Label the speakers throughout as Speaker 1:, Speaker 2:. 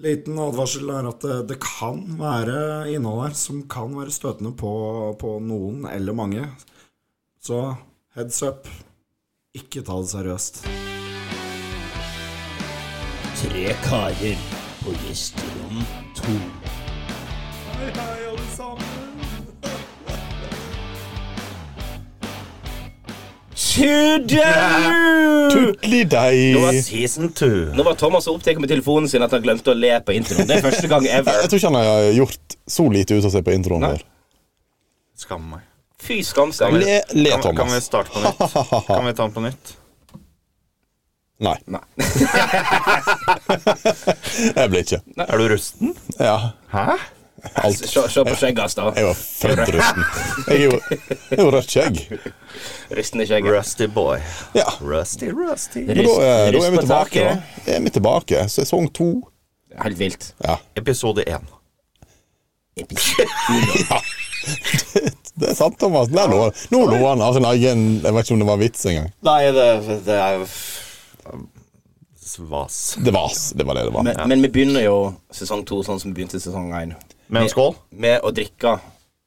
Speaker 1: Liten advarsel er at eh, det, det kan være innhold her som kan være støtende på, på noen eller mange. Så heads up. Ikke ta det seriøst.
Speaker 2: Tre karer på gjesterom to.
Speaker 1: Hei, hei, alle sammen.
Speaker 2: Tudelu!
Speaker 3: Nå var, jeg
Speaker 4: Season two.
Speaker 3: nå var Thomas så opptatt med telefonen sin at han glemte å le på introen. Det er første gang ever.
Speaker 2: Jeg tror ikke han har gjort så lite ut av seg på introen
Speaker 3: Nei.
Speaker 2: der.
Speaker 4: Skam meg.
Speaker 3: Fy skamseg.
Speaker 2: Le, le
Speaker 4: Kan, kan vi
Speaker 2: Thomas.
Speaker 4: starte på nytt? Kan vi ta den på nytt?
Speaker 2: Nei,
Speaker 3: Nei.
Speaker 2: jeg ble ikke.
Speaker 4: Er du rusten?
Speaker 2: Ja,
Speaker 4: Hæ?
Speaker 2: alt.
Speaker 3: Se se på skjegget hans, da.
Speaker 2: Jeg var født rusten. Jeg er jo- jeg er jo rødt skjegg.
Speaker 3: Rystende skjegg.
Speaker 4: Rusty boy.
Speaker 2: Ja.
Speaker 4: Rusty, rusty.
Speaker 2: Men da, er- da er vi
Speaker 3: Rust på
Speaker 2: tilbake, da.
Speaker 3: taket.
Speaker 2: Er vi tilbake? Sesong to.
Speaker 3: Helt vilt.
Speaker 2: Ja.
Speaker 4: Episode én.
Speaker 2: Det er sant, Thomas. Der lå Nå lå han av sin egen Jeg vet ikke om det var vits engang.
Speaker 4: Nei, det, det er jo Svas.
Speaker 2: Det var ass. Det var det det var.
Speaker 3: Men, men vi begynner jo sesong to sånn som vi begynte sesong én.
Speaker 4: Med en skål?
Speaker 3: Med å drikke.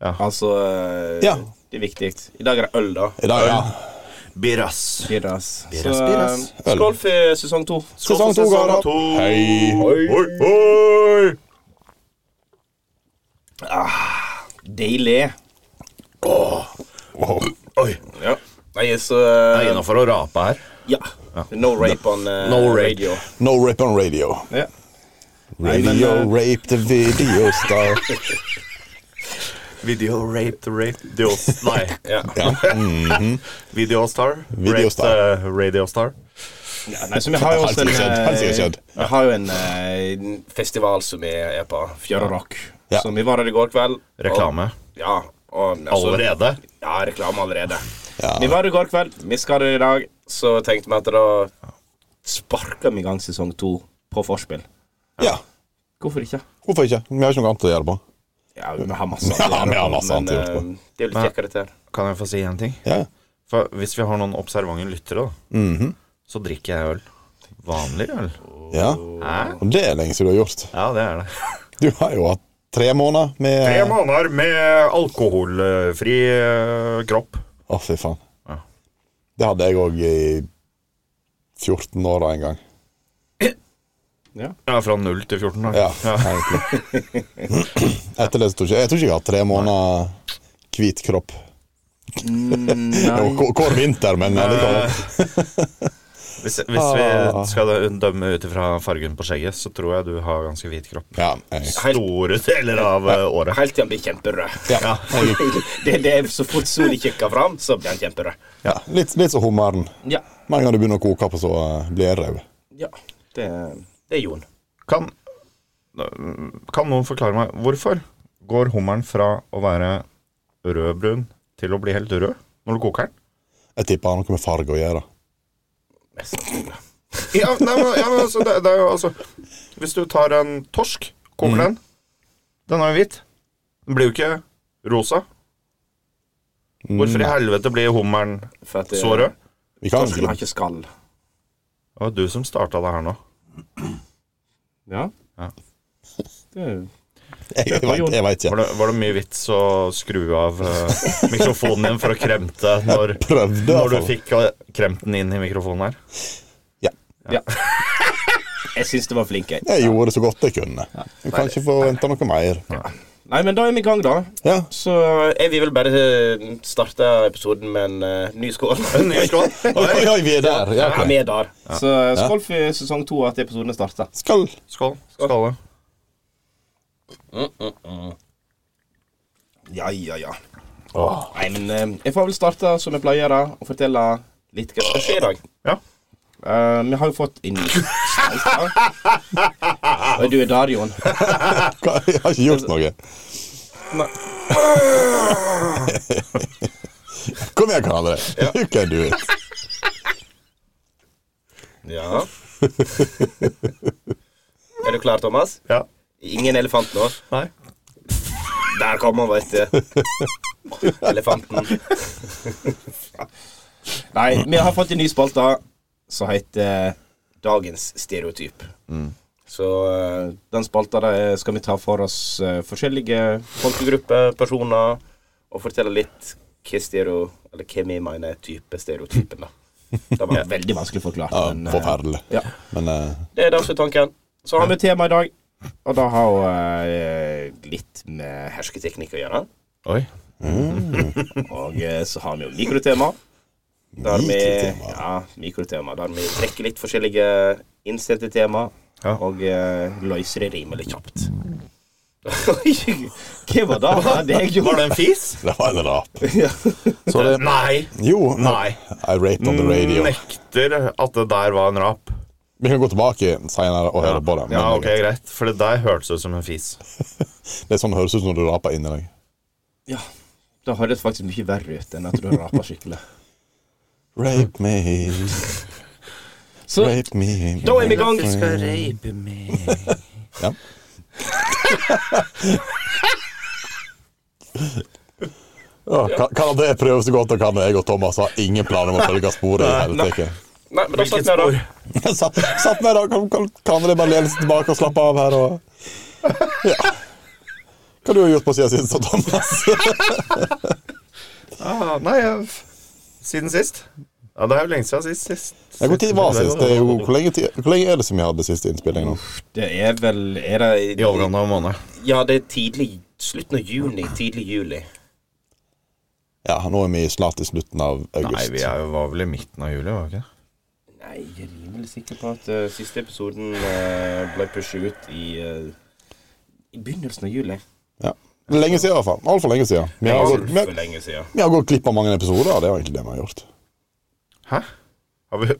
Speaker 4: Ja.
Speaker 3: Altså eh,
Speaker 2: Ja.
Speaker 3: Det er viktig. I dag er det øl, da.
Speaker 2: I dag, ja.
Speaker 4: Birras.
Speaker 3: Biras. Så
Speaker 4: Biras, biras.
Speaker 3: eh, skål for sesong to.
Speaker 2: Sesong to går opp. Hei.
Speaker 4: Oi, oi.
Speaker 3: Deilig.
Speaker 2: Wow.
Speaker 4: oi.
Speaker 3: Ja. Nei, så eh,
Speaker 4: Jeg er innafor å rape her.
Speaker 3: Ja. No rape on eh,
Speaker 4: No rape.
Speaker 3: radio.
Speaker 2: No rape on radio.
Speaker 3: Ja.
Speaker 2: Radio rape the video star.
Speaker 4: Video rape the rape the os- Nei.
Speaker 3: Ja.
Speaker 2: Ja.
Speaker 4: Mhm. Videostar.
Speaker 2: Videostar.
Speaker 4: Rape the radiostar.
Speaker 3: Ja, nei, så vi har jo også en,
Speaker 2: Helt sikkert skjedd, helt sikkert
Speaker 3: eh,
Speaker 2: skjedd.
Speaker 3: vi har jo en, eh, en festival som vi er på, Fjøra Rock.
Speaker 2: Ja.
Speaker 3: Så vi var der i går kveld. og-
Speaker 4: Reklame.
Speaker 3: Ja. Og, altså,
Speaker 4: Allerede.
Speaker 3: Ja, reklame allerede.
Speaker 2: Ja.
Speaker 3: Vi var der i går kveld, vi skal der i dag. Så tenkte vi at da sparker vi i gang sesong to på vorspiel.
Speaker 2: ja.
Speaker 3: Hvorfor ikke?
Speaker 2: Hvorfor ikke? Vi har ikke noe annet å gjøre på.
Speaker 3: Ja, vi har masse
Speaker 2: Ja,
Speaker 3: annet å
Speaker 2: vi har
Speaker 3: gjøre,
Speaker 2: masse annet å gjøre på.
Speaker 3: eh, det er jo litt kjekkere til.
Speaker 4: Kan jeg få si én ting?
Speaker 2: Ja.
Speaker 4: For Hvis vi har noen observante lyttere, da, så drikker jeg øl. Vanlig øl.
Speaker 2: ja.
Speaker 4: Hæ?
Speaker 2: Og det er lenge siden du har gjort.
Speaker 4: Ja, det er det.
Speaker 2: Du har jo hatt tre måneder med
Speaker 4: Tre måneder med alkoholfri eh, kropp.
Speaker 2: Å, fy faen.
Speaker 4: Ja.
Speaker 2: Det hadde jeg òg i 14 år en gang.
Speaker 4: Ja, Fra 0 til 14, da.
Speaker 2: Ja, egentlig. Etter det så tror jeg ikke Jeg tror ikke jeg har hatt tre måneder hvit kropp.
Speaker 4: Mm,
Speaker 2: Jo, hvor- Hvor vinter, men allikevel.
Speaker 4: Hvis, hvis vi skal dømme ut ifra fargen på skjegget, så tror jeg du har ganske hvit kropp.
Speaker 2: Ja, jeg,
Speaker 3: Helt-
Speaker 4: Store deler av eh, året.
Speaker 3: Helt til han blir kjemperød.
Speaker 2: ja, jeg,
Speaker 3: det, det er Så fort sola kikker fram, så blir han kjemperød.
Speaker 2: ja. Litt, litt som hummeren.
Speaker 3: Ja.
Speaker 2: Med en gang du begynner å koke på, så eh, blir jeg rød.
Speaker 3: ja. Det, det er Jon.
Speaker 4: Kan, kan noen forklare meg hvorfor går hummeren fra å være rødbrun til å bli helt rød når du koker den?
Speaker 2: Jeg tipper han har noe med farge å gjøre.
Speaker 3: Mest sannsynlig.
Speaker 4: Ja, nei, men, ja, men altså, det, det er jo altså Hvis du tar en torsk, koker den Den er jo hvit. Den blir jo ikke rosa. Hvorfor i helvete blir hummeren
Speaker 3: For at det-
Speaker 4: så rød?
Speaker 2: Vi kan
Speaker 3: Torsken har ikke skall.
Speaker 4: Det var du som starta det her nå.
Speaker 3: Ja.
Speaker 4: Ja.
Speaker 3: Det er jo
Speaker 2: Jeg, jeg, vet- jeg vet ikke.
Speaker 4: Var det, var det mye vits å skru av eh, mikrofonen din for å kremte når,
Speaker 2: Prøvde, i
Speaker 4: når
Speaker 2: hvert
Speaker 4: du
Speaker 2: fall.
Speaker 4: fikk eh, kremt den inn i mikrofonen her?
Speaker 2: Ja.
Speaker 3: Jeg syns det var flink, jeg.
Speaker 2: Jeg gjorde så godt jeg kunne. Du kan ikke forvente noe mer.
Speaker 3: Nei, men da er vi i gang, da.
Speaker 2: Ja.
Speaker 3: Så jeg vil vel bare eh, starte episoden med en eh, ny skål.
Speaker 4: Ny skål.
Speaker 2: Oi, oi, oi, vi er der.
Speaker 3: Ja,
Speaker 2: Ja, ok.
Speaker 3: vi er der. Så eh, skål for sesong to, at episoden starter.
Speaker 2: Skal
Speaker 4: Skål. Skål.
Speaker 3: Ja, ja, ja. Nei, men eh, jeg får vel starte som jeg pleier, da, og fortelle litt hva som skal skje i dag.
Speaker 4: Ja.
Speaker 3: Eh, vi har jo fått en ny spalte. Og du er der, Jon.
Speaker 2: Jeg har ikke gjort noe.
Speaker 3: Nei.
Speaker 2: Kom igjen, Karl André. You can do it.
Speaker 3: Ja. er du klar, Thomas?
Speaker 4: Ja.
Speaker 3: Ingen elefant nå.
Speaker 4: Nei.
Speaker 3: Der kommer han, vet du. Elefanten. Nei, vi har fått en ny spalte som heter Dagens eh, stereotyp. Så eh, den spalta der skal vi ta for oss eh, forskjellige folkegrupper, personer, og fortelle litt hva stereo, eller hvem jeg mener er type stereotypen. da. Det var veldig vanskelig forklart.
Speaker 2: Ja,
Speaker 3: men, eh,
Speaker 2: forferdelig.
Speaker 3: ja.
Speaker 2: Men eh,
Speaker 3: Det er det som er tanken. Så har vi tema i dag, og det har jo eh, litt med hersketeknikk å gjøre.
Speaker 4: Oi.
Speaker 3: Og eh, så har vi jo mikrotema. Der vi,
Speaker 2: Mikrotema.
Speaker 3: ja, mikrotema, der vi trekker litt forskjellige innsendte tema,
Speaker 4: Ja.
Speaker 3: og eh, løser det rimelig kjapt. Oi, Hva var det? Hva var det jeg
Speaker 4: Var
Speaker 3: gjorde?
Speaker 4: det en fis?
Speaker 2: det var en rap.
Speaker 3: Ja.
Speaker 2: Sorry.
Speaker 4: Nei.
Speaker 2: Jo,
Speaker 4: Nei.
Speaker 2: I raped on the radio.
Speaker 4: Nekter at det der var en rap.
Speaker 2: Vi kan gå tilbake senere og høre på det. men
Speaker 4: Ja,
Speaker 2: det er
Speaker 4: ok,
Speaker 2: greit.
Speaker 4: greit. For det der hørtes ut som en fis.
Speaker 2: Det er sånn det høres ut som du raper inni deg.
Speaker 3: ja. Det høres faktisk mye verre ut enn at du raper skikkelig.
Speaker 2: Rape me,
Speaker 3: Så
Speaker 2: rape me.
Speaker 3: da er vi i gang.
Speaker 4: rape meg.
Speaker 2: Ja. Ja, kan, kan det prøve så godt han kan? Jeg og Thomas har ingen planer om å følge sporet. i hele tatt.
Speaker 3: Nei, men da
Speaker 4: Hvilket
Speaker 3: snakker
Speaker 4: spor?
Speaker 3: jeg da.
Speaker 2: Satt, satt med da, kan, kan, kan dere bare lene seg tilbake og slappe av her og Ja. Hva du har gjort på siden sist, da, Thomas?
Speaker 4: Ah, nei, jeg... siden sist. Ja, det er jo lenge siden sist. sist.
Speaker 2: Ja, Hvor tid var sist? Det er jo, hvor, lenge tid, hvor lenge er det som vi hadde siste innspilling nå?
Speaker 3: Det er vel Er
Speaker 4: I
Speaker 3: det
Speaker 4: overgangen av en måned.
Speaker 3: Ja, det er tidlig Slutten av juni, tidlig juli.
Speaker 2: Ja, nå er vi snart i slutten av august.
Speaker 4: Nei, vi er jo, var vel i midten av juli, var vi ikke? det?
Speaker 3: Nei, jeg er rimelig sikker på at eh, siste episoden eh, ble pushet ut i eh, I begynnelsen av juli.
Speaker 2: Ja. Lenge siden, i hvert fall. Altfor lenge siden. Vi har, gått, vi,
Speaker 3: for
Speaker 2: har,
Speaker 3: lenge siden.
Speaker 2: vi har gått glipp av mange episoder. Det er jo egentlig det vi har gjort.
Speaker 4: Hæ? Har vi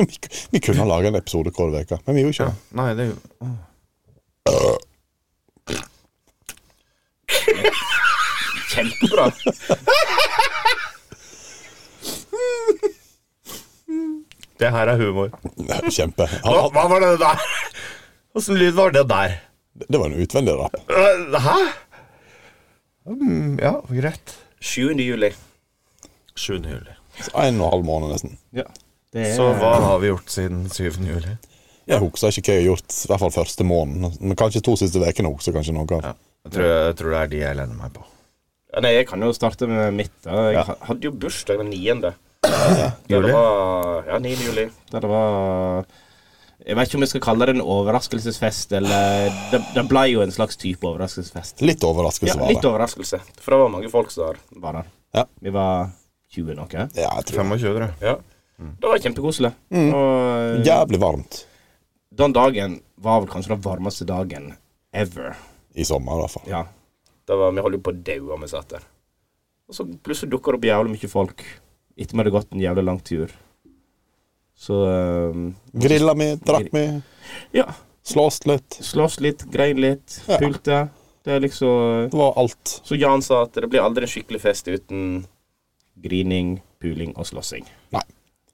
Speaker 2: Vi, ku- vi kunne ha laga en episode hver uke, men vi gjorde ikke det.
Speaker 4: Nei, det er jo
Speaker 3: Kjempebra.
Speaker 4: Det her er humor.
Speaker 2: Nei, Kjempe. Han,
Speaker 4: Hva,
Speaker 2: han,
Speaker 4: hva var det der? Åssen lyd var det der?
Speaker 2: det var en utvendig rap.
Speaker 4: Øh, Hæ? Mm, ja, greit.
Speaker 3: 7. juli.
Speaker 4: 7. juli.
Speaker 2: Så En og en halv måned, nesten.
Speaker 3: Ja. Det er
Speaker 4: Så hva har vi gjort siden 7. juli?
Speaker 2: Jeg husker ikke hva jeg har gjort, i hvert fall første måneden. Men kanskje to siste ukene husker jeg kanskje noe av.
Speaker 4: Ja, jeg, tror, jeg tror det er de jeg lener meg på.
Speaker 3: ja, Nei, jeg kan jo starte med mitt. da. Jeg
Speaker 4: Ja.
Speaker 3: ha- hadde jo bursdag den 9. Der
Speaker 4: Juli?
Speaker 3: det var Ja, 9. juli. Der det var Jeg vet ikke om jeg skal kalle det en overraskelsesfest, eller Det, det ble jo en slags type overraskelsesfest.
Speaker 2: Litt overraskelse
Speaker 3: Ja,
Speaker 2: var
Speaker 3: litt
Speaker 2: det.
Speaker 3: overraskelse. For det var mange folk som var der.
Speaker 2: Ja.
Speaker 3: Vi var 20 noe.
Speaker 2: Ja, jeg tror det.
Speaker 4: 25, tror jeg.
Speaker 3: Ja. Det var kjempekoselig. Og eh,
Speaker 2: Jævlig varmt.
Speaker 3: Mm. den dagen var vel kanskje den varmeste dagen ever.
Speaker 2: I sommer, i hvert fall.
Speaker 3: Ja. Det var, vi holdt jo på å daue om vi satt der. Og så plutselig dukker det opp jævlig mye folk. Etter vi hadde gått en jævlig lang tur. Så eh,
Speaker 2: Grilla mi, drakk mi,
Speaker 3: ja.
Speaker 2: slåss litt.
Speaker 3: Slåss litt, grein litt,
Speaker 2: Ja.
Speaker 3: pulte. Det er liksom
Speaker 2: Det var alt.
Speaker 3: Så Jan sa at det blir aldri en skikkelig fest uten grining, puling og slåssing.
Speaker 2: Nei.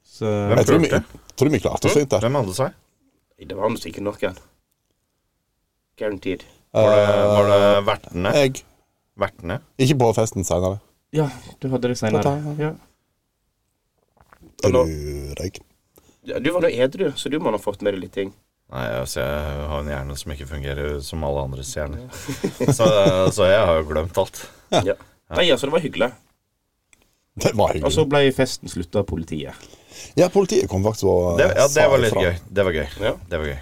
Speaker 3: Så
Speaker 2: Jeg tror vi,
Speaker 4: pulte?
Speaker 2: tror vi klarte oss fint der.
Speaker 4: Hvem hadde seg?
Speaker 3: det var nå sikkert noen. Guaranteed.
Speaker 4: Var det, var det vertene?
Speaker 2: Jeg.
Speaker 4: Vertene?
Speaker 2: Ikke på festen seinere.
Speaker 3: Ja, du hadde det seinere.
Speaker 2: Ta-ta.
Speaker 3: Ja.
Speaker 2: Du
Speaker 3: Nå-
Speaker 2: røyk.
Speaker 3: Ja, Du var nå edru, så du må nå ha fått med deg litt ting.
Speaker 4: Nei, altså, jeg har en hjerne som ikke fungerer som alle andres hjerner. Så, så jeg har jo glemt alt.
Speaker 3: Ja. Nei, altså, det var hyggelig.
Speaker 2: Det var
Speaker 3: Og så
Speaker 4: Altså-
Speaker 2: hyggelig.
Speaker 3: ble festen slutta av politiet.
Speaker 2: Ja, politiet kom faktisk og
Speaker 4: Det, ja, det
Speaker 2: sa
Speaker 4: var litt
Speaker 2: ifra.
Speaker 4: gøy. Det var gøy.
Speaker 3: Ja.
Speaker 4: Det var gøy.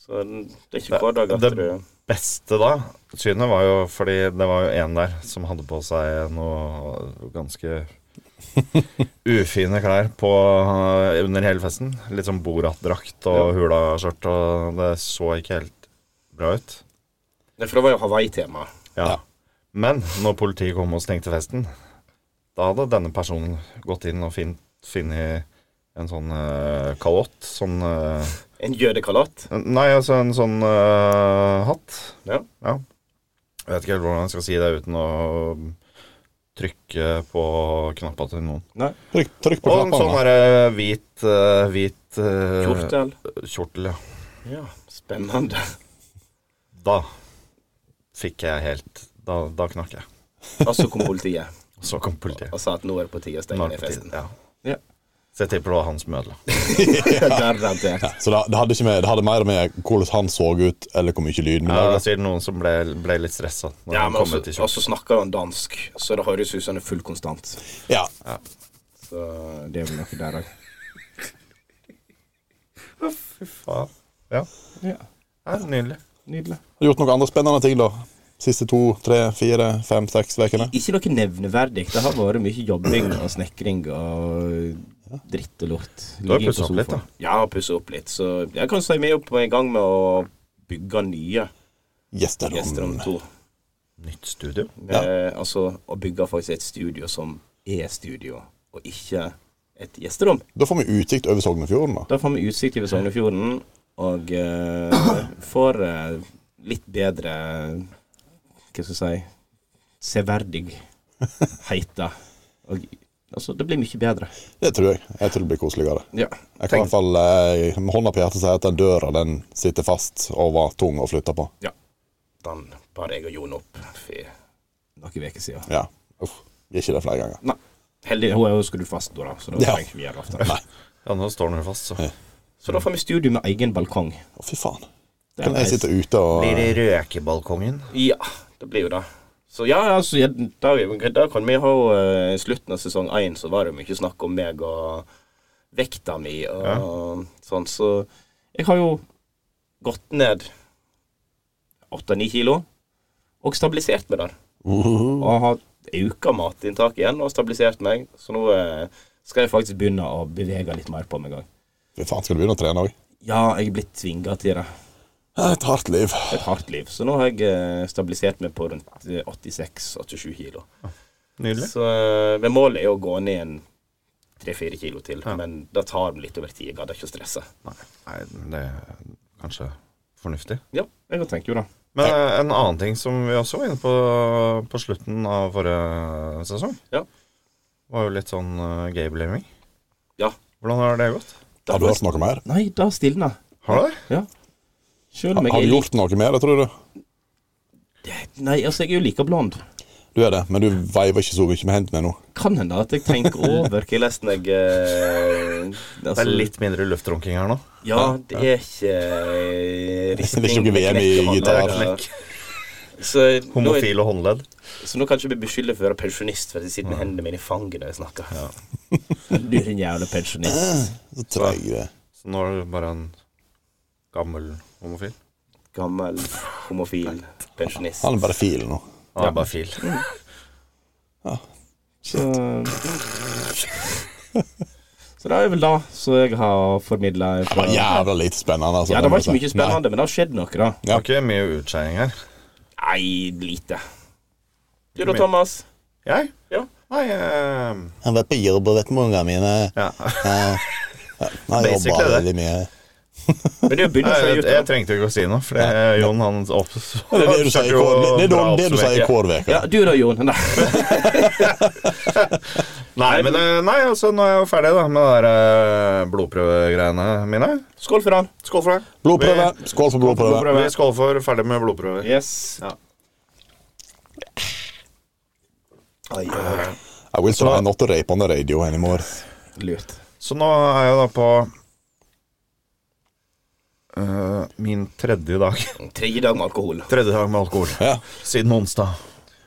Speaker 3: Så det er ikke hver dag at
Speaker 4: Det-
Speaker 3: du
Speaker 4: beste da, synet var jo fordi det var jo en der som hadde på seg noe ganske ufine klær på, eh, under hele festen. Litt sånn Borat-drakt og hulaskjørt, og det så ikke helt bra ut.
Speaker 3: Nei, for det var jo Hawaii-tema.
Speaker 4: Ja.
Speaker 2: Ja.
Speaker 4: Men når politiet kom og stengte festen, da hadde denne personen gått inn og fin- funnet en sånn eh, kalott. Sånn eh,
Speaker 3: En jødekalott.
Speaker 4: Nei, altså en sånn eh, hatt.
Speaker 3: Ja.
Speaker 4: Ja. Jeg vet ikke helt hvordan jeg skal si det uten å trykke på knappa til noen.
Speaker 3: Nei.
Speaker 2: Trykk, trykk på
Speaker 4: Og en sånn
Speaker 2: knappene.
Speaker 4: derre hvit, eh, hvit eh,
Speaker 3: Kjortel.
Speaker 4: Kjortel, ja.
Speaker 3: Ja, spennende.
Speaker 4: Da fikk jeg helt Da, da knakk jeg.
Speaker 3: Og så kom politiet
Speaker 4: Så kom politiet.
Speaker 3: og sa at nå er det på tide
Speaker 4: Nå
Speaker 3: å stenge
Speaker 4: er det
Speaker 3: ned
Speaker 4: på tide,
Speaker 3: festen.
Speaker 4: ja.
Speaker 3: Ja.
Speaker 4: Så jeg tipper det var han som ødela.
Speaker 3: Garantert.
Speaker 2: Så det, det, hadde ikke med, det hadde mer med hvordan han så ut, eller hvor mye lyd vi
Speaker 4: Ja, det
Speaker 2: lagde.
Speaker 4: er sikkert noen som ble, ble litt stressa.
Speaker 3: Ja, men også, også snakker han dansk, så det høres ut som han er full konstant.
Speaker 2: Ja.
Speaker 3: Så det er vel noe der òg.
Speaker 4: Fy faen. Ja. ja. Nydelig.
Speaker 3: Nydelig.
Speaker 2: Har du gjort noen andre spennende ting, da? Siste to, tre, fire, fem, seks ukene?
Speaker 3: Ikke noe nevneverdig. Det har vært mye jobbing og snekring og dritt og lort.
Speaker 4: Du har
Speaker 3: Ligging på
Speaker 4: pusset opp
Speaker 3: sofaen.
Speaker 4: litt, da.
Speaker 3: Ja, pussa opp litt. Så jeg kan si vi er jo på en gang med å bygge nye Gjesterom
Speaker 2: Gjesterom.
Speaker 3: 2.
Speaker 4: Nytt studio.
Speaker 2: Ja.
Speaker 3: Eh, altså å bygge faktisk et studio som er studio, og ikke et gjesterom.
Speaker 2: Da får vi utsikt over Sognefjorden, da.
Speaker 3: Da får vi utsikt over Sognefjorden, og eh, får eh, litt bedre Hva skal jeg si Severdigheter. Og altså, det blir mye bedre.
Speaker 2: Det tror jeg. Jeg tror det blir koseligere.
Speaker 3: Ja.
Speaker 2: Jeg kan i hvert fall eh, med hånda på hjertet si at den døra den sitter fast og var tung å flytte på.
Speaker 3: ja. Den bar jeg og Jon opp for noen uker siden.
Speaker 2: Ja. Uff. Gjør ikke det flere ganger.
Speaker 3: Nei. Heldig, hun er jo skrudd fast nå, da, så da
Speaker 2: Ja.
Speaker 3: trenger vi ikke gjøre det oftere.
Speaker 4: Ja, nå står den jo fast, så.
Speaker 3: Så da får vi studio med egen balkong.
Speaker 2: Å, fy faen.
Speaker 3: Det er
Speaker 2: Kan jeg
Speaker 3: nice.
Speaker 2: sitte ute og
Speaker 4: Blir det røkebalkongen?
Speaker 3: Ja, det blir jo det. Så ja, altså, ja, da, da kan vi ha eh, slutten av sesong én, så var det jo mye snakk om meg og vekta mi og sånn, så jeg har jo gått ned åtte-ni kilo og stabilisert meg der. Og har auka matinntak igjen og stabilisert meg, så nå eh, skal jeg faktisk begynne å bevege litt mer på meg òg.
Speaker 2: Fy faen, skal du begynne å trene òg?
Speaker 3: Ja, jeg er blitt tvinga til det.
Speaker 2: Et hardt liv.
Speaker 3: Et hardt liv. Så nå har jeg eh, stabilisert meg på rundt eh, 86-87 kilo.
Speaker 4: Nydelig.
Speaker 3: Så eh, men målet er å gå ned en tre-fire kilo til, men det tar litt over tid. Jeg gadd ikke å stresse.
Speaker 4: Nei, nei, men det er kanskje fornuftig.
Speaker 3: Ja, jeg tenker jo det.
Speaker 4: Men eh, en annen ting som vi også var inne på på slutten av forrige sesong,
Speaker 3: Ja.
Speaker 4: var jo litt sånn eh, gay-blaming.
Speaker 3: ja.
Speaker 4: Hvordan har det gått?
Speaker 2: Har du hørt noe mer?
Speaker 3: Nei, det har stilna.
Speaker 4: Har det?
Speaker 3: Ja. Sjøl om jeg
Speaker 2: Har
Speaker 3: er
Speaker 2: du
Speaker 3: lik-
Speaker 2: gjort noe mer, tror du?
Speaker 3: Nei, altså, jeg er jo like blond.
Speaker 2: Du er det, men du veiver ikke så mye med hendene ennå.
Speaker 3: Kan hende at jeg tenker over hvordan jeg eh, altså,
Speaker 4: Det er litt mindre luftrunking her nå.
Speaker 3: Ja, det er ikke eh, risting.
Speaker 2: Det er ikke noe VM i
Speaker 3: knekk-
Speaker 2: gitar.
Speaker 3: knekk. Så nå, er,
Speaker 4: Homofile håndledd.
Speaker 3: så nå kan jeg ikke bli beskyldt for å være pensjonist, for jeg sitter med hendene mine i fanget når jeg snakker. Du er en jævla pensjonist.
Speaker 2: Så treig det.
Speaker 4: Så nå er du bare en gammel homofil.
Speaker 3: gammel homofil pensjonist.
Speaker 2: Han er bare fil nå.
Speaker 4: Han er bare fil.
Speaker 3: Så, så det er vel da så jeg har formidla
Speaker 2: Det var jævla lite spennende. Altså,
Speaker 3: Ja, det
Speaker 2: må
Speaker 3: var ikke
Speaker 2: jeg si.
Speaker 3: mye spennende, men det har skjedd noe, da.
Speaker 4: Det er ikke mye utskeiing her.
Speaker 3: Nei, lite. Du da, Thomas?
Speaker 4: Jeg?
Speaker 3: Ja.
Speaker 4: Nei, eh,
Speaker 2: Nei. Han var på jobb og vet med ungene mine.
Speaker 4: ja.
Speaker 2: Han
Speaker 4: Basically
Speaker 2: jobber
Speaker 4: det.
Speaker 2: veldig mye.
Speaker 3: Men det er jo
Speaker 4: Nei,
Speaker 3: begynnelsen av
Speaker 4: jeg, jeg
Speaker 3: YouTube.
Speaker 4: trengte ikke å si noe, for det, Jon han opp,
Speaker 2: Det er det du sier i kår- det- det er det- det du sier i
Speaker 3: Ja,
Speaker 2: Kårveka.
Speaker 3: du da, Jon. Nei.
Speaker 4: Nei, men eh, nei, altså, nå er jeg jo ferdig da med de der, eh, blodprøvegreiene mine.
Speaker 3: Skål for han.
Speaker 4: Skål for det.
Speaker 2: Blodprøve. Skål for blodprøve.
Speaker 4: Vi skåler for ferdig med blodprøver.
Speaker 3: Yes.
Speaker 4: Ja.
Speaker 3: Ai, ai,
Speaker 2: I will try not to rape on the radio anymore.
Speaker 3: lurt.
Speaker 4: Så nå er jeg da på eh, min tredje dag.
Speaker 3: Tredje dag med alkohol.
Speaker 4: Tredje dag med alkohol.
Speaker 2: Ja.
Speaker 4: Siden onsdag.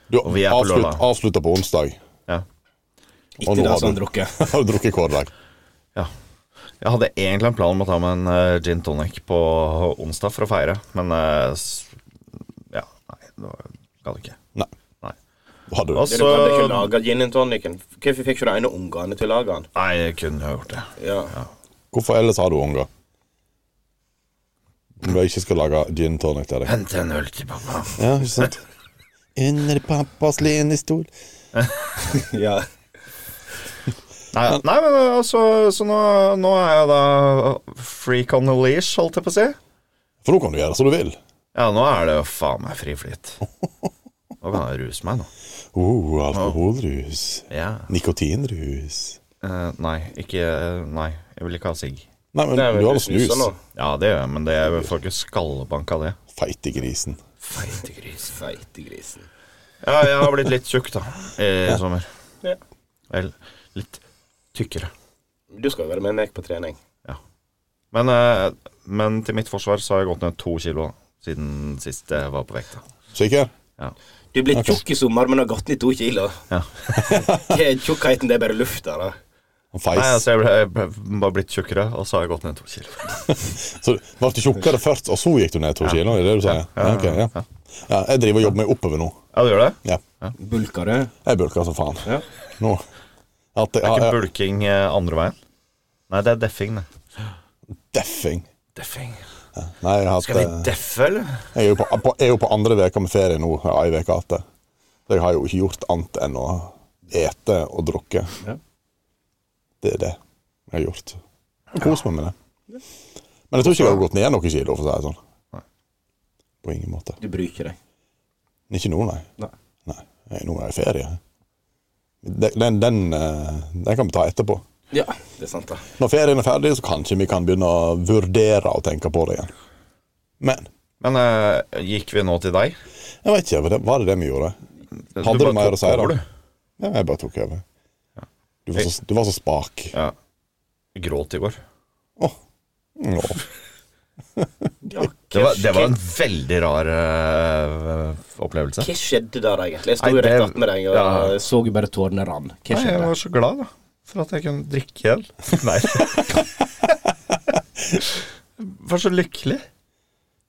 Speaker 2: Du
Speaker 4: Og vi er på
Speaker 2: avslut,
Speaker 4: lørdag.
Speaker 2: avslutter på onsdag.
Speaker 4: Ja.
Speaker 3: Ikke
Speaker 2: Og nå
Speaker 3: da
Speaker 2: har
Speaker 3: som han
Speaker 2: du-
Speaker 3: drukket.
Speaker 2: Har du drukket hver dag?
Speaker 4: Ja. Jeg hadde egentlig en plan om å ta med en eh, gin tonic på onsdag for å feire, men eh, s- Ja, nei, det var gadd ikke.
Speaker 2: Nei.
Speaker 4: Nei.
Speaker 2: Da hadde du
Speaker 4: Og
Speaker 3: Du kan ikke
Speaker 4: så
Speaker 3: lage gin and tonicen. Hvorfor fikk ikke du ene ungene til å lage den?
Speaker 4: Nei, jeg kunne jo gjort det.
Speaker 3: Ja.
Speaker 2: Hvorfor ellers har du unger? Om du ikke skal lage gin tonic til deg.
Speaker 4: Hent en øl til pappa.
Speaker 2: Ja, ikke sant? Under pappas lenestol
Speaker 3: ja.
Speaker 4: Nei, nei men eh, altså Så nå, nå er jeg da eh, freak on the leash, holdt jeg på å si.
Speaker 2: For nå kan du gjøre som du vil.
Speaker 4: Ja, nå er det jo faen meg fri flyt. Nå kan jeg ruse meg, nå.
Speaker 2: Oh, alkoholrus.
Speaker 4: Ja.
Speaker 2: Nikotinrus.
Speaker 4: Eh, nei, ikke eh, Nei, jeg vil ikke ha sigg.
Speaker 2: Nei, men
Speaker 3: Det er
Speaker 2: du
Speaker 3: vel
Speaker 2: har jo
Speaker 3: snus
Speaker 2: snus.
Speaker 3: nå.
Speaker 4: Ja, det gjør jeg, men det, jeg får ikke skallebank av det.
Speaker 2: Feitegrisen.
Speaker 3: Feitegris, feitegrisen.
Speaker 4: Ja, jeg har blitt litt tjukk da i sommer.
Speaker 3: Ja.
Speaker 4: Eller litt tykkere.
Speaker 3: Du skal jo være med meg på trening.
Speaker 4: Men, eh, men til mitt forsvar så har jeg gått ned to kilo siden sist jeg var på vekta.
Speaker 2: Sikker?
Speaker 3: Du er blitt tjukk i sommer, men har gått ned to kilo.
Speaker 4: Ja.
Speaker 3: Hva er Tjukkheten, det er bare lufta, da.
Speaker 4: Nei,
Speaker 2: Han feis.
Speaker 4: altså jeg ble, jeg ble bare blitt tjukkere, og så har jeg gått ned to kilo.
Speaker 2: Så ble du tjukkere først, og så gikk du ned to kilo? Er det det du sier? Ja, ok, ja. ja, jeg driver og jobber meg oppover nå.
Speaker 4: Ja, du gjør det?
Speaker 2: Ja.
Speaker 3: Bulker du?
Speaker 2: Jeg bulker som faen.
Speaker 3: Ja.
Speaker 2: Nå. At jeg,
Speaker 4: Det er ikke
Speaker 2: jeg,
Speaker 4: bulking eh, andre veien? Nei, det er deffing, det.
Speaker 2: deffing.
Speaker 4: Deffing.
Speaker 2: Nei, jeg, har hatt,
Speaker 4: Skal vi
Speaker 2: eh,
Speaker 4: deffe, eller?
Speaker 2: jeg, er jo på, på, jeg er jo på andre veka med ferie nå. ja, Ei veke igjen. Så jeg har jo ikke gjort annet enn å ete og drukke.
Speaker 3: Ja.
Speaker 2: Det er det jeg har gjort. Og kost meg med det. Men jeg tror ikke jeg har gått ned noen kilo, for å si det sånn. På ingen måte.
Speaker 3: Du bryr ikke deg.
Speaker 2: Ikke nå, nei.
Speaker 3: Nei.
Speaker 2: Nei, jeg- nå er jeg i ferie. Den, den, den, eh, den kan vi ta etterpå.
Speaker 3: Ja, det er sant, da.
Speaker 2: Når ferien er ferdig, så kanskje vi kan begynne å vurdere å tenke på det igjen. Men
Speaker 4: Men eh, gikk vi nå til deg?
Speaker 2: jeg vet ikke, var det- var det det vi gjorde? Hadde du
Speaker 4: bare
Speaker 2: mer
Speaker 4: tok
Speaker 2: å si da?
Speaker 4: over, du.
Speaker 2: Ja, jeg bare tok over. Du var så, du var så spak.
Speaker 4: Ja. Jeg Gråt i går.
Speaker 2: Åh. Nå.
Speaker 3: Ja,
Speaker 4: Det
Speaker 3: hva-
Speaker 4: var, det var en
Speaker 3: hva-
Speaker 4: veldig rar eh, opplevelse.
Speaker 3: Hva skjedde der, egentlig? Jeg sto
Speaker 4: Nei,
Speaker 3: jo rett
Speaker 4: det-
Speaker 3: attmed deg og
Speaker 4: ja.
Speaker 3: så jo bare tårene rann. Hva
Speaker 4: Nei, jeg
Speaker 3: skjedde?
Speaker 4: var så glad, da. For at jeg kunne drikke igjen. Nei. var så lykkelig.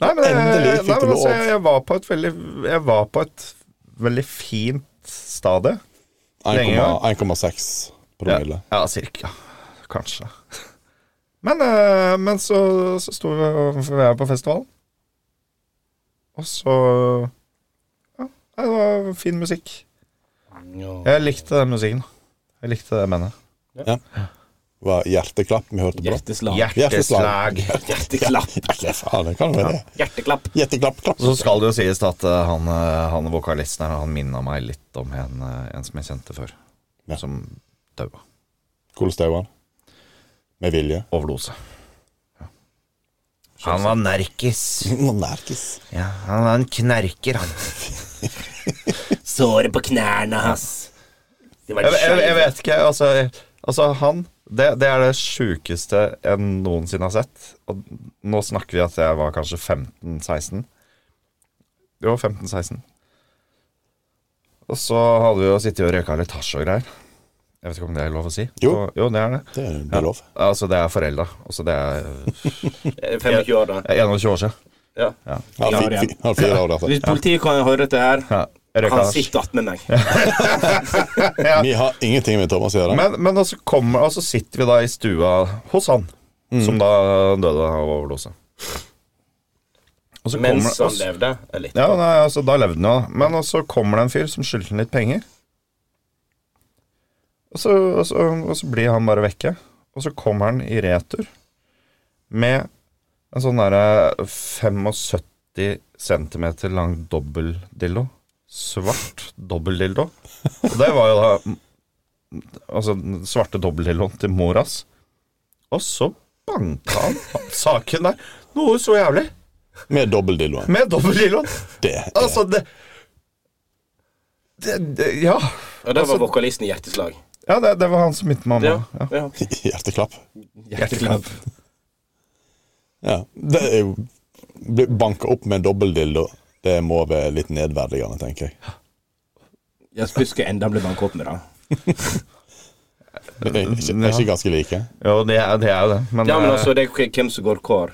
Speaker 4: Nei, men jeg,
Speaker 2: Endelig fikk
Speaker 4: nei,
Speaker 2: du
Speaker 4: men altså,
Speaker 2: lov.
Speaker 4: jeg, jeg var på et veldig Jeg var på et veldig fint stadie.
Speaker 2: 1,6 promille.
Speaker 4: Ja, ja cirka. Kanskje. Men, eh, men så, så sto vi og for vi er på festivalen. Og så Ja, nei, det var fin musikk.
Speaker 3: Ja.
Speaker 4: Jeg likte den musikken. Jeg likte det bandet.
Speaker 2: Det var hjerteklapp vi hørte på.
Speaker 3: Hjerteslag.
Speaker 4: Hjerteslag.
Speaker 3: Hjerteklapp.
Speaker 2: Ja, faen, det kan være det.
Speaker 3: Hjerteklapp.
Speaker 2: Hjerteklapp, klapp.
Speaker 4: Så skal det jo sies at eh, han, eh, han vokalisten her, han minna meg litt om en, eh, en som jeg kjente før.
Speaker 2: Ja.
Speaker 4: Som daua.
Speaker 2: Hvordan stod han? Med vilje.
Speaker 4: Overdose. Ja. Han var nerkis.
Speaker 2: Nerkis.
Speaker 4: Ja, han var en knerker, han.
Speaker 3: Såret på knærne hans. Det var
Speaker 4: Jeg, jeg, jeg vet ikke, altså, jeg- altså han det, det er det sjukeste jeg noensinne har sett. Og nå snakker vi at jeg var kanskje 15-16. Jo, 15-16. Og så hadde vi jo sittet og røyka litt hasj og greier. Jeg vet ikke om det er lov å si?
Speaker 2: Jo.
Speaker 4: jo det er det.
Speaker 2: Det er
Speaker 4: Ja.
Speaker 2: det lov.
Speaker 4: Altså, det er forelda. Altså, det er
Speaker 3: 25 år, da.
Speaker 4: 21 år siden.
Speaker 3: Ja.
Speaker 2: Han
Speaker 3: Ja,
Speaker 2: har
Speaker 3: det
Speaker 2: fi-
Speaker 3: er-
Speaker 2: fi- han har fire år, dette.
Speaker 3: Hvis politiet kan høre dette her,
Speaker 4: Ja, jeg røyka
Speaker 3: han
Speaker 4: hasj.
Speaker 3: sitter attmed meg.
Speaker 2: Vi har ingenting med Thomas å gjøre.
Speaker 4: Men, men altså kommer, altså sitter vi da i stua hos han, som da døde av overdose. Og så kommer,
Speaker 3: Mens
Speaker 4: det- og
Speaker 3: han
Speaker 4: s-
Speaker 3: levde. er Litt.
Speaker 4: ja, nei, altså, da levde han jo, da. Men så kommer det en fyr som skyldte han litt penger. Og så, og, så, og så blir han bare vekke. Og så kommer han i retur med en sånn derre 75 cm lang dobbeltdildo. Svart dobbeltdildo. Og det var jo da Altså den svarte dobbeltdildoen til moras. Og så banka han saken der. Noe så jævlig.
Speaker 2: Med dobbeltdildoen.
Speaker 4: Med dobbeltdildoen.
Speaker 2: Det er
Speaker 4: Altså, det, det, det Ja.
Speaker 3: Og det var
Speaker 4: Altså-
Speaker 3: vokalisten i Hjerteslag.
Speaker 4: ja det, det var han som begynte med
Speaker 3: Ja.
Speaker 4: mamma. Ja.
Speaker 3: ja.
Speaker 2: hjerteklapp.
Speaker 3: Hjerteklapp.
Speaker 2: Ja. Det er jo Bli banka opp med en dobbeltdildo, det må være litt nedverdigende, tenker jeg.
Speaker 3: Jeg skulle huske enda han ble banket opp med, da.
Speaker 2: Det er ikke, det er ikke ganske like.
Speaker 4: Jo, det er, det er jo det. Men,
Speaker 3: Ja, men
Speaker 4: eh,
Speaker 3: altså, det er k- hvem som går hvor.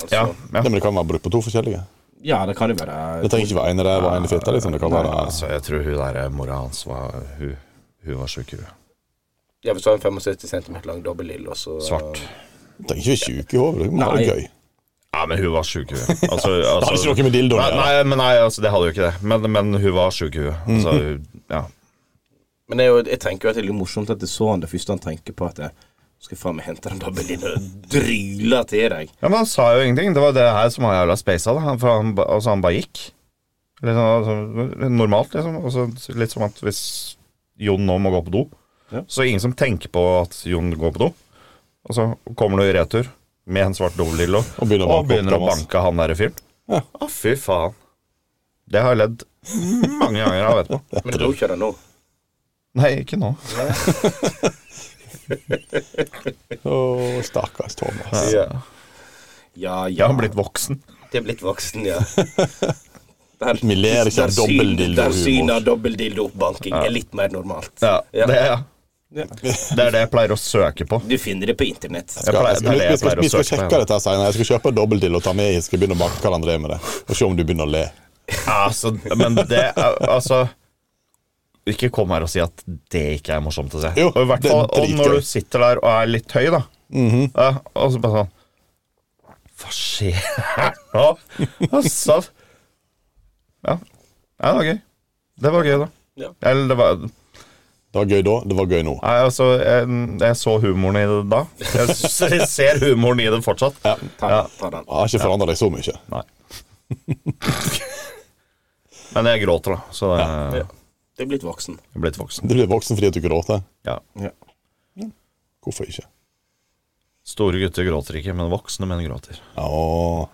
Speaker 3: Altså,
Speaker 4: ja,
Speaker 3: ja.
Speaker 4: ja.
Speaker 2: Ja, men det kan være brukt på to forskjellige.
Speaker 3: det kan jo være
Speaker 2: Det trenger ikke være ene ræv og ene fitte. Liksom. Det kan være
Speaker 4: Altså, jeg tror hun der mora hans var Hun, hun var sjuk, hun.
Speaker 3: Ja, hvis du har en 75 cm lang dobbeltdildo, så
Speaker 4: Svart.
Speaker 2: Du trenger ikke være sjuk i hodet. Du må ha det
Speaker 3: Nei.
Speaker 2: gøy.
Speaker 4: Ja, men hun var sjuk, hun. Altså,
Speaker 2: Det har ikke
Speaker 4: altså,
Speaker 2: noe med dildoen
Speaker 4: nei,
Speaker 2: å gjøre.
Speaker 4: nei, men nei, altså, det hadde jo ikke det. Men, men hun var sjuk, hun. Altså, hun ja.
Speaker 3: Men det er jo, jeg tenker jo at det er litt morsomt at jeg så han det første han tenker på, at jeg skal faen meg hente den dobbeltdildoen og dryle til deg.
Speaker 4: ja, Men han sa jo ingenting. Det var det her som var jævla space av det. Han, for han, ba- altså, han bare gikk. Litt sånn, altså, normalt, liksom. Og så litt som at hvis Jon nå må gå på do,
Speaker 3: Ja.
Speaker 4: så er det ingen som tenker på at Jon går på do. Og så kommer du i retur med en svart dobbeltdildo
Speaker 2: Og begynner å
Speaker 4: og
Speaker 2: banke opp
Speaker 4: begynner å
Speaker 2: Thomas.
Speaker 4: banke han derre fyren.
Speaker 2: Ja.
Speaker 4: Å, fy faen. Det har jeg ledd mange ganger av etterpå.
Speaker 3: Men du dro ikke det nå.
Speaker 4: Nei, ikke nå.
Speaker 2: Å, stakkars Thomas.
Speaker 3: Ja, ja.
Speaker 4: Jeg
Speaker 3: ja.
Speaker 4: har blitt voksen.
Speaker 3: Det er blitt voksen, ja. Der,
Speaker 2: Vi ler ikke av
Speaker 3: syn- Der synet av
Speaker 2: dobbeldildohumor.
Speaker 3: dobbeltdildo-banking er litt mer normalt.
Speaker 4: Ja,
Speaker 3: Ja.
Speaker 4: Det, er, det er det jeg pleier å søke på.
Speaker 3: Du finner det på internett.
Speaker 4: Jeg
Speaker 2: Ja,
Speaker 4: pleier,
Speaker 2: jeg
Speaker 4: det er
Speaker 2: skal-
Speaker 4: det
Speaker 2: vi,
Speaker 4: jeg
Speaker 2: skal,
Speaker 4: pleier
Speaker 2: vi
Speaker 4: å
Speaker 2: skal
Speaker 4: søke på.
Speaker 2: sjekke dette her senere. Jeg skal kjøpe dobbeltdill og ta med. Jeg skal begynne å banke Karl André med det. Og se om du begynner å le.
Speaker 4: Altså, men det er- Altså Ikke kom her og si at det ikke er morsomt å se.
Speaker 2: Jo,
Speaker 4: og, i hvert
Speaker 2: det er
Speaker 4: fall, og når
Speaker 2: dritgøy.
Speaker 4: du sitter der og er litt høy, da, ja, og så bare sånn Hva skjer nå? Altså ja. ja, det var gøy. Det var gøy, da.
Speaker 3: Ja.
Speaker 4: Eller det var Nei,
Speaker 2: Det var gøy da, det var gøy nå.
Speaker 4: altså, jeg, jeg så humoren i det da. Jeg, s- jeg ser humoren i det fortsatt.
Speaker 2: Ja.
Speaker 3: Ta,
Speaker 4: Ja.
Speaker 3: ta den.
Speaker 2: Jeg har ikke forandra deg så mye.
Speaker 4: Nei. Men jeg gråter, da, så det
Speaker 3: Ja. Du er blitt voksen.
Speaker 4: jeg er blitt voksen.
Speaker 2: Du blir voksen fordi at du gråter.
Speaker 4: Ja.
Speaker 2: Hvorfor ikke?
Speaker 4: Store gutter gråter ikke, men voksne menn gråter.
Speaker 2: Å,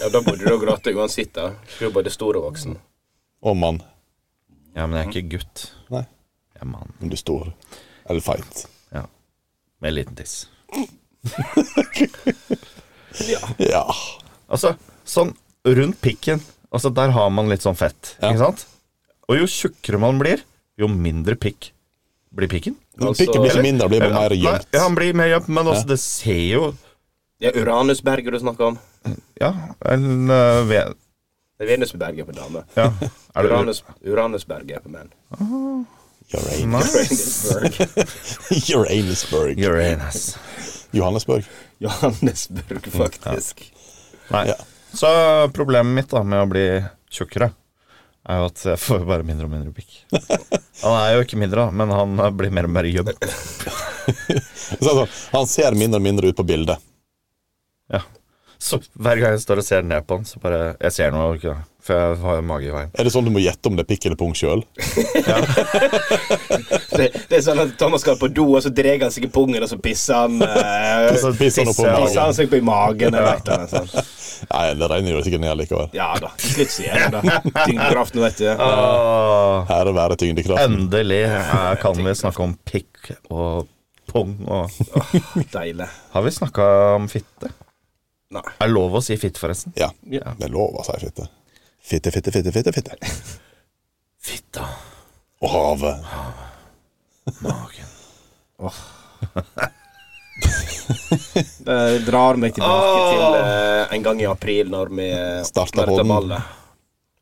Speaker 3: Ja, Da burde du ha grått uansett. da. Du er både stor og voksen.
Speaker 2: å mann.
Speaker 4: Ja, men jeg er ikke gutt.
Speaker 2: Nei,
Speaker 4: Jeg er mann.
Speaker 2: men du er stor. Eller feit.
Speaker 4: Ja. Med liten tiss.
Speaker 2: Ja.
Speaker 4: Altså, sånn rundt pikken Altså, der har man litt sånn fett,
Speaker 2: Ja.
Speaker 4: ikke sant? Og jo tjukkere man blir, jo mindre pikk blir pikken.
Speaker 2: Men
Speaker 3: Altså-
Speaker 2: pikken blir ikke mindre, blir bare mer
Speaker 4: Nei,
Speaker 2: gjemt.
Speaker 4: ja, han blir mer gjemt, men også, det ser jo
Speaker 3: Det er Uranusberget du snakker om.
Speaker 4: Ja, en øh, ve-
Speaker 3: Det er Venusberget på dame.
Speaker 4: Ja. Er det
Speaker 3: Uranus, Uranusberget er på menn.
Speaker 2: Uran-
Speaker 4: Nice.
Speaker 3: Uranusberg.
Speaker 2: Uranusburg.
Speaker 4: Uranus.
Speaker 2: Johannesburg.
Speaker 3: Johannesburg, faktisk.
Speaker 4: Nei.
Speaker 2: Ja.
Speaker 4: Så problemet mitt da med å bli tjukkere er jo at jeg får bare mindre og mindre pikk. Han er jo ikke mindre, da, men han eh, blir mer og mer gjemt.
Speaker 2: Så, altså, han ser mindre og mindre ut på bildet.
Speaker 4: Ja. Så hver gang jeg står og ser ned på han, så bare Jeg ser noe, ikke da, for jeg har jo mage i veien.
Speaker 2: Er det sånn du må gjette om det er pikk eller pung sjøl?
Speaker 3: Det, det er sånn at Thomas skal på do, og så drar han seg i pungen, og så pisser han eh,
Speaker 2: Så pisser han opp på
Speaker 4: Pisser.
Speaker 3: Pisser han
Speaker 2: magen.
Speaker 3: seg på i magen. Jeg vet, det, sånn.
Speaker 2: Nei, det regner jo sikkert ned likevel.
Speaker 3: Ja da. Til slutt sier jeg det. da. Tyngdekraften, vet du.
Speaker 4: Åh,
Speaker 2: Ære være tyngdekraften.
Speaker 4: endelig eh, kan vi snakke om pikk og pung og
Speaker 3: Deilig.
Speaker 4: Har vi snakka om fitte?
Speaker 3: Nei.
Speaker 4: Er det lov å si fitte, forresten?
Speaker 2: Ja. Det er lov å si fitte. Fitte, fitte, fitte, fitte. fitte.
Speaker 4: Fitta.
Speaker 2: Og havet.
Speaker 4: Magen.
Speaker 3: Det Eh, drar meg tilbake til eh, en gang i april, når vi eh,
Speaker 2: Starta
Speaker 3: åpner dette
Speaker 2: podden.
Speaker 3: ballet.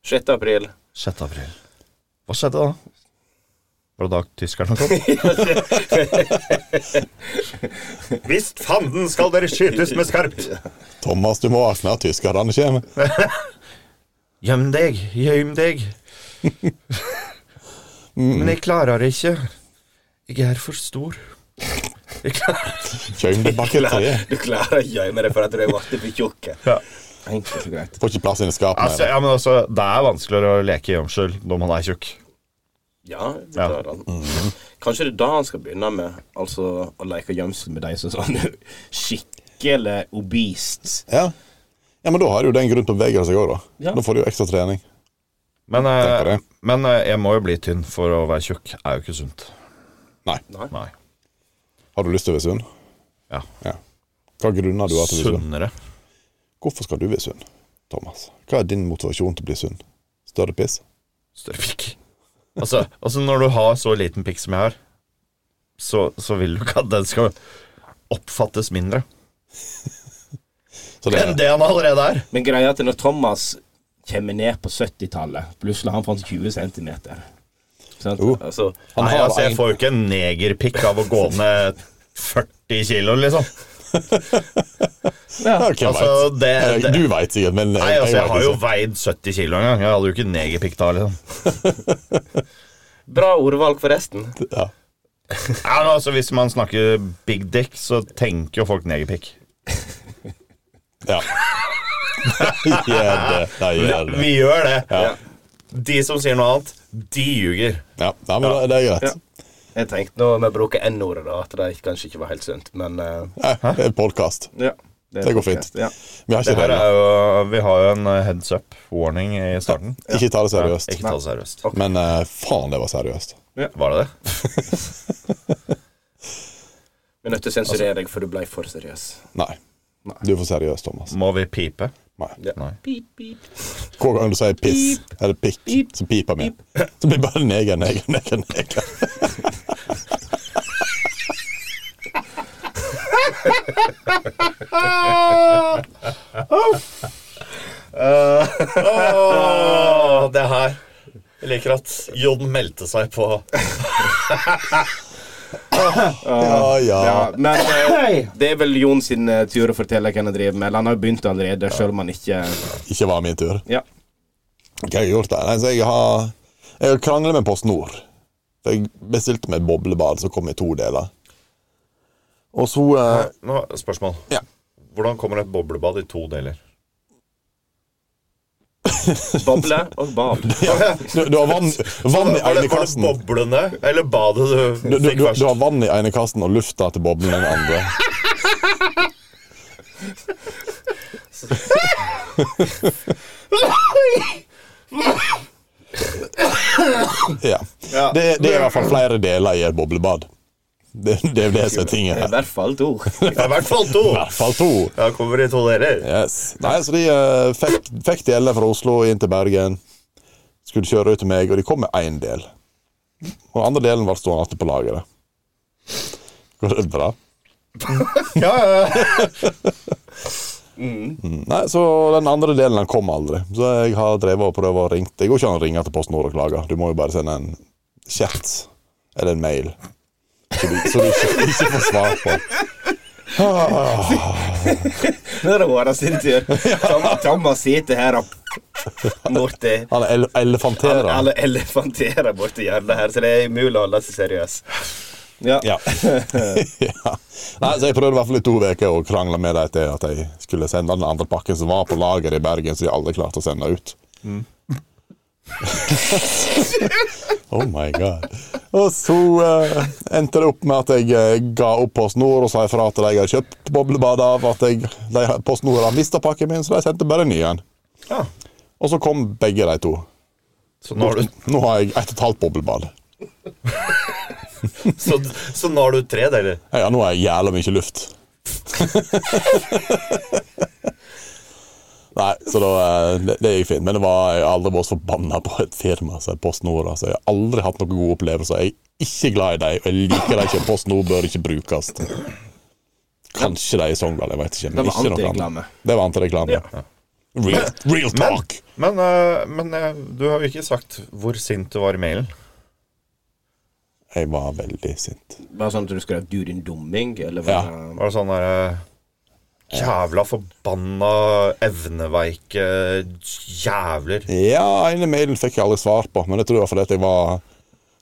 Speaker 3: 6. april.
Speaker 4: 6. april. Hva skjedde da? Var det da tyskerne kom? Visst fanden skal dere skytes med skarpt!
Speaker 2: Thomas, du må våkne. Tyskerne kommer.
Speaker 4: Gjem deg, gjem deg. Men jeg klarer ikke. Jeg er for stor. Jeg klarer
Speaker 2: Kjøm deg bak et tre.
Speaker 3: Du klarer å gjemme deg for at du er blitt for tjukk.
Speaker 4: Ja.
Speaker 3: Enkelt og greit.
Speaker 2: Får ikke plass inni skapet.
Speaker 4: Altså,
Speaker 2: mer.
Speaker 4: ja, men altså, det er vanskeligere å leke gjemsel når man er tjukk.
Speaker 3: Ja, det
Speaker 4: Ja.
Speaker 3: klarer han. Kanskje det er da han skal begynne med Altså å leke gjemsel med de som sånn skikkelig obist.
Speaker 2: Ja. ja, men da har jo det en grunn til å bevege seg òg, da.
Speaker 3: Ja.
Speaker 2: Da får du jo ekstra trening.
Speaker 4: Men,
Speaker 2: Tenker
Speaker 4: eh,
Speaker 2: det.
Speaker 4: men eh, jeg må jo bli tynn, for å være tjukk er jo ikke sunt.
Speaker 2: Nei.
Speaker 4: Nei.
Speaker 2: Har du lyst til å være sunn?
Speaker 4: Ja.
Speaker 2: Ja. Hva grunner du har sånn. til å bli sunn?
Speaker 4: Sunnere.
Speaker 2: Hvorfor skal du bli sunn, Thomas? Hva er din motivasjon til å bli sunn? Større piss?
Speaker 4: større pikk. Altså, altså når du har så liten pikk som jeg har, så, så vil du ikke at den skal oppfattes mindre
Speaker 2: Så det,
Speaker 4: enn det han allerede er.
Speaker 3: Men greia er at når Thomas kommer ned på 70-tallet, plutselig har han fått 20 cm. Sant?
Speaker 2: Jo.
Speaker 3: Altså,
Speaker 2: han
Speaker 4: Nei,
Speaker 2: har
Speaker 4: altså, jeg
Speaker 2: en-
Speaker 4: får jo ikke en negerpikk av å gå ned 40 kilo, liksom.
Speaker 3: ja.
Speaker 2: Ja, hvem
Speaker 4: altså,
Speaker 2: vet?
Speaker 4: det-
Speaker 2: Eh, Du veit sikkert, men
Speaker 4: Nei, altså, jeg har
Speaker 2: vet
Speaker 4: jo
Speaker 2: ikke.
Speaker 4: veid 70 kilo en gang. Jeg hadde jo ikke negerpikk da, liksom.
Speaker 3: Bra ordvalg, forresten.
Speaker 2: ja.
Speaker 4: Ja, men altså, hvis man snakker big dick, så tenker jo folk negerpikk.
Speaker 2: ja. Nei, gjør det. Nei, gjør det.
Speaker 4: Vi gjør det. De som sier noe annet, de ljuger.
Speaker 2: Ja, nei, men det- det er greit.
Speaker 3: Jeg tenkte nå med å bruke N-ordet, da, at det kanskje ikke var helt sunt, men eh,
Speaker 2: Nei, Det er podkast.
Speaker 3: ja. er
Speaker 2: Det går
Speaker 3: podcast,
Speaker 2: fint.
Speaker 3: Ja.
Speaker 2: Vi har
Speaker 4: Det
Speaker 2: ikke
Speaker 4: her
Speaker 2: regler.
Speaker 4: er jo, vi har jo en eh, heads up warning i starten.
Speaker 2: Ikke ta det seriøst.
Speaker 4: Ikke ta det seriøst.
Speaker 2: Men eh, faen, det var seriøst.
Speaker 4: Var det det?
Speaker 3: Vi er nødt til å sensurere deg, for du ble for seriøs.
Speaker 2: Nei. Du er for seriøs, Thomas.
Speaker 4: Må vi pipe?
Speaker 2: Nei.
Speaker 3: Ja.
Speaker 4: Nei.
Speaker 3: Pip, pip.
Speaker 2: Hver gang du sier piss eller pikk,
Speaker 3: Pip.
Speaker 2: så piper vi. Så blir det bare neger, neger, neger. neger.
Speaker 5: Åh, det her Jeg liker at Jon meldte seg på
Speaker 2: Ja,
Speaker 3: Ja,
Speaker 2: ja.
Speaker 3: men eh, det er vel Jon sin eh, tur å fortelle hva han driver med. Eller han har jo begynt allerede, selv om han ikke
Speaker 2: Ikke var min tur.
Speaker 3: Ja.
Speaker 2: Hva har jeg gjort der? Nei, så jeg har, jeg har kranglet med Post Nord. For jeg bestilte meg et boblebad som kom i to deler. Og så eh,
Speaker 4: Nå, spørsmål.
Speaker 2: Ja.
Speaker 4: Hvordan kommer et boblebad i to deler?
Speaker 3: Boble og bad.
Speaker 2: du, du har vann, vann
Speaker 4: Var
Speaker 2: i ene
Speaker 4: det, var det
Speaker 2: kassen.
Speaker 4: boblene eller badet du
Speaker 2: Du, du,
Speaker 4: fikk
Speaker 2: du,
Speaker 4: først?
Speaker 2: du har vann i ene kassen og lufta til boblen i den andre. Ja. Det, det er i hvert fall flere deler i et boblebad. Det, det er det som er tinget
Speaker 3: I
Speaker 2: her.
Speaker 3: hvert fall to.
Speaker 4: Ja, I hvert fall to.
Speaker 2: I hvert fall to.
Speaker 4: Ja, kommer i to deler.
Speaker 2: Yes. Nei, så de eh, fikk, fikk deler fra Oslo inn til Bergen. Skulle kjøre ut til meg, og de kom med én del. Og den andre delen ble stående igjen på lageret. Går det bra?
Speaker 4: Ja, ja, ja.
Speaker 2: Mm. Nei, så den andre delen den kom aldri. Så jeg har drevet og prøvd å ringe. Det går ikke an å ringe til Posten Nord og klage. Du må jo bare sende en chat eller en mail. Så du, så du ikke, ikke får svar på.
Speaker 3: Nå er det Håra sin tur. Tom, Thomas sitter her og borti
Speaker 2: Han ele elefanterer.
Speaker 3: Alle elefanterer borti hjørnet her, så det er umulig å holde seg seriøs. Ja.
Speaker 2: Ja. ja. Nei, så jeg prøvde i hvert fall i to uker å krangle med dem til at jeg skulle sende den andre pakken som var på lager i Bergen, så de aldri klarte å sende ut.
Speaker 4: Mm.
Speaker 2: oh my god. Og så eh, endte det opp med at jeg eh, ga opp Post Nord og sa ifra til de jeg hadde kjøpt boblebad av, at jeg, de, Post Nord har mista pakken min, så de sendte bare en ny en.
Speaker 4: Ja.
Speaker 2: Og så kom begge de to.
Speaker 4: Så, nå har du,
Speaker 2: Nå har jeg ett og et halvt boblebad.
Speaker 4: så, så nå har du tre deler.
Speaker 2: Ja, nå er jeg jævla mye luft. Nei, så da, eh, det, det gikk fint. Men det var, jeg har aldri vært så forbanna på et firma som er Post Nord. Altså. Jeg har aldri hatt noen gode opplevelser. Jeg er ikke glad i dem, og jeg liker dem ikke. Post Nord bør ikke brukes. Kanskje de i Sogndal, jeg vet ikke. Men
Speaker 3: Det var
Speaker 2: ikke noe
Speaker 3: antireklame.
Speaker 2: annet. Det var antireklame. Ja. Real, real talk!
Speaker 4: Men, eh, men eh, du har jo ikke sagt hvor sint du var i mailen.
Speaker 2: Jeg var veldig sint.
Speaker 3: Bare sånn at du skrev 'du din dumming', eller hva?
Speaker 2: Ja.
Speaker 4: Var det sånn derre Jævla forbanna evneveike jævler.
Speaker 2: Ja, ene mailen fikk jeg aldri svar på, men jeg tror det var fordi at jeg var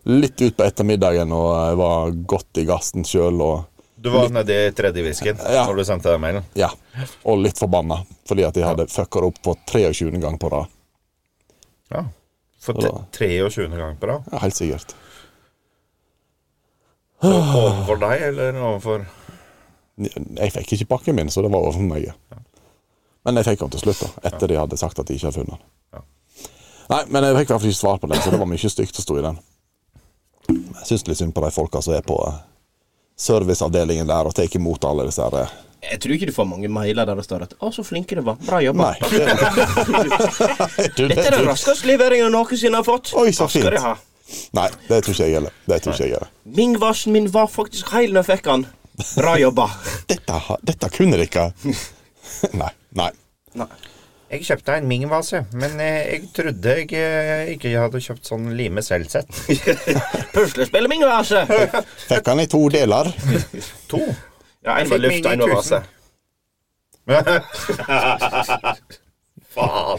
Speaker 2: litt ut på ettermiddagen og jeg var godt i gassen sjøl og
Speaker 4: Du var nedi tredje whiskyen
Speaker 2: Ja.
Speaker 4: når du sendte den mailen.
Speaker 2: ja, og litt forbanna fordi at jeg hadde fucka det opp for 23. gang på rad.
Speaker 4: Ja. For
Speaker 2: Hva da?
Speaker 4: 23. gang på rad.
Speaker 2: Ja, helt sikkert.
Speaker 4: Overfor deg eller overfor
Speaker 2: Jeg fikk ikke pakken min, så det var overfor meg. Men jeg fikk den til slutt, da, etter de hadde sagt at de ikke hadde funnet den.
Speaker 4: Ja.
Speaker 2: Nei, men jeg fikk i hvert fall ikke svar på den, så det var mye stygt å stå i den. Jeg syns litt synd på de folka som er på eh, serviceavdelingen der og tar imot alle disse her eh,
Speaker 3: Jeg tror ikke du får mange mailer der det står at 'Å, så flinke dere var. Bra jobba'.
Speaker 2: Nei. Du,
Speaker 3: Dette er den raskeste leveringen jeg noensinne har fått.
Speaker 2: Oi, så
Speaker 3: Hva skal
Speaker 2: fint.
Speaker 3: dere ha?
Speaker 2: Nei, det tror ikke jeg heller. Det tror ikke jeg heller.
Speaker 3: Mingvarsen min var faktisk heil når jeg fikk den. Bra jobba.
Speaker 2: Dette, har- dette kunne dere ikke. Nei. nei.
Speaker 3: Nei.
Speaker 4: Jeg kjøpte en mingvase, men eh, jeg trodde jeg eh, ikke hadde kjøpt sånn lime selv-sett.
Speaker 3: Puslespillet Mingvarse.
Speaker 2: Fikk han i to deler.
Speaker 4: To.
Speaker 3: Ja, en var
Speaker 4: fikk
Speaker 3: luft, en var vase.
Speaker 4: minitusen. Faen.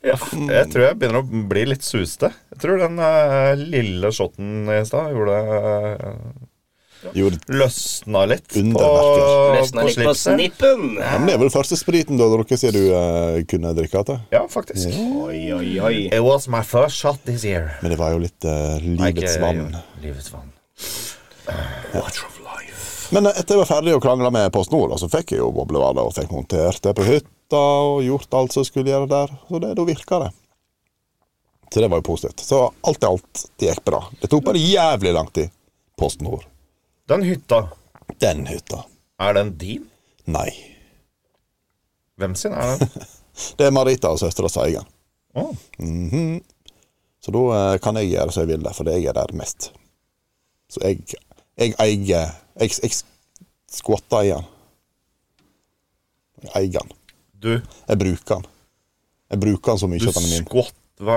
Speaker 4: Ja, jeg tror jeg begynner å bli litt suste. Jeg tror den eh, lille shotten i stad gjorde uh,
Speaker 2: Gjorde
Speaker 4: Løsna litt på,
Speaker 2: Underverker.
Speaker 3: Løsna
Speaker 4: på
Speaker 3: litt på
Speaker 4: slipset.
Speaker 3: snippen.
Speaker 2: ja, men Det er vel første spriten du har drukket siden du eh, kunne drikke det.
Speaker 4: Ja, faktisk.
Speaker 3: Oi, oi, oi.
Speaker 4: It was my first shot this year.
Speaker 2: Men det var jo litt eh,
Speaker 4: Nei,
Speaker 2: livets
Speaker 4: ikke-
Speaker 2: vann.
Speaker 4: Livets vann.
Speaker 3: Watch of life.
Speaker 2: Men eh, etter jeg var ferdig å krangle med Post Nord, da, så fikk jeg jo boblevader og fikk montert det på hytta og gjort alt som jeg skulle gjøre der. Så det, da virka det. Så det var jo positivt. Så alt i alt, det gikk bra. Det tok bare jævlig lang tid. Post Nord.
Speaker 4: Den hytta
Speaker 2: Den hytta.
Speaker 5: Er den din?
Speaker 2: Nei.
Speaker 4: Hvem sin er den?
Speaker 2: Det er Marita og søstera Seigan.
Speaker 4: Å.
Speaker 2: Så da eh, kan jeg gjøre som jeg vil der, fordi jeg er der mest. Så jeg jeg eier Jeg, jeg skvatter i den. Jeg eier den.
Speaker 4: Du,
Speaker 2: Jeg bruker den. Jeg bruker den så mye
Speaker 4: du
Speaker 2: at den er min.
Speaker 4: skvatt Hva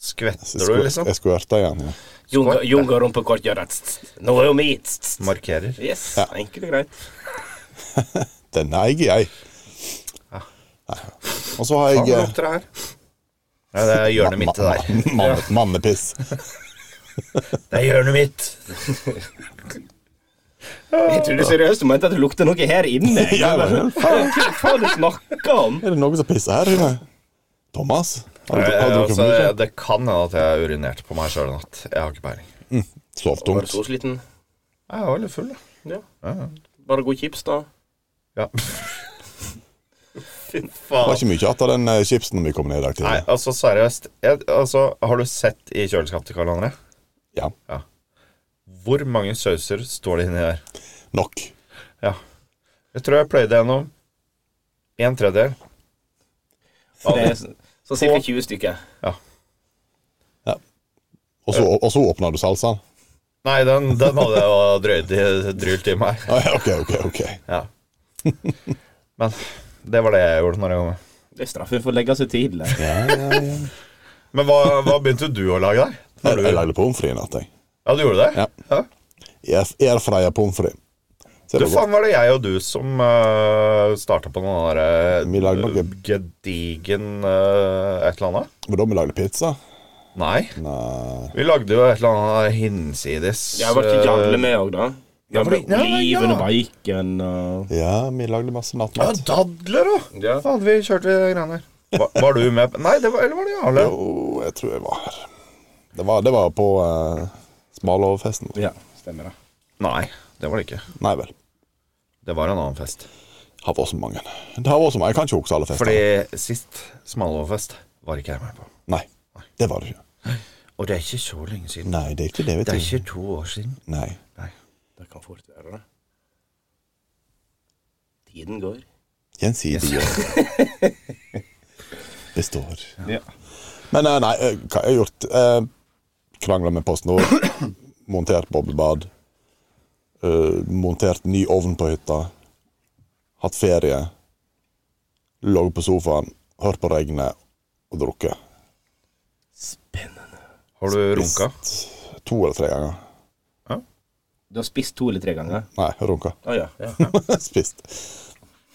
Speaker 4: Skvetter du, liksom?
Speaker 2: Jeg skvørter i den. Ja.
Speaker 3: Junga, Junga rumpekort gjør at tss, Nå er jo mi tss, tss.
Speaker 4: Markerer.
Speaker 3: Yes,
Speaker 2: Ja.
Speaker 3: enkelt og greit.
Speaker 2: Den eier jeg. Nei. Og så
Speaker 4: Ah. Hva
Speaker 2: har jeg eh,
Speaker 4: lukter det her? Nei, det er hjørnet mitt det der.
Speaker 2: Ma- ma- ma- Mannepiss.
Speaker 5: Det er hjørnet mitt.
Speaker 3: Jeg trodde seriøst du mente at det lukter noe her inne.
Speaker 2: Ja, men,
Speaker 3: Hva faen du snakker om?
Speaker 2: Er det noen som pisser her inne? Thomas? Har du,
Speaker 4: Jeg,
Speaker 2: har du drukket
Speaker 4: altså,
Speaker 2: for mye?
Speaker 4: det kan hende at jeg urinerte på meg sjøl i natt. Jeg har ikke peiling.
Speaker 2: Sov
Speaker 3: Var
Speaker 2: tungt.
Speaker 3: du så sliten?
Speaker 4: Jeg var litt full, da.
Speaker 3: Ja. Bare god chips, da.
Speaker 4: Ja.
Speaker 5: Fy
Speaker 2: Det var
Speaker 5: faen.
Speaker 2: ikke mye igjen av den eh, chipsen vi kom ned i dag
Speaker 4: Nei,
Speaker 2: tidlig.
Speaker 4: altså seriøst. Jeg, altså, har du sett i kjøleskapet til Karl André?
Speaker 2: Ja,
Speaker 4: Hvor mange sauser står det inni der?
Speaker 2: nok.
Speaker 4: Ja. Jeg tror jeg pløyde gjennom en tredjedel.
Speaker 3: Det er så- så cirka 20 stykker.
Speaker 2: Og så, og så åpna du salsaen?
Speaker 4: Nei, den, den hadde jeg jo drøyd i- drylt i meg.
Speaker 2: Ah, ja, ok, ok. ok
Speaker 4: Ja. Men det var det jeg gjorde når jeg kom.
Speaker 3: Det er straffen for å legge seg tidlig.
Speaker 2: ja, ja, ja.
Speaker 4: Men hva, hva begynte du å lage der? Når
Speaker 2: Jeg,
Speaker 4: du-
Speaker 2: jeg lagde pommes frites i natt, jeg.
Speaker 4: Ja, du gjorde det?
Speaker 2: Ja. Air- Airfryer pommes frites. Så
Speaker 4: Du,
Speaker 2: det var
Speaker 4: faen var det jeg og du som uh, starta på den der eh,
Speaker 2: Vi lagde noe.
Speaker 4: gedigen eh, et eller annet?
Speaker 2: godt. Men da vi lagde pizza
Speaker 4: Nei.
Speaker 2: Nei.
Speaker 4: Vi lagde jo et eller annet hinsides. eh,
Speaker 3: Jeg ble ikke gamle med òg, da.
Speaker 4: Ja,
Speaker 3: Ja,
Speaker 4: for- ja,
Speaker 3: Oliven
Speaker 4: ja.
Speaker 3: og bacon og
Speaker 2: Ja, vi lagde masse
Speaker 4: Ja,
Speaker 2: nattmat.
Speaker 4: dadler òg!
Speaker 3: Ja.
Speaker 4: Faen, vi kjørte vi greiene der. Var, var du med? på- Nei, det var, eller var det Jarle?
Speaker 2: Jo, jeg tror jeg var her. Det var, det var på uh, Smalahofesten.
Speaker 3: ja. Stemmer det.
Speaker 4: Nei, det var det ikke.
Speaker 2: Nei vel.
Speaker 4: Det var en annen fest.
Speaker 2: Har vært så mange. Det har vært så mange. Jeg kan ikke huske alle festene.
Speaker 4: Fordi sist Smalahofest var ikke jeg med på.
Speaker 2: Nei, det var det ikke.
Speaker 4: Og det er ikke så lenge siden.
Speaker 2: Nei, det er ikke det, vet
Speaker 4: Det
Speaker 2: du.
Speaker 4: er ikke to år siden.
Speaker 2: Nei.
Speaker 4: Nei.
Speaker 3: Det kan fort være det. Tiden går.
Speaker 2: Gjensidig består.
Speaker 3: Ja.
Speaker 2: Men eh, nei, eh, hva har jeg gjort? Uh, Krangla med Post Nord. montert boblebad. eh, montert ny ovn på hytta. Hatt ferie. Ligget på sofaen, hørt på regnet og drukket.
Speaker 3: Spennende.
Speaker 4: Har du runka?
Speaker 2: Spist To eller tre ganger.
Speaker 3: Du har spist to eller tre ganger?
Speaker 2: Nei, runka.
Speaker 3: Å ja. ja.
Speaker 2: Spist.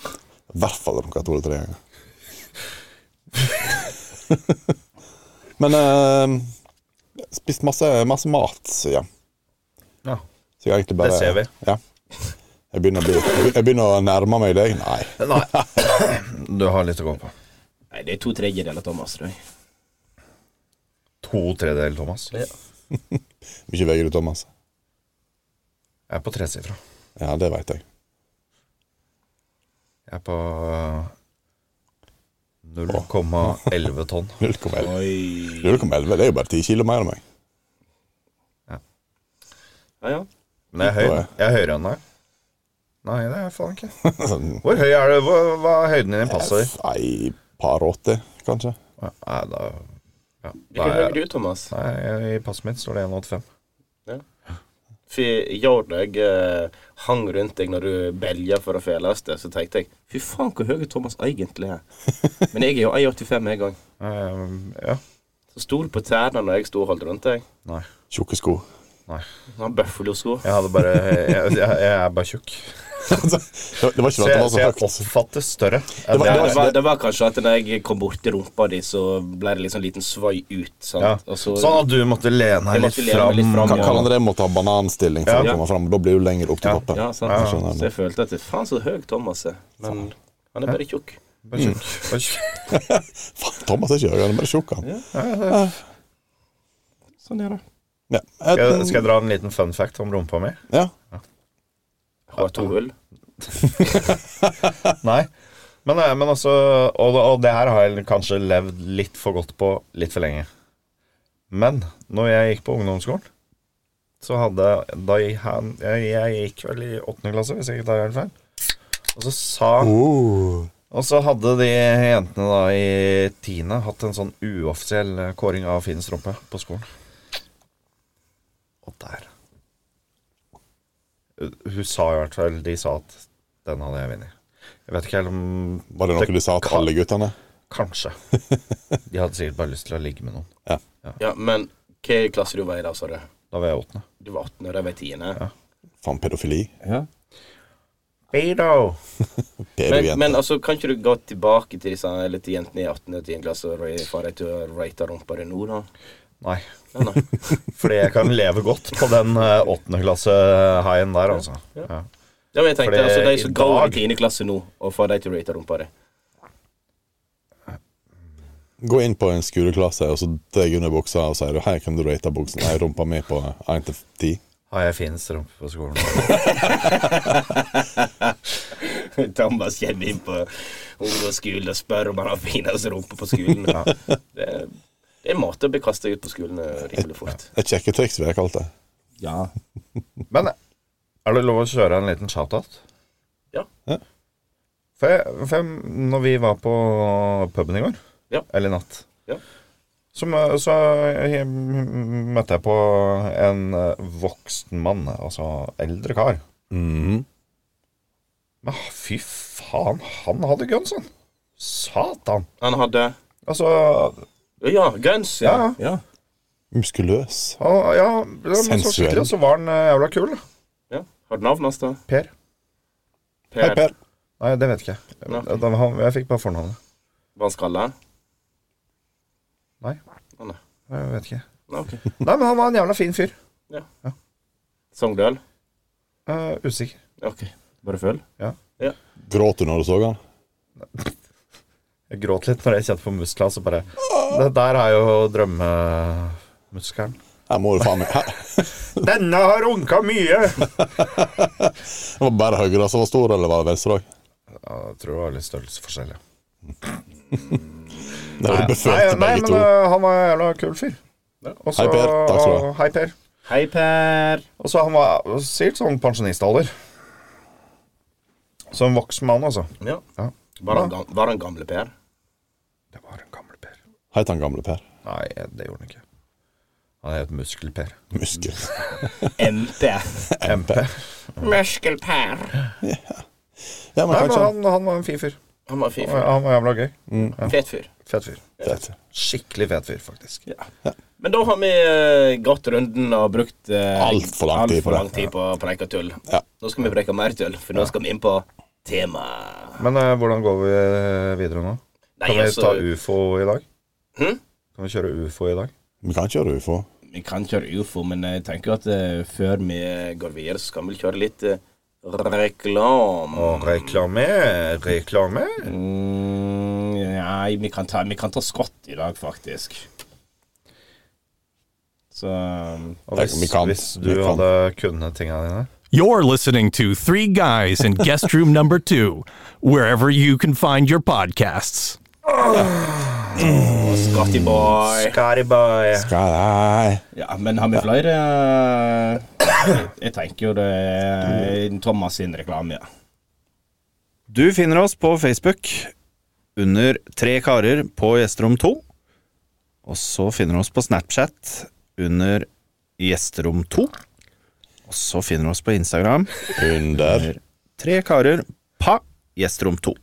Speaker 2: I hvert fall runka to eller tre ganger. Men eh, spist masse, masse mat, ja.
Speaker 4: Ja.
Speaker 2: Så jeg har egentlig bare
Speaker 4: Det ser vi.
Speaker 2: Ja. Jeg begynner, å bli, jeg begynner å nærme meg deg. Nei.
Speaker 4: Nei. Du har litt å gå på.
Speaker 3: Nei, det er to tredjedeler, Thomas. Tror jeg.
Speaker 4: To tredjedeler, Thomas.
Speaker 3: Ja.
Speaker 2: Mye veier du, Thomas.
Speaker 4: Jeg er på tresifra.
Speaker 2: Ja, det veit jeg.
Speaker 4: Jeg er på øh, 0,11 tonn.
Speaker 2: 0,11.
Speaker 3: Oi.
Speaker 2: 0,11 det er jo bare 10 kilo mer enn meg.
Speaker 3: Ja, ja.
Speaker 4: Men jeg er høy.
Speaker 2: Oi.
Speaker 4: Jeg er høyere enn deg. Nei, det er jeg faen ikke.
Speaker 2: Sånn,
Speaker 4: Hvor høy er du? Hva, hva er høyden din passer?
Speaker 2: Nei, par 80, kanskje.
Speaker 4: Nei, da ja, da
Speaker 3: Hvilken
Speaker 4: er
Speaker 3: høy er
Speaker 4: jeg
Speaker 3: du, Thomas?
Speaker 4: Nei, i passet mitt står det 1,85.
Speaker 3: Fy, jeg deg eh, hang rundt deg når du belja for å feles det, så tenkte jeg fy faen hvor høy Thomas egentlig er. Men jeg er jo 1,85 en gang.
Speaker 4: Eh, ja.
Speaker 3: Så stol på tærne når jeg sto og holdt rundt deg.
Speaker 4: Nei.
Speaker 2: Tjukke sko.
Speaker 4: Nei.
Speaker 3: Han Sånn Buffalo-sko.
Speaker 4: Jeg hadde bare Jeg, jeg, jeg er bare tjukk.
Speaker 2: det var det var ikke
Speaker 4: Så
Speaker 2: det at det
Speaker 4: jeg,
Speaker 2: var
Speaker 4: så
Speaker 2: så
Speaker 4: jeg
Speaker 2: høyt.
Speaker 4: oppfattes større.
Speaker 2: Det var-
Speaker 3: Det,
Speaker 2: det
Speaker 3: var- det var kanskje at når jeg kom borti rumpa di, så ble det liksom en liten svai ut. Sant?
Speaker 4: ja.
Speaker 3: Og så,
Speaker 4: Sånn at du måtte lene
Speaker 3: Altså, Jeg
Speaker 4: deg litt
Speaker 3: måtte lene meg litt
Speaker 4: fram.
Speaker 3: fram,
Speaker 2: Ka-
Speaker 3: ja.
Speaker 2: Karl André måtte ha bananstilling for
Speaker 4: Ja.
Speaker 2: å komme fram. Da blir du lenger opp til
Speaker 4: Ja.
Speaker 2: toppen.
Speaker 3: ja, sant?
Speaker 2: Jeg skjønner.
Speaker 3: Så jeg følte at faen så høy Thomas er. Men han er bare tjukk.
Speaker 4: Bare tjukk. Bare tjukk.
Speaker 2: Mm. Faen, Thomas er ikke høy, han er bare tjukk, han.
Speaker 3: Sånn er det.
Speaker 2: Ja.
Speaker 4: Skal jeg, skal jeg dra en liten fun fact om rumpa mi?
Speaker 2: Ja.
Speaker 3: Har to hull.
Speaker 4: Nei. Men, eh, men altså og, og det her har jeg kanskje levd litt for godt på litt for lenge. Men når jeg gikk på ungdomsskolen, så hadde da jeg, han, jeg, jeg gikk vel i åttende klasse, hvis jeg ikke tar helt feil. Og så sa
Speaker 2: Oh.
Speaker 4: Og så hadde de jentene da i tiende hatt en sånn uoffisiell kåring av finest rumpe på skolen. Og der Hun sa i hvert fall De sa at den hadde jeg vunnet. Jeg vet ikke helt om
Speaker 2: Var det noe de sa til alle guttene?
Speaker 4: Kanskje. De hadde sikkert bare lyst til å ligge med noen.
Speaker 3: Ja, men hva klasse du var i da, sa du?
Speaker 4: Da var jeg åttende.
Speaker 3: Du var 18, og de var 10.
Speaker 2: Faen, pedofili.
Speaker 4: Bedo!
Speaker 3: Men,
Speaker 2: Pedojente.
Speaker 3: men altså, kan ikke du gå tilbake til disse eller til jentene i 18. og 10. klasse og ra- få dem til å rate rumpa di nå, da?
Speaker 4: Nei.
Speaker 3: Nei, nei.
Speaker 4: Fordi jeg kan leve godt på den eh, åttende klasse-haien der, altså. Ja.
Speaker 3: Ja, men jeg tenkte,
Speaker 4: Fordi
Speaker 3: altså, de som
Speaker 4: i
Speaker 3: går
Speaker 4: dag-
Speaker 3: i 10. klasse nå, og får dem til å rate rumpa di
Speaker 2: Gå inn på en skoleklasse og så drar jeg under buksa og sier du, 'Hei, kan du rate buksen?' Nei, rumpa mi på 1 til 10.
Speaker 4: Har jeg finest rumpe på skolen?
Speaker 3: Thomas kommer inn på ungdomsskolen og spør om han har finest rumpe på skolen. Det, er- det er en måte å bli kasta ut på skolen eh, rimelig fort.
Speaker 2: Et sjekketriks, vil jeg kalle det.
Speaker 1: Ja.
Speaker 4: Men er det lov å kjøre en liten shoutout?
Speaker 3: Ja.
Speaker 2: Ja.
Speaker 4: For, jeg, for jeg, når vi var på puben i går,
Speaker 3: Ja.
Speaker 4: eller i natt,
Speaker 3: Ja.
Speaker 4: så, mø- så jeg, møtte jeg på en eh, voksen mann, altså eldre kar.
Speaker 3: Mhm.
Speaker 4: Men ah, fy faen, han hadde guns, han. Satan.
Speaker 3: Han hadde
Speaker 4: Altså
Speaker 3: Ja, guns. Ja. ja.
Speaker 2: Muskuløs.
Speaker 4: han, Ja, men så
Speaker 2: Sensuell.
Speaker 4: skikkelig, og så var han eh, jævla kul. da.
Speaker 3: ja. Har du navnet hans, da?
Speaker 4: Per.
Speaker 2: Hei, Per.
Speaker 4: Nei, det vet ikke jeg.
Speaker 3: Nei.
Speaker 4: Da- han- Jeg fikk bare fornavnet.
Speaker 3: Var han skalla?
Speaker 4: Nei.
Speaker 3: Å, nei.
Speaker 4: Jeg vet ikke.
Speaker 3: Nei, ok.
Speaker 4: Nei, men han var en jævla fin fyr.
Speaker 3: Sogndal?
Speaker 4: Eh, usikker.
Speaker 3: Ok. Bare følg.
Speaker 2: Gråt du når du så han?
Speaker 4: Jeg gråt litt når jeg kjente på muskler, så bare Det der er jo drømmemuskelen.
Speaker 2: Her må du faen meg Her.
Speaker 4: Denne har runka mye!
Speaker 2: Det var bare høyre som var stor, eller var det venstre òg?
Speaker 4: Ja, jeg tror det var litt størrelsesforskjell, ja.
Speaker 2: Det var
Speaker 4: Nei,
Speaker 2: befølte
Speaker 4: nei
Speaker 2: begge
Speaker 4: men
Speaker 2: to.
Speaker 4: eh, han var en jævla kul fyr. Og så-
Speaker 2: Hei, Per. Takk skal du ha.
Speaker 4: Hei, Per.
Speaker 3: Hei, Per.
Speaker 4: Og så han var sikkert sånn pensjonistalder. Så en voksen mann, altså.
Speaker 3: Ja.
Speaker 4: Ja.
Speaker 3: Var han, gam- var han gamle Per?
Speaker 4: Det var en gammel Per.
Speaker 2: Het han gamle Per?
Speaker 4: Nei, det gjorde han ikke. Han het Muskel-Per.
Speaker 2: Muskel.
Speaker 3: MP.
Speaker 4: MP.
Speaker 3: Muskel-Per.
Speaker 2: Ja, men sånn.
Speaker 4: Nei, men
Speaker 2: kanskje han
Speaker 4: han, han var en fin fyr.
Speaker 3: Han var fin
Speaker 4: Han
Speaker 3: fyr.
Speaker 4: var- Han var jævla gøy.
Speaker 3: Fet fyr.
Speaker 4: Fet fyr.
Speaker 2: Fett.
Speaker 4: Skikkelig fet fyr, faktisk.
Speaker 3: Men da har vi eh, gått runden og brukt eh,
Speaker 2: Alt for lang
Speaker 3: alt
Speaker 2: tid på det.
Speaker 3: lang tid på å preike tull.
Speaker 2: Ja.
Speaker 3: Nå skal vi preike mer tull, for nå skal vi inn på temaet.
Speaker 4: Men eh, hvordan går vi eh, videre nå?
Speaker 3: Nei,
Speaker 4: Kan vi
Speaker 3: altså,
Speaker 4: ta ufo i dag?
Speaker 3: Hm?
Speaker 4: Kan vi kjøre ufo i dag?
Speaker 2: Vi kan kjøre ufo.
Speaker 3: vi kan kjøre ufo, men jeg tenker jo at eh, før vi går videre, så skal vi kjøre litt eh, reklame.
Speaker 4: Og reklame, reklame.
Speaker 3: Mm, nei, vi kan, ta, vi kan ta skott i dag, faktisk. Så
Speaker 4: Og
Speaker 2: Tenk
Speaker 4: hvis,
Speaker 2: om vi kan.
Speaker 4: hvis du
Speaker 2: Vi kan.
Speaker 4: hadde kunnet tinga dine
Speaker 6: You're listening to Three Guys in Guest Room Number Two, wherever you can find your podcasts.
Speaker 3: Scotty boy.
Speaker 4: Skyboy.
Speaker 2: Skal jeg
Speaker 3: Ja, men har vi flere eh, Jeg tenker jo det er Thomas sin reklame, ja.
Speaker 7: Du finner oss på Facebook under Tre karer på Gjesterom 2. Og så finner du oss på Snapchat under Gjesterom 2. Og så finner du oss på Instagram
Speaker 2: Under.
Speaker 7: under Tre karer pa Gjesterom 2.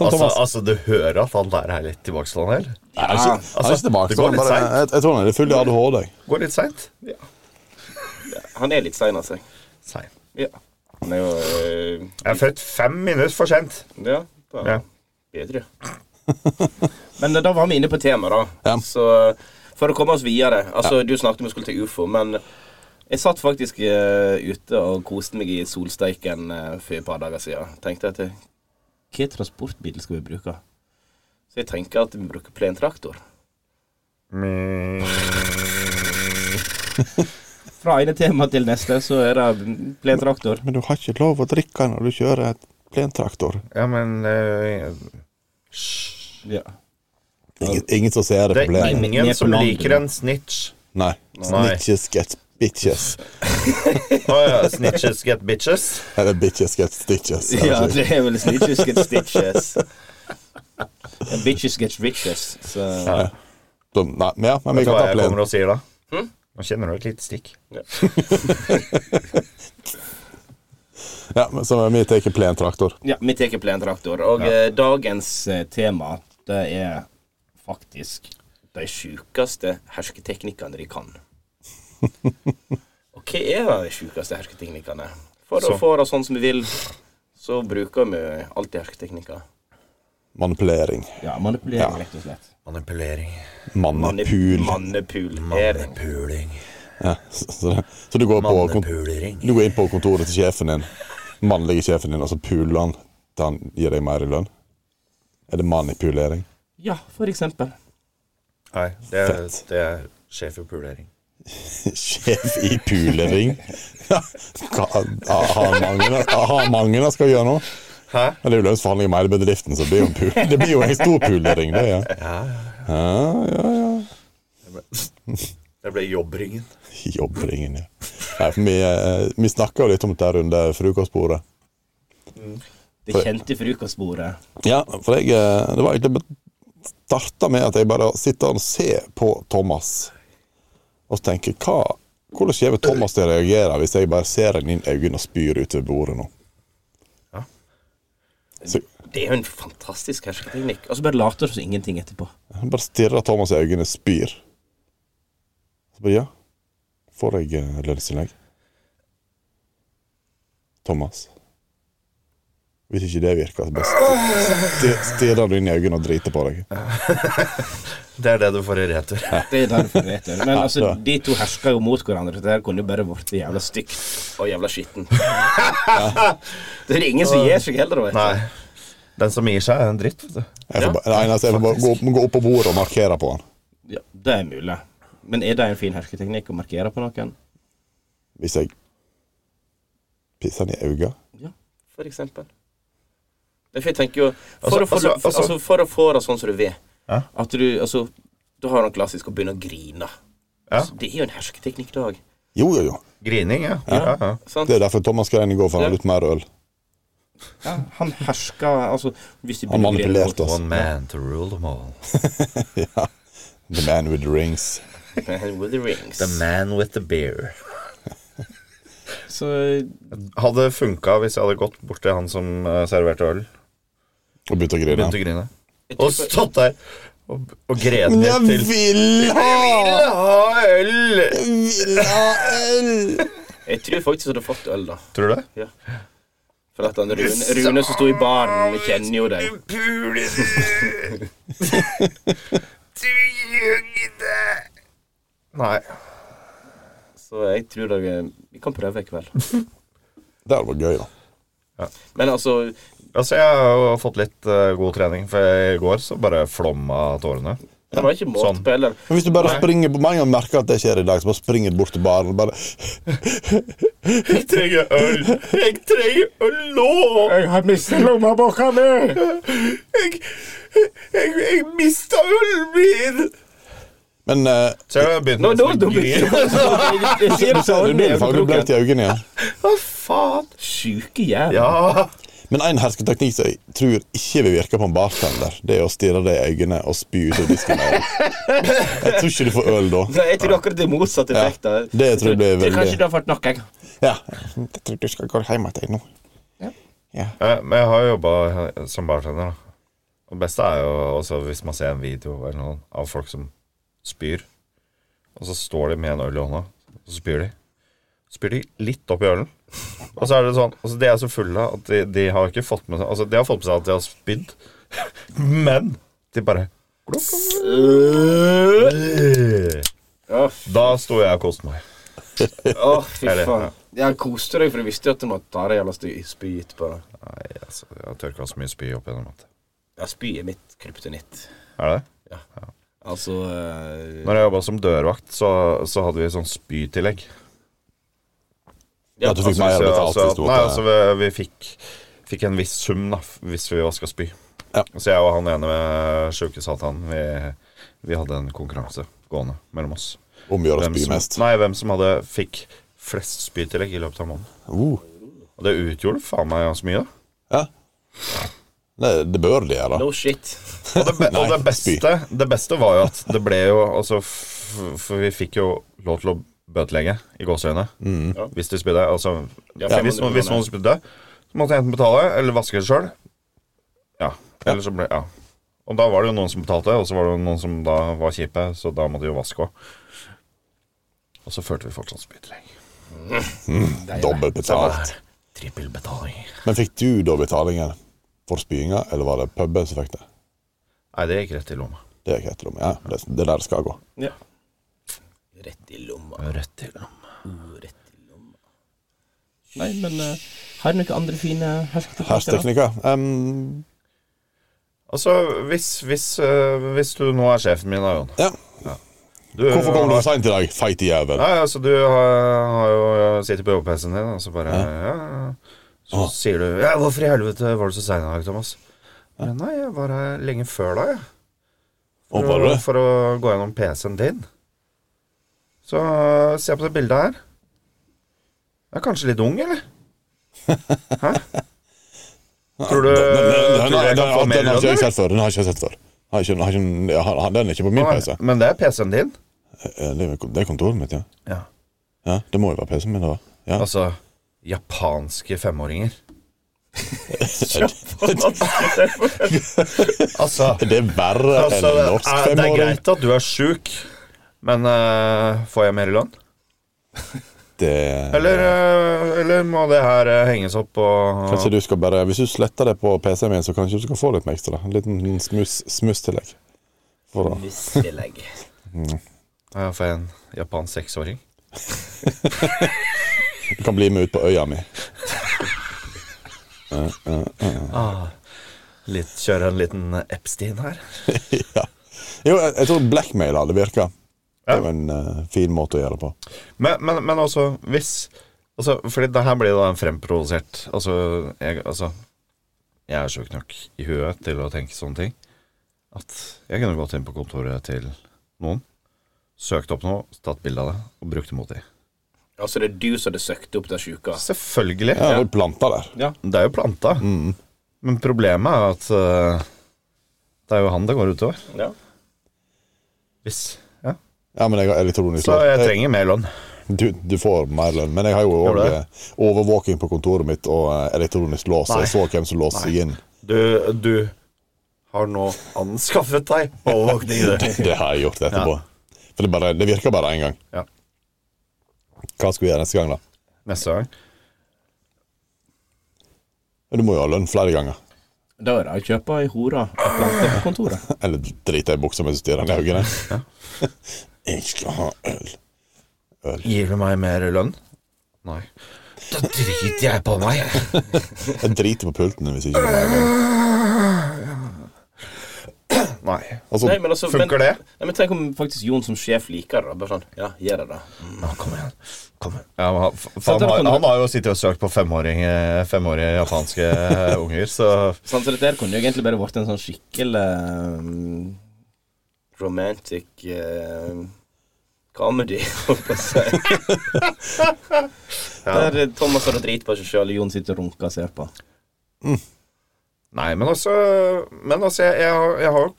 Speaker 4: Altså, altså, du hører at han der er litt tilbakestående, eller?
Speaker 2: Nei,
Speaker 5: altså,
Speaker 2: jeg er ikke- jeg er ikke tilbake.
Speaker 4: altså, det går
Speaker 2: sånn,
Speaker 4: litt
Speaker 2: bare- Jeg jeg tror han er full i ADHD. jeg.
Speaker 4: Går litt seint.
Speaker 3: Han er litt sein av seg.
Speaker 4: Sein.
Speaker 3: Ja. Han er jo eh,
Speaker 4: Jeg er født fem minutter for sent.
Speaker 3: Ja, da
Speaker 4: Ja.
Speaker 3: bedre. Men eh, da var vi inne på temaet, da.
Speaker 2: Ja.
Speaker 3: Så eh, for å komme oss videre Altså, du snakket om vi skulle til ufo, men eh, jeg satt faktisk eh, ute og koste meg i solsteiken eh, for et par dager siden. Tenkte at eh, hva transportmiddel skal vi bruke? Så jeg tenker at vi bruker plentraktor. Fra ene tema til neste, så er det plentraktor.
Speaker 2: Men du har ikke lov å drikke når du kjører et plentraktor.
Speaker 4: Ja, men eh,
Speaker 3: Ja.
Speaker 2: Ingen, ingen som ser det
Speaker 4: Det er
Speaker 2: problemet.
Speaker 3: Nei, men-
Speaker 4: ingen
Speaker 3: ned på
Speaker 4: som
Speaker 3: landet,
Speaker 4: liker
Speaker 3: da.
Speaker 4: en snitch.
Speaker 2: Nei. Snitches get bitches.
Speaker 4: Å ja, snitches get bitches.
Speaker 2: Eller bitches get stitches. eller
Speaker 3: Ja,
Speaker 2: noe slikt.
Speaker 3: det er vel snitches get stitches. And bitches get riches. Så
Speaker 2: Så, Nei, men ja, men vi
Speaker 4: Vet du
Speaker 2: kan
Speaker 4: hva
Speaker 2: ta
Speaker 4: jeg kommer
Speaker 2: plenen.
Speaker 4: og sier da?
Speaker 5: Hm?
Speaker 4: Nå kjenner du et lite stikk.
Speaker 2: Ja, men så vi tar plentraktor.
Speaker 3: ja, vi tar plentraktor. Og eh, dagens eh, tema, det er faktisk de sjukeste hersketeknikkene de kan. Og hva er de sjukeste hersketeknikkene? For å få det sånn som vi vil, så bruker vi alltid hersketeknikker.
Speaker 2: Manipulering.
Speaker 3: Ja, manipulering, rett og slett.
Speaker 5: Manipulering.
Speaker 2: Mannepul.
Speaker 3: Manipulering.
Speaker 5: Puling.
Speaker 2: Ja, så, så, så du, går på, kon-
Speaker 5: Mannepulering.
Speaker 2: du går inn på kontoret til sjefen din, mannlige sjefen din, og så puler han til han gir deg mer i lønn? Er det manipulering?
Speaker 3: Ja, for eksempel.
Speaker 5: Nei, det er,
Speaker 2: Fett.
Speaker 5: det er sjef i pulering.
Speaker 2: Sjef i pulering? Ja, Har mange, aha, mange det skal gjøre nå?
Speaker 5: Hæ?
Speaker 2: Men det er jo lønnsforhandlinger med hele bedriften, så det blir jo, en pul det blir jo en stor pulering, det. Ja. Ja, ja, ja.
Speaker 5: Det ble jobbringen.
Speaker 2: Jobbringen, ja. Nei, for vi, eh, vi snakka jo litt om dette under frokostbordet.
Speaker 3: Det kjente frokostbordet.
Speaker 2: Ja, for jeg eh, Det var egentlig starta med at jeg bare sitter og ser på Thomas og så tenker hva, Hvordan kommer Thomas til å reagere hvis jeg bare ser ham inn i øynene og spyr utover bordet nå?
Speaker 3: Det er jo en fantastisk hersketeknikk. Og så bare later du som ingenting etterpå.
Speaker 2: Jeg bare stirrer Thomas i øynene og spyr. Så bare ja, får jeg eh, lønnstillegg? Thomas. Hvis ikke det virker, så bare stir- stirrer du inn i øynene og driter på deg.
Speaker 5: Det er det du får i retur.
Speaker 3: Det er derfor jeg vet det. Men altså,
Speaker 2: Ja.
Speaker 3: de to hersker jo mot hverandre. Dette her kunne jo bare blitt jævla stygt og jævla skitten. Det er ingen som gir seg heller, vet
Speaker 5: Nei.
Speaker 3: du.
Speaker 5: Den som gir seg, er en dritt. vet du.
Speaker 2: Jeg får, bare- det eneste, jeg får bare gå, opp- gå opp på bordet og markere på han.
Speaker 3: Ja, det er mulig. Men er det en fin hersketeknikk å markere på noen?
Speaker 2: Hvis jeg pisser han i øynene
Speaker 3: Ja, for eksempel. Derfor jeg tenker jo For,
Speaker 5: Altså,
Speaker 3: å, få,
Speaker 5: altså, altså-
Speaker 3: altså, for å få det sånn som du vil
Speaker 5: Ja.
Speaker 3: At du altså Du har noe klassisk å begynne å grine.
Speaker 5: Ja.
Speaker 3: Så det er jo en hersketeknikk, det òg.
Speaker 2: Jo, jo, jo.
Speaker 5: Grining, ja. ja. ja.
Speaker 2: Det er derfor Thomas grein i går, for han har litt mer øl.
Speaker 3: Ja, han herska Altså, hvis du begynner
Speaker 2: Han
Speaker 3: å grine
Speaker 2: manipulerte oss.
Speaker 5: One man to rule them all.
Speaker 2: Ja. The man with the rings.
Speaker 3: mot With the rings.
Speaker 5: The man with the beer.
Speaker 3: Så
Speaker 4: Hadde funka hvis jeg hadde gått bort til han som eh, serverte øl.
Speaker 2: Og begynte å grine.
Speaker 5: Begynte å grine.
Speaker 3: jeg
Speaker 5: Og
Speaker 3: tipper-
Speaker 5: stått der og, og gred
Speaker 2: Men
Speaker 5: litt
Speaker 2: jeg
Speaker 5: til.
Speaker 2: vil ha
Speaker 4: Ha øl!
Speaker 2: Vil ha øl!
Speaker 3: Jeg tror faktisk du hadde fått øl, da.
Speaker 4: Tror du det?
Speaker 3: Ja. For at han Rune, Rune som sto i baren, kjenner jo deg.
Speaker 4: Nei.
Speaker 3: Så jeg tror da vi, vi kan prøve i kveld.
Speaker 2: Det hadde vært gøy, da.
Speaker 3: Men altså
Speaker 4: Altså, jeg har jo fått litt eh, god trening, for i går så bare flomma tårene.
Speaker 3: Det var ikke måte
Speaker 4: Sånn.
Speaker 3: på heller.
Speaker 2: Men hvis du bare springer Mange ganger merker at det skjer i dag, så bare springer du bort til baren og bare
Speaker 4: Jeg trenger øl! Jeg trenger øl nå!
Speaker 1: Jeg har mistet lommeboka mi!
Speaker 4: Jeg, jeg, jeg mista ølen min!
Speaker 2: Men eh,
Speaker 4: Så jeg begynte
Speaker 3: Nå, nå,
Speaker 4: nesten
Speaker 3: nå
Speaker 4: å grine.
Speaker 3: Jeg sier
Speaker 2: du
Speaker 3: det
Speaker 2: ser
Speaker 3: sånn,
Speaker 2: det blir faglig
Speaker 3: jeg
Speaker 2: blekt i øynene igjen.
Speaker 4: Hva faen?
Speaker 3: Sjuke jævel.
Speaker 4: Ja.
Speaker 2: Men en hersketeknikk som jeg tror ikke vil virke på en bartender, det er å stirre deg i øynene og spy ut av disken. med øl. Jeg tror ikke du får øl da.
Speaker 3: Nei, jeg tror akkurat det er motsatt effekt. da.
Speaker 2: det tror jeg blir veldig-
Speaker 3: Kanskje du har fått nok, jeg.
Speaker 2: Ja. Jeg tror du skal gå hjem igjen nå.
Speaker 4: Eh, Men jeg har jobba som bartender, da. Og det beste er jo også hvis man ser en video eller noe, av folk som spyr, og så står de med en øl i hånda, og så spyr de. Så spyr de litt opp i ølen. Og så er det sånn altså De er så fulle at de, de har ikke fått med seg Altså de har fått med seg at de har spydd, men de bare
Speaker 3: Å,
Speaker 4: Da sto jeg og koste meg.
Speaker 3: å, fy
Speaker 4: Er det-
Speaker 3: faen. Jeg koste deg, for jeg visste jo at du måtte ta det jævla sty- spy etterpå. da.
Speaker 4: Nei, altså, jeg har tørka så mye spy opp gjennom at
Speaker 3: Ja, spy er mitt kryptonitt.
Speaker 4: Er det det?
Speaker 3: Altså eh,
Speaker 4: Når jeg jobba som dørvakt, så, så hadde vi sånn spytillegg.
Speaker 2: Ja, du fikk mer
Speaker 4: hvis jeg-
Speaker 2: betalt hvis du
Speaker 4: altså, Nei, altså
Speaker 2: måtte
Speaker 4: vi, vi fikk, fikk en viss sum da f- Hvis vi vaska spy
Speaker 2: Ja.
Speaker 4: Så jeg og han ene med sjukesaltan vi, vi hadde en konkurranse gående mellom oss
Speaker 2: Omgjør å
Speaker 4: Hvem
Speaker 2: spy
Speaker 4: som,
Speaker 2: mest.
Speaker 4: nei, hvem som hadde fikk flest spytillegg i løpet av måneden.
Speaker 2: Uh,
Speaker 4: Og det utgjorde faen meg ganske mye, da.
Speaker 2: ja. Nei, det bør de gjøre.
Speaker 3: No shit.
Speaker 4: Og det, be
Speaker 2: Nei,
Speaker 4: og det,
Speaker 2: spy.
Speaker 4: beste, det beste var jo at det ble jo altså, f- For vi fikk jo lov til å bøtelegge i gåseøynene
Speaker 2: Mm.
Speaker 3: Ja.
Speaker 4: hvis du spydde. Altså,
Speaker 3: Ja,
Speaker 4: for hvis,
Speaker 3: 500
Speaker 4: noen- hvis noen spydde, så måtte jeg enten betale eller vaske det sjøl. Ja. Eller så ble Ja. Og da var det jo noen som betalte, og så var det jo noen som da var kjipe, så da måtte de jo vaske òg. Og så førte vi fortsatt spytillegg.
Speaker 2: Dobbelt betalt.
Speaker 4: Trippelbetaling.
Speaker 2: Men fikk du da betalingen for spyinga, eller var det puben som fikk det?
Speaker 4: Nei, det gikk rett i lomma.
Speaker 2: Det er ikke et rom, ja. Det, det er der det skal gå.
Speaker 3: Ja. Rett i lomma.
Speaker 4: Rett i lomma.
Speaker 3: Uh, Rett i lomma. Nei, men eh, har du noen andre fine hersketeknikker? da?
Speaker 2: Hersteknikker. Um,
Speaker 4: Altså, hvis, hvis, øh, hvis du nå er sjefen min, da, Jon
Speaker 2: ja.
Speaker 4: du,
Speaker 2: Hvorfor kom du
Speaker 4: har-
Speaker 2: seint i dag, feit jævel?
Speaker 4: Nei, altså, du har, har jo sittet på jobb-PC-en din, og så bare ja. ja. Så
Speaker 2: Ah.
Speaker 4: sier du Ja, hvorfor i helvete var du så sein i dag, Thomas? Men nei, jeg var her lenge før deg, jeg.
Speaker 2: Å,
Speaker 4: For,
Speaker 2: var
Speaker 4: å-
Speaker 2: det?
Speaker 4: for å gå gjennom PC-en din. Så øh, se på det bildet her. Jeg er kanskje litt ung, eller? Hæ? Tror du,
Speaker 2: Den, den, den, den,
Speaker 4: tror du jeg
Speaker 2: den,
Speaker 4: kan få
Speaker 2: den,
Speaker 4: mer
Speaker 2: har
Speaker 4: lønn,
Speaker 2: ikke jeg
Speaker 4: eller?
Speaker 2: sett før. Den har ikke jeg sett før. Har ikke, har ikke, ja, han- den er ikke på min PC.
Speaker 4: Nei, Men det er PC-en din?
Speaker 2: Eh, Det er det er kontoret mitt, ja.
Speaker 4: Ja.
Speaker 2: ja. Det må jo være PC-en min, da. Ja.
Speaker 4: Altså japanske femåringer. altså,
Speaker 2: Det er verre enn
Speaker 4: altså
Speaker 2: en
Speaker 4: det,
Speaker 2: norsk
Speaker 4: er, det er
Speaker 2: femåring.
Speaker 4: greit at du er sjuk, men eh, får jeg mer i lønn?
Speaker 2: Det
Speaker 4: Eller, eh, eller må det her eh, henges opp og
Speaker 2: Kanskje du skal bare Hvis du sletter det på PC-en min, så kanskje du skal få litt med ekstra. En liten smuss- smusstillegg. For å
Speaker 3: Musselegg.
Speaker 4: Ja, Får jeg eh, en japansk seksåring?
Speaker 2: Du kan bli med ut på øya mi.
Speaker 4: Litt, kjøre en liten Epstein her?
Speaker 2: ja. Jo, jeg, jeg tror blackmail hadde virka. Det
Speaker 4: Ja.
Speaker 2: er jo en eh, fin måte å gjøre det på.
Speaker 4: Men, men, men også, hvis altså, Fordi det her blir da en fremprovosert altså jeg, altså, jeg er sjuk nok i huet til å tenke sånne ting at jeg kunne gått inn på kontoret til noen, søkt opp noe, tatt bilde av det og brukt det mot dem.
Speaker 3: Altså, det er du som hadde søkt opp den sjuka.
Speaker 4: Selvfølgelig.
Speaker 2: Ja, det er planter der.
Speaker 4: Det er jo planta. Men problemet er at eh, det er jo han det går utover.
Speaker 3: Ja.
Speaker 4: Hvis ja.
Speaker 2: Ja, men jeg har elektronisk
Speaker 4: Så jeg
Speaker 2: lån.
Speaker 4: trenger mer lønn.
Speaker 2: Du, du får mer lønn, men jeg har jo
Speaker 4: Gjør
Speaker 2: òg
Speaker 4: du
Speaker 2: overvåking på kontoret mitt og eh, elektronisk lås, så
Speaker 4: Nei.
Speaker 2: jeg så hvem som låste seg inn.
Speaker 4: Du, du har nå anskaffet deg overvåkning, du.
Speaker 2: Det, det har jeg gjort etterpå. For det, bare, det virker bare én gang.
Speaker 4: Ja.
Speaker 2: Hva skal vi gjøre neste gang, da?
Speaker 4: Neste gang.
Speaker 2: Du må jo ha lønn flere ganger.
Speaker 3: Da er det å kjøpe ei hore på kontoret.
Speaker 2: Eller drite i buksa mens du stirrer ned i øynene. jeg skal ha øl.
Speaker 4: Gir du meg mer lønn? Nei. Da driter jeg på meg.
Speaker 2: Jeg driter på pulten din hvis ikke du har mer øl.
Speaker 4: Nei.
Speaker 2: Altså,
Speaker 3: Nei, men altså,
Speaker 4: Funker
Speaker 3: men,
Speaker 4: det?
Speaker 3: Nei, men tenk om faktisk Jon som sjef liker det. da. Bare sånn, ja, gjør det da.
Speaker 4: Nå, kom igjen. Kom igjen. Ja, men han, f-
Speaker 3: Sett
Speaker 4: han,
Speaker 3: deg på
Speaker 4: har,
Speaker 3: kontoret.
Speaker 4: han har jo sittet og søkt på femåring, eh, femårige japanske eh, unger, så
Speaker 3: Sånn, så dette her kunne jo egentlig bare vært en sånn skikkelig um, romantic um, comedy, holdt på å si. Der Thomas har drit på seg sjøl, Jon sitter og runker og ser på.
Speaker 4: Nei, men altså, men altså jeg, jeg, har- jeg har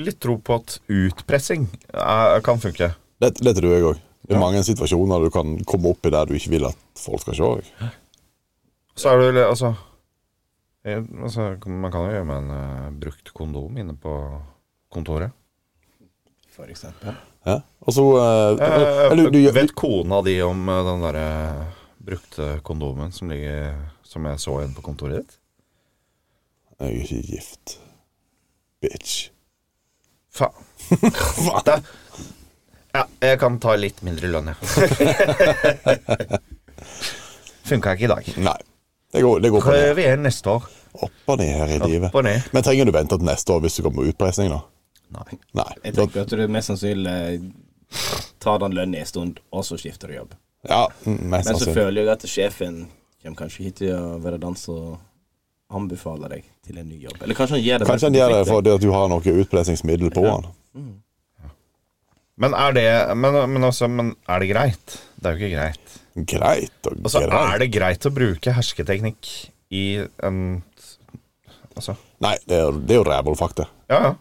Speaker 4: litt tro på at utpressing eh, kan funke.
Speaker 2: det, det tror jeg òg. Det er mange situasjoner du kan komme opp i der du ikke vil at folk skal se deg.
Speaker 4: Så er det vel altså, jeg, altså Man kan jo gjøre med en eh, brukt kondom inne på kontoret.
Speaker 3: For eksempel.
Speaker 2: Ja? Og så eh,
Speaker 4: Eh,
Speaker 2: eller, du, gjør-
Speaker 4: vet kona di om eh, den derre brukte kondomen som ligger Som jeg så igjen på kontoret ditt?
Speaker 2: Jeg er ikke gift. Bitch.
Speaker 4: Faen. Da- Ja, jeg kan ta litt mindre lønn, jeg. Funka ikke i dag.
Speaker 2: Nei. Det går, det går på ned.
Speaker 4: Prøv igjen neste år.
Speaker 2: Opp og ned her i livet.
Speaker 4: Opp og ned.
Speaker 2: Men trenger du vente til neste år hvis du kommer med utpressing, da?
Speaker 4: Nei.
Speaker 2: Nei.
Speaker 3: Jeg
Speaker 2: Da,
Speaker 3: tenker at du mest sannsynlig tar den lønna en stund, og så skifter du jobb.
Speaker 2: ja, mm, mest
Speaker 3: Men så
Speaker 2: sannsynlig.
Speaker 3: føler jeg at sjefen kommer kanskje hit til å være den som anbefaler deg til en ny jobb. Eller kanskje han gjør det
Speaker 2: Kanskje han gjør det fordi at du har noe utpressingsmiddel på han.
Speaker 4: Men er det men, men, altså, men er det greit? Det er jo ikke greit.
Speaker 2: Greit og
Speaker 4: Altså,
Speaker 2: greit.
Speaker 4: er det greit å bruke hersketeknikk i en Altså,
Speaker 2: Nei, det er, det er jo rævhålfakta.
Speaker 4: ja, ja.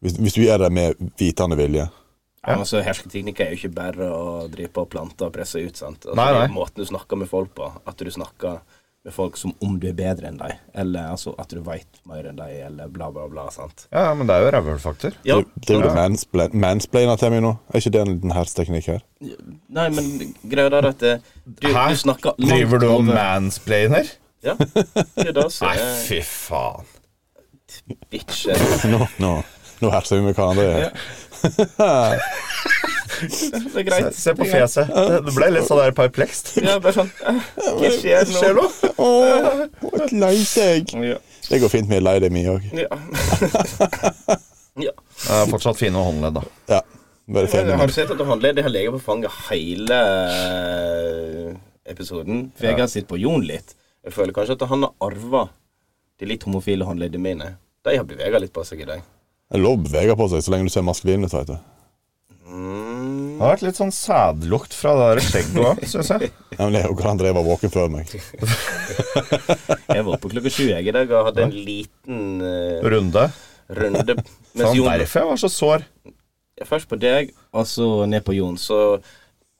Speaker 2: Hvis, hvis du gjør det med vitende vilje.
Speaker 3: Ja, men altså, Hersketeknikk er jo ikke bare å drive på og plante og presse ut. sant? Altså,
Speaker 4: Nei,
Speaker 3: det er
Speaker 4: nei.
Speaker 3: Måten du snakker med folk på. At du snakker med folk som om du er bedre enn dem. Eller altså, at du veit mer enn dem, eller bla, bla, bla. sant?
Speaker 4: ja, ja, men det er jo rævhølfaktor.
Speaker 3: Ja,
Speaker 2: Det er jo det manspla- mansplainer til meg nå. Er ikke det en liten hersteknikk her?
Speaker 3: Nei, men greia der er at eh, du,
Speaker 4: Hæ?
Speaker 3: du snakker langt
Speaker 4: Driver du og
Speaker 3: over-
Speaker 4: mansplainer?
Speaker 3: Ja. Det er da så
Speaker 4: Nei,
Speaker 3: er
Speaker 4: fy faen.
Speaker 3: bitch. eh.
Speaker 2: Nå, nå, nå herser vi med hverandre. her.
Speaker 3: Det er
Speaker 4: Se,
Speaker 3: greit.
Speaker 4: se på fjeset. Det- Det ble litt sånn der perplekst.
Speaker 3: Ja, bare sånn eh, Hva skjer nå?
Speaker 4: Skjer det noe?
Speaker 2: Åh, et lei seg.
Speaker 3: Ja.
Speaker 2: Det går fint med lei deg, mi òg.
Speaker 3: Ja. ja.
Speaker 4: Jeg har fortsatt fine håndledd, da.
Speaker 2: Ja. Bare fin
Speaker 3: Men
Speaker 2: med
Speaker 3: Har du sett at håndleddet har ligget på fanget hele eh, episoden? For jeg har sittet på Jon litt. Jeg føler kanskje at han har arva de litt homofile håndleddene mine. De har bevega litt på seg i dag.
Speaker 2: Det er lov å bevege på seg så lenge du ser maskulin ut. vet du.
Speaker 3: Mm.
Speaker 4: Det har vært litt sånn sædlukt fra det der skjegget òg, syns jeg.
Speaker 2: Ja, men det er jo hvordan André var våken før meg.
Speaker 3: Jeg var oppe klokka sju jeg i dag og hadde en liten eh,
Speaker 4: Runde.
Speaker 3: runde.
Speaker 2: Sånn
Speaker 3: Mens
Speaker 4: Faen,
Speaker 3: Jon
Speaker 4: derfor jeg var så sår.
Speaker 3: Først på deg, og så ned på Jon. Så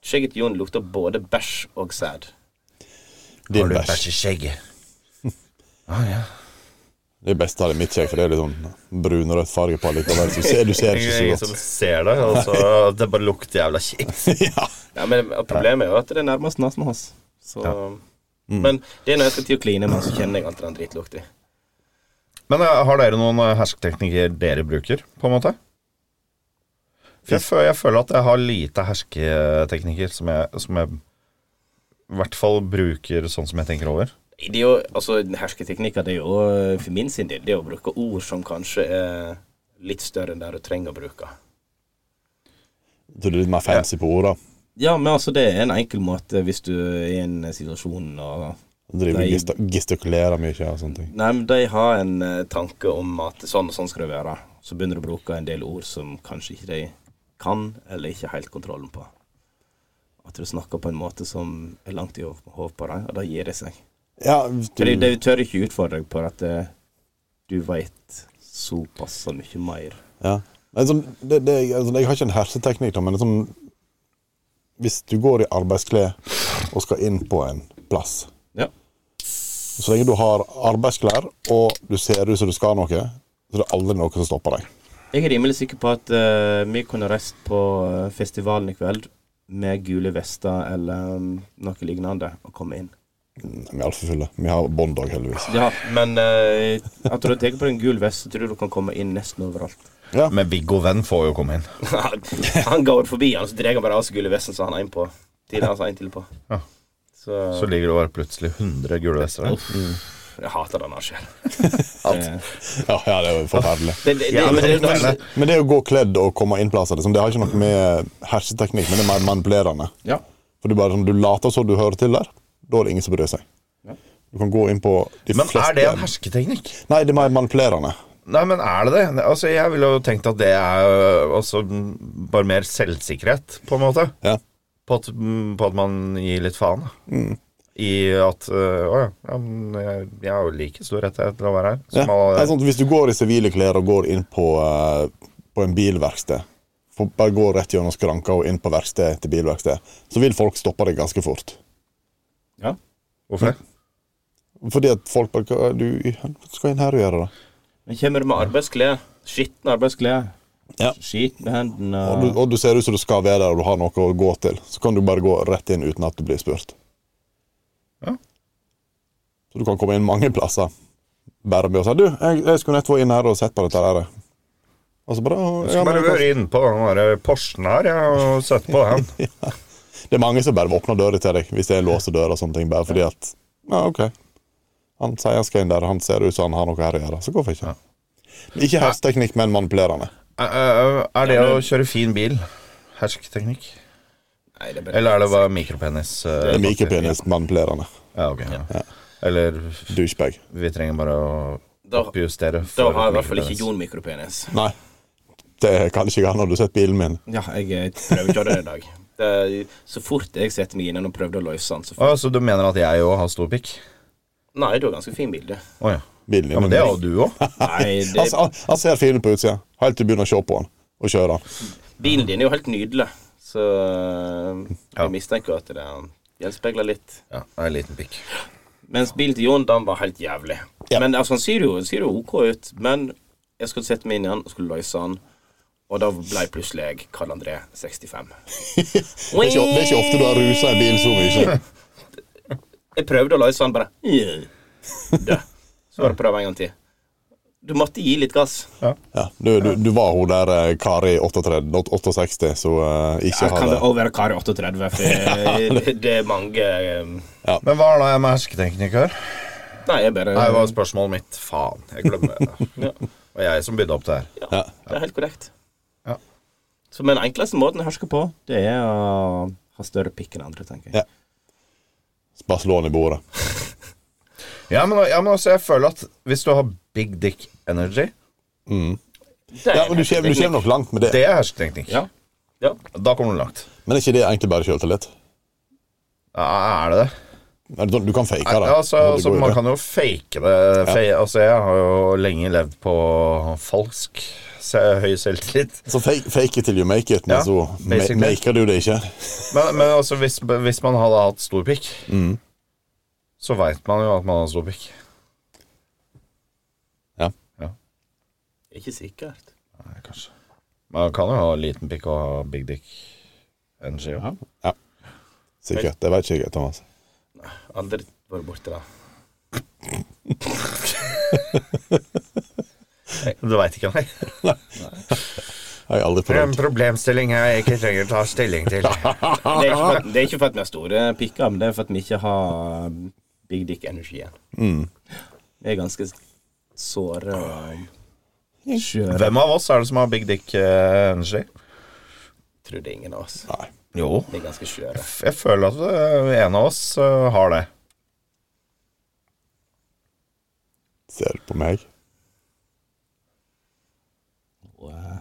Speaker 3: skjegget til Jon lukter både bæsj og sæd.
Speaker 2: Din bæsj.
Speaker 4: skjegget?
Speaker 2: Det beste av det mitt skjegg, for det er litt sånn brun og rødt farge på likevel. Så du ser, du ser
Speaker 4: Ingen
Speaker 2: ikke
Speaker 4: som
Speaker 2: så godt.
Speaker 4: ser det. Altså, det bare lukter jævla kjipt.
Speaker 2: Ja.
Speaker 3: Ja, men Problemet er jo at det er nærmest nesen hans. Så,
Speaker 2: Mm.
Speaker 3: Men det er når jeg skal til å kline med han, så kjenner jeg alltid den drittlukta.
Speaker 4: Men eh, har dere noen eh, hersketeknikker dere bruker, på en måte? For jeg føler, jeg føler at jeg har lite hersketeknikker som jeg, som jeg i hvert fall bruker sånn som jeg tenker over.
Speaker 3: Det er jo, altså, Hersketeknikker det er jo eh, for min sin del det er å bruke ord som kanskje er litt større enn det du trenger å bruke.
Speaker 2: Så du er litt mer fancy på orda.
Speaker 3: Ja, men altså, det er en enkel måte hvis du er i en situasjon og
Speaker 2: Driver og
Speaker 3: Nei.
Speaker 2: gesta- gestikulerer mye og sånne ting.
Speaker 3: Nei, men de har en eh, tanke om at sånn og sånn skal det være. Så begynner du å bruke en del ord som kanskje ikke de kan, eller ikke har helt kontrollen på. At du snakker på en måte som er langt i hov- hodet på dem, og da gir det seg.
Speaker 2: Ja, hvis du,
Speaker 3: For de, de tør ikke utfordre deg på at eh, du veit såpass så mye mer.
Speaker 2: Ja. Men sånn, det, det, altså, jeg har ikke en herseteknikk, da, men liksom, hvis du går i arbeidsklær og skal inn på en plass
Speaker 3: Ja.
Speaker 2: Så lenge du har arbeidsklær og du ser ut som du skal noe, så er det aldri noe som stopper deg.
Speaker 3: Jeg er rimelig sikker på at eh, vi kunne reist på eh, festivalen i kveld med gule vester eller mm, noe lignende og komme inn.
Speaker 2: Vi er altfor fulle. Vi har bånd òg, heldigvis.
Speaker 3: Ja, men eh, at du tenker på en gul vest, så tror jeg du kan komme inn nesten overalt.
Speaker 4: Men Viggo Venn får jo komme inn.
Speaker 3: han går forbi han, så drar han bare av seg gule vesten som han har inn på. Til han har inn til på.
Speaker 4: Ja.
Speaker 3: Så,
Speaker 4: Så ligger det bare plutselig 100 gule vester der. Mm.
Speaker 3: jeg hater det når det skjer.
Speaker 2: Ja, ja, det er jo forferdelig.
Speaker 3: Det, det, det, men det, det, det,
Speaker 2: Men det å gå kledd og komme inn plasser, liksom, det har ikke noe med herseteknikk, men det er mer manipulerende.
Speaker 3: ja.
Speaker 2: For du bare sånn, du later som du hører til der. Da er det ingen som bryr seg. Du kan gå inn på de
Speaker 4: Men
Speaker 2: fleste
Speaker 4: er det en hersketeknikk?
Speaker 2: Nei, det er mer manipulerende.
Speaker 4: Nei, men er det det? Altså, Jeg ville jo tenkt at det er øh, altså, m, bare mer selvsikkerhet, på en måte.
Speaker 2: Ja.
Speaker 4: På at, m, på at man gir litt faen. da.
Speaker 2: Mm.
Speaker 4: I at øh, Å ja, ja, men jeg, jeg har jo like stor rettighet til å være her.
Speaker 2: Ja.
Speaker 4: Som alle-
Speaker 2: Det er sånn, at hvis du går i sivile klær og går inn på, eh, på en bilverksted for Bare gå rett gjennom skranka og inn på verksted til bilverksted, så vil folk stoppe deg ganske fort.
Speaker 3: Ja.
Speaker 4: Hvorfor det?
Speaker 2: Fordi at folk bare «Hva er Du hva skal inn her og gjøre det.
Speaker 3: Men kommer du med arbeidsklær, skitne arbeidsklær,
Speaker 2: Ja.
Speaker 3: skitne hendene
Speaker 2: Og du, og du ser ut som du skal være der og du har noe å gå til, så kan du bare gå rett inn uten at du blir spurt.
Speaker 4: Ja.
Speaker 2: Så du kan komme inn mange plasser. Bare med å si 'Du, jeg, jeg skulle nett vært inn her og sett på dette her.' Og så bare,
Speaker 4: Jeg
Speaker 2: «Å, ja,
Speaker 4: skal
Speaker 2: men
Speaker 4: bare
Speaker 2: det,
Speaker 4: være inne på den der Porschen her ja, og sette på den.
Speaker 2: det er mange som bare åpner døra til deg hvis det er låste dører og sånne ting, bare fordi at Ja, OK. Han sier han skal inn der, han ser ut som han har noe her å gjøre. Så hvorfor ikke? Ikke hersteknikk, men manipulerende.
Speaker 4: Æ, æ, æ, Er det å kjøre fin bil hersketeknikk?
Speaker 3: Nei, det er bare
Speaker 4: Eller er det bare mikropenis? øh,
Speaker 2: Det er Mikropenis manipulerende.
Speaker 4: Ja, ok. Ja. Eller
Speaker 2: Douchebag.
Speaker 4: vi trenger bare å
Speaker 3: Da-
Speaker 4: oppjustere.
Speaker 3: Da
Speaker 4: for
Speaker 3: har i hvert fall ikke
Speaker 4: mikropenis.
Speaker 3: Jon mikropenis.
Speaker 2: Nei. Det kan ikke jeg ha når du har sett bilen min.
Speaker 3: Ja, jeg eh, prøver ikke å gjøre det i dag. Det, så fort jeg setter meg inn og prøvde å løse den, så
Speaker 4: Å, så du mener at jeg òg har stor pikk?
Speaker 3: Nei, det var ganske fin bilde.
Speaker 4: Å ja.
Speaker 2: Bilen din.
Speaker 4: ja. Men det har jo du òg.
Speaker 3: Nei, det, Altså-
Speaker 2: Han- han- Han ser fin ut på utsida, helt til du begynner å se på han og kjøre han.
Speaker 3: bilen din er jo helt nydelig, så eh, jeg mistenker at det gjenspeiler litt.
Speaker 4: Ja, jeg har en liten pikk.
Speaker 3: Mens bilen til Jon, den var helt jævlig.
Speaker 2: Ja.
Speaker 3: Men altså, han ser jo, ser jo OK ut, men jeg skulle sette meg inn i han og skulle løse han. Og da ble plutselig jeg Karl André 65.
Speaker 2: Det er ikke, det er ikke ofte du har rusa en bil så mye.
Speaker 3: Jeg prøvde å løse han, bare yeah. Død. Så var det prøve en gang til. Du måtte gi litt gass.
Speaker 2: Ja, du, du, du var hun der eh, Kari 38, 68, så eh, ikke
Speaker 3: Jeg
Speaker 2: har
Speaker 3: kan det
Speaker 2: det.
Speaker 3: òg være Kari 38, for det, det er mange eh,
Speaker 4: Men hva er det jeg med hersketeknikk her?
Speaker 3: Nei, jeg bare
Speaker 4: Nei, det var spørsmålet mitt. Faen, jeg glemmer det.
Speaker 3: Ja.
Speaker 4: Det var jeg som bydde opp det her.
Speaker 3: Ja, det er helt korrekt.
Speaker 4: Ja.
Speaker 3: Så men den enkleste måten å herske på, det er å ha større pikk enn andre, tenker jeg.
Speaker 2: Ja. Bare slå den i bordet.
Speaker 4: Ja, men, ja, men altså, jeg føler at hvis du har big dick energy,
Speaker 3: Det er
Speaker 2: Ja, men
Speaker 3: en
Speaker 2: Du kommer, du
Speaker 3: teknikk.
Speaker 2: kommer nok langt med det.
Speaker 4: det er hersketeknikk.
Speaker 3: Ja. ja.
Speaker 4: Da kommer du langt.
Speaker 2: Men er ikke det egentlig bare sjøltillit?
Speaker 4: Ja, er det det?
Speaker 2: Nei, Du, du kan fake det.
Speaker 4: Ja, altså,
Speaker 2: Det
Speaker 4: altså,
Speaker 2: går jo
Speaker 4: man
Speaker 2: det.
Speaker 4: kan jo fake det. Fe altså, jeg har jo lenge levd på falsk se høy selvtillit.
Speaker 2: Så fake, fake it till you make it, men
Speaker 4: Ja,
Speaker 2: så ma-
Speaker 4: basically.
Speaker 2: maker du det ikke.
Speaker 4: Men, men altså, hvis, hvis man hadde hatt stor pikk, så veit man jo at man har stor pikk.
Speaker 2: Ja.
Speaker 3: Ikke sikkert.
Speaker 4: Nei, kanskje. Man kan jo ha liten pikk og ha big dick energy. Ja.
Speaker 2: Sikkert. Det vet ikke jeg, Thomas.
Speaker 3: Aldri vært borti det.
Speaker 4: Du veit ikke, nei.
Speaker 2: Jeg har aldri
Speaker 4: Det er en
Speaker 2: prøvd.
Speaker 4: problemstilling jeg ikke trenger å ta stilling til.
Speaker 3: Det er ikke for at- det er ikke for at vi har store pikker, men det er for at vi ikke har um, big dick energy igjen.
Speaker 4: Mm.
Speaker 3: Vi er ganske s- såre og skjøre.
Speaker 4: Hvem av oss er det som har big dick eh, energy?
Speaker 3: Tror det er ingen av oss.
Speaker 2: Nei.
Speaker 4: Jo.
Speaker 3: Vi er ganske skjøre.
Speaker 4: Jeg føler at eh, en av oss eh, har det.
Speaker 2: Ser du på meg?
Speaker 3: Og eh,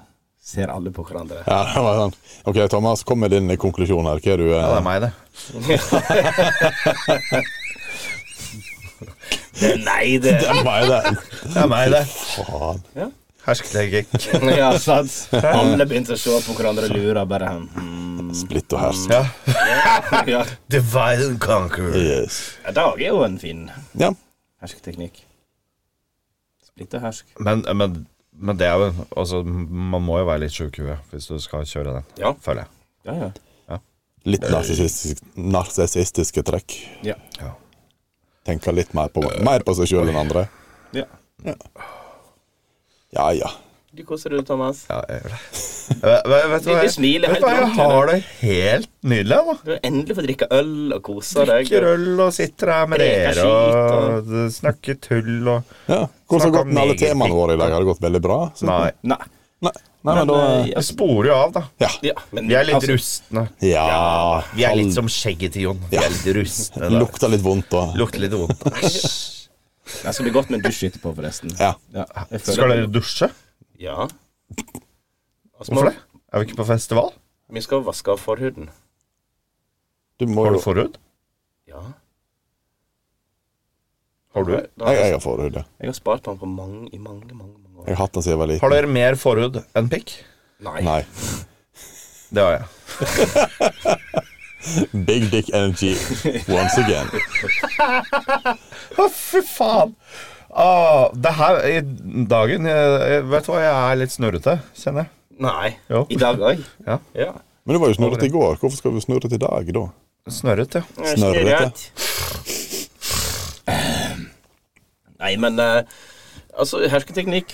Speaker 3: ser alle på hverandre.
Speaker 2: Ja, det var sånn. Ok, Thomas, kom med din konklusjon her. Hva er du eh,
Speaker 4: Ja, det er meg, det.
Speaker 3: Nei, det
Speaker 2: Det er meg, det.
Speaker 4: Det er meg, det.
Speaker 2: Faen.
Speaker 4: Hersketeknikk.
Speaker 3: Ja, sant. Alle begynte å se på hverandre og lure. Bare hmm.
Speaker 2: Splitt og hersk.
Speaker 4: Ja.
Speaker 3: ja.
Speaker 4: Divide and conquer.
Speaker 2: Yes.
Speaker 3: Dag er jo en fin
Speaker 2: Ja.
Speaker 3: hersketeknikk. Splitt og hersk.
Speaker 4: Men, men, men det er jo Altså, man må jo være litt sjuk i huet hvis du skal kjøre den,
Speaker 3: Ja.
Speaker 4: føler jeg.
Speaker 3: Ja, ja.
Speaker 2: Litt narsissistisk- narsissistiske trekk.
Speaker 3: Ja.
Speaker 2: Tenker litt mer på, mer på seg sjøl enn andre.
Speaker 3: ja.
Speaker 2: Ja ja.
Speaker 3: Du koser deg, Thomas.
Speaker 4: Ja, jeg gjør det. Eh, Vet, vet du hva,
Speaker 3: Du
Speaker 4: jeg,
Speaker 3: smiler
Speaker 4: vet
Speaker 3: helt
Speaker 4: du hva, jeg
Speaker 3: blankt,
Speaker 4: har det helt nydelig, jeg, da.
Speaker 3: Du har endelig fått drikke øl og kose deg.
Speaker 4: Drikker øl og sitter her med
Speaker 3: Preker
Speaker 4: dere
Speaker 3: skit
Speaker 4: og snakker tull og
Speaker 2: ja. Hvordan har det gått med alle
Speaker 4: Snakka meget
Speaker 2: temaene våre i dag? Har det gått veldig bra? Så-
Speaker 4: Nei.
Speaker 3: Nei.
Speaker 2: Nei. Nei, men da
Speaker 3: eh, ja,
Speaker 4: Jeg sporer jo av, da.
Speaker 2: Ja.
Speaker 3: ja, men
Speaker 4: Vi er litt
Speaker 2: Altså-
Speaker 4: rustne.
Speaker 2: ja.
Speaker 4: Vi er litt som skjegget til Jon. Vi er litt rustne. da.
Speaker 2: Lukta litt vondt og
Speaker 4: Lukter litt vondt. Æsj.
Speaker 3: Det skal bli godt med en dusj etterpå, forresten.
Speaker 2: Ja.
Speaker 3: Ja, jeg føler-
Speaker 4: Skal dere dusje?
Speaker 3: Ja. Altså,
Speaker 4: Hvorfor det? Er vi ikke på festival?
Speaker 3: Vi skal vaske av forhuden.
Speaker 2: Du må
Speaker 4: Har du
Speaker 2: jo
Speaker 4: forhud?
Speaker 3: Ja.
Speaker 4: Har du?
Speaker 3: Da har
Speaker 2: Jeg,
Speaker 3: jeg,
Speaker 2: jeg har forhud. ja.
Speaker 3: jeg har spart på den på mange, i mange, mange, mange år.
Speaker 2: Jeg har hatt den siden jeg var
Speaker 4: Har
Speaker 2: liten.
Speaker 4: dere mer forhud enn pikk?
Speaker 3: Nei.
Speaker 2: Nei.
Speaker 4: Det har jeg.
Speaker 2: Big dick energy once again.
Speaker 4: Å, fy faen! Å, det her i dagen jeg, jeg, Vet du hva, jeg er litt snurrete, kjenner jeg.
Speaker 3: Nei.
Speaker 4: Jo.
Speaker 3: I dag òg?
Speaker 4: Ja.
Speaker 3: ja.
Speaker 2: Men du var jo snurret i går. Hvorfor skal du snurre til i dag, da?
Speaker 4: Snørret, ja.
Speaker 2: Snørrete.
Speaker 3: Nei, men eh, altså, hersketeknikk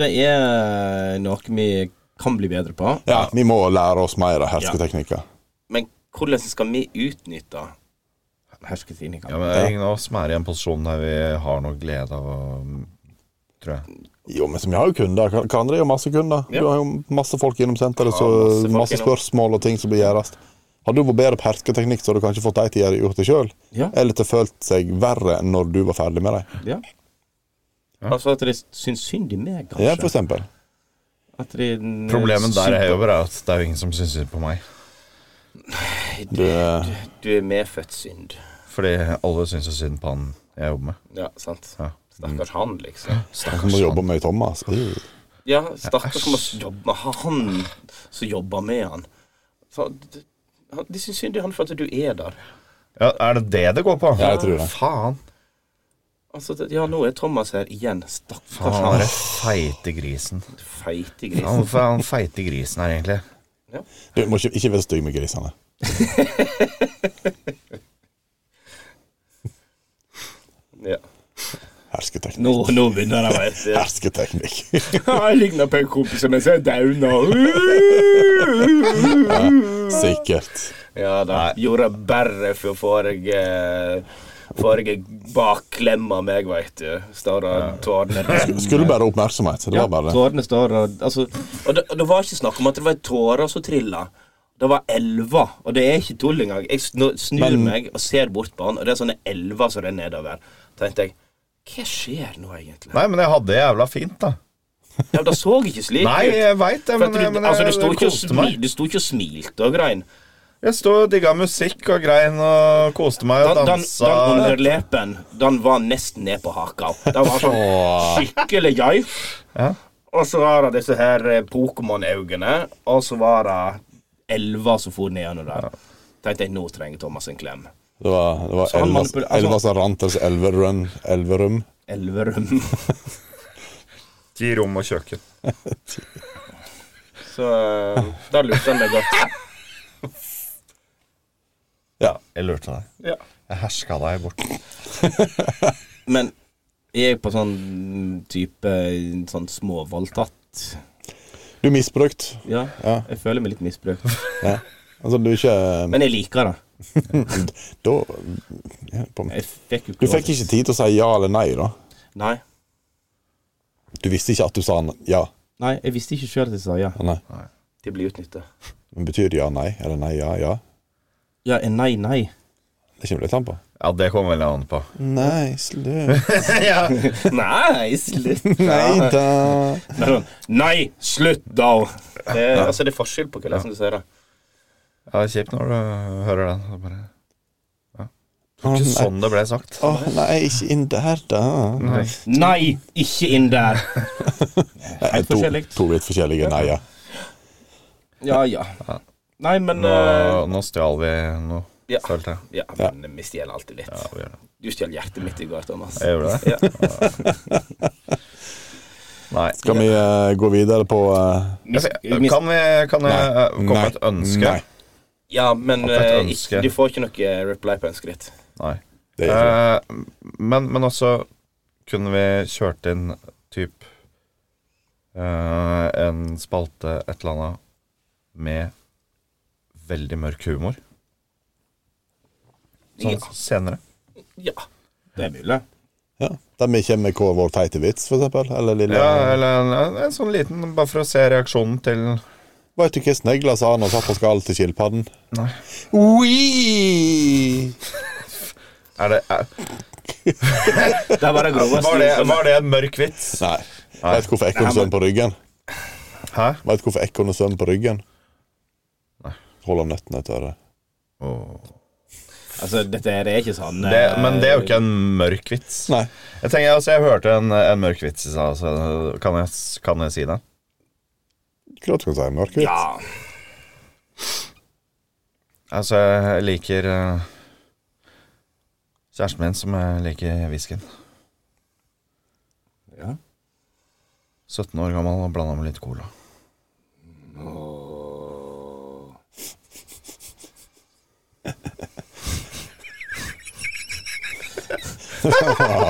Speaker 3: Det er eh, noe vi kan bli bedre på.
Speaker 2: Ja, Vi må lære oss mer av hersketeknikker.
Speaker 3: Men hvordan skal vi utnytte hersketeknikken?
Speaker 4: ja men det er ingen av oss som er i en posisjon der vi har noe glede av å Tror jeg.
Speaker 2: Jo, men som jeg har jo kunder. Kan- Kan dere gjøre masse kunder?
Speaker 3: Ja.
Speaker 2: Du har jo masse folk innom senteret, så
Speaker 3: masse folk
Speaker 2: masse
Speaker 3: innom.
Speaker 2: spørsmål og ting som blir gjøres. Har du vært bedre på hersketeknikk, så har du kanskje fått deg til å gjøre gjort det sjøl?
Speaker 3: Ja.
Speaker 2: Eller til følt seg verre enn når du var ferdig med det?
Speaker 3: Ja. Altså at de syns synd i meg, kanskje.
Speaker 2: Ja, for eksempel.
Speaker 3: At eh, de den
Speaker 4: Problemet der
Speaker 3: super-
Speaker 4: er jo bare at det er jo ingen som syns synd på meg.
Speaker 2: Du, eh,
Speaker 3: Du er medfødt synd.
Speaker 4: Fordi alle syns jo synd på han jeg jobber med.
Speaker 3: Ja, sant.
Speaker 4: Ja. Mm.
Speaker 3: Stakkars han, liksom.
Speaker 2: han må jobbe med Thomas. Øh.
Speaker 3: Ja, stakkars som må jobbe Han som jobber med han. Så, d- han- de syns synd i han for at du er der.
Speaker 4: Ja, Er det det det går på?
Speaker 2: Ja, jeg tror det.
Speaker 4: Faen.
Speaker 3: Altså, det- ja, nå er Thomas her igjen. Stakkars
Speaker 4: Faen, han
Speaker 3: han.
Speaker 4: er feite grisen.
Speaker 3: Feite
Speaker 4: Ja,
Speaker 3: grisen.
Speaker 4: Hvorfor er han feite grisen her, egentlig?
Speaker 2: Du må ikke, ikke være stygg med grisene.
Speaker 3: Ja.
Speaker 2: Hersketeknikk.
Speaker 3: Nå, nå begynner jeg å være
Speaker 2: Hersketeknikk.
Speaker 3: Jeg ligner på en kompis som jeg ser
Speaker 2: Sikkert.
Speaker 3: Ja da. Gjorde jeg bare for forrige Forrige bakklemma meg, veit du. Står og tårner
Speaker 2: Skulle bare oppmerksomhet. Det var bare det.
Speaker 3: Tårene står og altså, Og det, og det var ikke snakk om at det var tårer som trilla. Det var elver, og det er ikke tull engang. Jeg snu- snur
Speaker 2: Men-
Speaker 3: meg og ser bort på han, og det er sånne elver som renner nedover. tenkte jeg hva skjer nå, egentlig?
Speaker 4: Nei, men jeg hadde det jævla fint, da.
Speaker 3: Ja, det så ikke slik
Speaker 4: Nei,
Speaker 3: ut.
Speaker 4: jeg veit det,
Speaker 3: For
Speaker 4: men,
Speaker 3: at du,
Speaker 4: men
Speaker 3: altså, du,
Speaker 4: jeg,
Speaker 3: sto
Speaker 4: jeg
Speaker 3: ikke og
Speaker 4: koste meg.
Speaker 3: smil, du sto ikke og smilte og grein.
Speaker 4: Jeg sto og digga musikk og grein og koste meg og
Speaker 3: Den, den,
Speaker 4: dansa.
Speaker 3: den underlepen den var nesten ned på haka. Den var sånn skikkelig gøy.
Speaker 4: Ja.
Speaker 3: Og så var det disse her eh, Pokémon-øynene, og så var det elva som for nedover der. Tenkte jeg, nå trenger Thomas en klem.
Speaker 2: Det var, det var
Speaker 3: han
Speaker 2: elva-
Speaker 3: manipul- altså-
Speaker 2: elva som rant til elverum. elverum.
Speaker 3: Elverum.
Speaker 4: Ti rom og kjøkken.
Speaker 3: Så eh, da lurte han meg godt.
Speaker 4: Ja, jeg lurte deg.
Speaker 3: Ja.
Speaker 4: Jeg herska deg bort.
Speaker 3: Men jeg er på sånn type sånn småvoldtatt.
Speaker 2: Du er misbrukt.
Speaker 3: Ja, jeg føler meg litt misbrukt.
Speaker 2: Ja. Altså, du er ikke
Speaker 3: Men jeg liker det.
Speaker 2: Da ja, på,
Speaker 3: Jeg fikk jo
Speaker 2: Du fikk ikke tid til å si ja eller nei, da.
Speaker 3: Nei.
Speaker 2: Du visste ikke at du sa n- ja.
Speaker 3: Nei, jeg visste ikke sjøl at jeg sa ja.
Speaker 2: Nei.
Speaker 3: De blir utnytta.
Speaker 2: Men betyr ja nei? Eller nei, ja, ja?
Speaker 3: Ja, eh, nei, nei.
Speaker 2: Det kommer litt an på.
Speaker 4: Ja, det kom veldig an på.
Speaker 2: Nei, slutt.
Speaker 3: Nei, slutt.
Speaker 2: Nei da.
Speaker 3: Det er sånn, Nei, slutt, da! Det er, altså, det er forskjell på hvordan du sier det.
Speaker 4: Ja, det er kjipt når du hører den. Det er bare...
Speaker 2: Å
Speaker 4: Ikke
Speaker 2: nei.
Speaker 4: sånn det ble sagt.
Speaker 2: Å, nei, ikke inn der, da.
Speaker 4: Nei.
Speaker 3: Nei, ikke inn der!
Speaker 2: Nei, to,
Speaker 3: forskjellig.
Speaker 2: to vidt forskjellige nei, ja.
Speaker 3: Ja, ja. Nei, men
Speaker 4: Nå,
Speaker 3: eh,
Speaker 4: nå stjal vi noe,
Speaker 3: Ja.
Speaker 4: følte jeg.
Speaker 3: Ja, men vi stjeler alltid
Speaker 4: Ja,
Speaker 3: litt.
Speaker 4: vi gjør det.
Speaker 3: Du stjal hjertet mitt i går, Thomas.
Speaker 4: Jeg gjorde det?
Speaker 3: Ja.
Speaker 4: Nei.
Speaker 2: Skal vi eh, gå videre på eh,
Speaker 3: Mis, mis,
Speaker 4: Kan, vi, kan jeg eh, komme
Speaker 2: Nei.
Speaker 4: med et ønske?
Speaker 2: Nei.
Speaker 3: ja, men
Speaker 4: At det er et
Speaker 3: eh, ikke-
Speaker 4: ønske.
Speaker 3: du får ikke noe eh, reply på ønsket ditt.
Speaker 4: Nei.
Speaker 2: Det er ikke det.
Speaker 4: Eh, men, men også kunne vi kjørt inn typ eh, en spalte, et eller annet, med veldig mørk humor. Sånn
Speaker 3: Ja.
Speaker 4: senere.
Speaker 3: Ja, det er mulig.
Speaker 2: ja. Der vi kommer med hver vår teite vits, for eksempel. Eller lille
Speaker 4: Ja, eller en, en, en sånn liten, bare for å se reaksjonen til
Speaker 2: Veit du hva snegla sa når han satt på skallet til skilpadden?
Speaker 4: Nei.
Speaker 2: Ui!
Speaker 4: Er det, er,
Speaker 3: Det var det groveste.
Speaker 4: var, det, var det en mørk vits?
Speaker 2: Nei. Veit du hvorfor ekornet svømmer på ryggen?
Speaker 4: Hæ?
Speaker 2: Veit du hvorfor ekornet svømmer på ryggen? Holder om nøttene etter det.
Speaker 3: Altså, dette her er ikke sånn
Speaker 4: Det,
Speaker 3: eh,
Speaker 4: men det er jo ikke en mørk vits.
Speaker 2: Nei.
Speaker 4: Jeg tenker, altså, jeg hørte en, en mørk vits i stad, så kan jeg, kan jeg si den?
Speaker 2: Klart du kan si mørk vits.
Speaker 3: Ja.
Speaker 4: Altså, jeg liker eh, kjæresten min som jeg liker whiskyen.
Speaker 3: Ja.
Speaker 4: 17 år gammel og blanda med litt cola.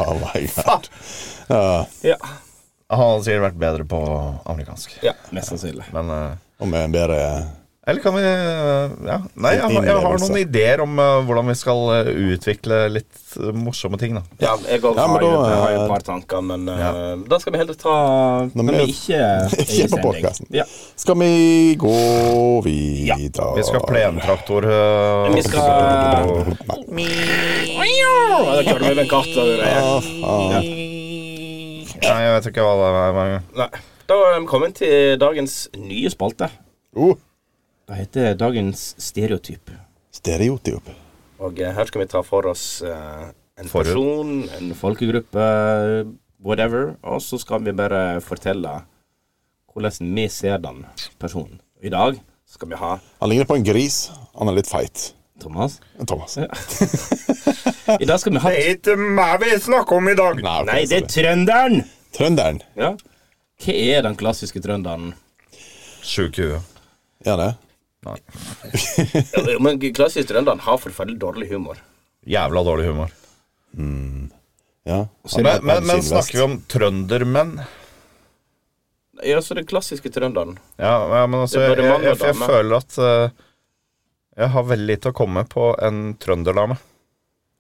Speaker 2: Oh my god.
Speaker 3: Ja.
Speaker 4: Han hadde sikkert vært bedre på amerikansk.
Speaker 3: ja. Mest sannsynlig.
Speaker 4: Men eh,
Speaker 2: Og med en bedre
Speaker 4: Eller kan vi eh, Ja. Nei, jeg, har- jeg har
Speaker 2: Innlevelse.
Speaker 4: noen ideer om eh, hvordan vi skal eh, utvikle litt eh, morsomme ting, da.
Speaker 3: Ja, jeg også
Speaker 2: Ja, men
Speaker 3: har, jo,
Speaker 2: da,
Speaker 3: jeg har jo
Speaker 2: eh,
Speaker 3: et par tanker, men
Speaker 4: ja.
Speaker 3: eh, da skal vi heller ta
Speaker 2: Når
Speaker 3: Når
Speaker 2: vi-
Speaker 3: vi ikke er i
Speaker 2: Ikke på
Speaker 3: sending.
Speaker 2: podcasten.
Speaker 3: Ja.
Speaker 2: Skal vi gå videre?
Speaker 4: Vi skal plentraktor eh,
Speaker 3: Vi skal Ja, Da kjører vi med en katt. Og det.
Speaker 4: Nei, jeg vet ikke hva det er. men-
Speaker 3: Nei. Da er vi kommet til dagens nye spalte.
Speaker 2: Oh,
Speaker 3: Det heter Dagens stereotyp.
Speaker 2: stereotyp.
Speaker 3: Og eh, her skal vi ta for oss eh, en
Speaker 4: Forhud.
Speaker 3: person, en folkegruppe, whatever. Og så skal vi bare fortelle hvordan vi ser den personen. I dag skal vi ha
Speaker 2: Han ligner på en gris. Han er litt feit.
Speaker 3: Thomas.
Speaker 2: Thomas.
Speaker 3: I dag skal vi ha
Speaker 8: Det er ikke meg vi snakker om i dag.
Speaker 2: Nei, ok,
Speaker 3: Nei, det
Speaker 2: sorry.
Speaker 3: er trønderen!
Speaker 2: Trønderen.
Speaker 3: Ja. Hva er den klassiske trønderen?
Speaker 4: Sjuk i huet.
Speaker 2: Ja, det.
Speaker 3: Ja, Men klassisk trønderen har forferdelig dårlig humor.
Speaker 4: Jævla dårlig humor.
Speaker 2: Ja.
Speaker 4: Men,
Speaker 2: Han er-
Speaker 4: men,
Speaker 2: han er
Speaker 4: men snakker vi om trøndermenn?
Speaker 3: Ja, så den klassiske trønderen.
Speaker 4: Ja, ja men altså
Speaker 3: Det er
Speaker 4: Jeg,
Speaker 3: bare
Speaker 4: jeg,
Speaker 3: mann og
Speaker 4: jeg, jeg
Speaker 3: dame.
Speaker 4: føler at eh, jeg har veldig lite å komme på en trønderdame.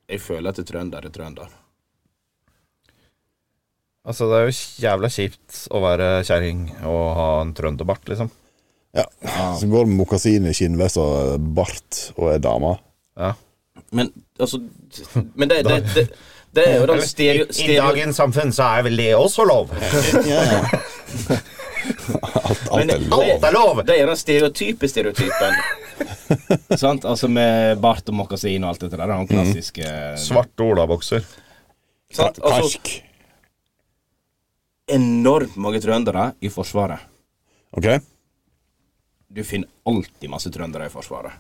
Speaker 3: Jeg føler at trønder er trønder.
Speaker 4: Altså, det er jo jævla kjipt å være kjerring og ha en trønderbart, liksom.
Speaker 2: Ja.
Speaker 4: Ah.
Speaker 2: Som går med mokasin i skinnvest og bart og er dame.
Speaker 4: Ja.
Speaker 3: Men altså Men det, det, det, det er jo den stereo... stereo
Speaker 4: samfunn så er vel det også lov.
Speaker 2: Alt, alt er
Speaker 3: Men-
Speaker 2: lov.
Speaker 3: Alt
Speaker 4: er lov!
Speaker 3: det er den stereotype stereotypen. Sant? Altså med bart og mokasin og alt dette der. Den klassiske
Speaker 4: Svarte olabokser.
Speaker 3: sant? Altså,
Speaker 2: Karsk.
Speaker 3: enormt mange trøndere i Forsvaret.
Speaker 2: Ok?
Speaker 3: Du finner alltid masse trøndere i Forsvaret.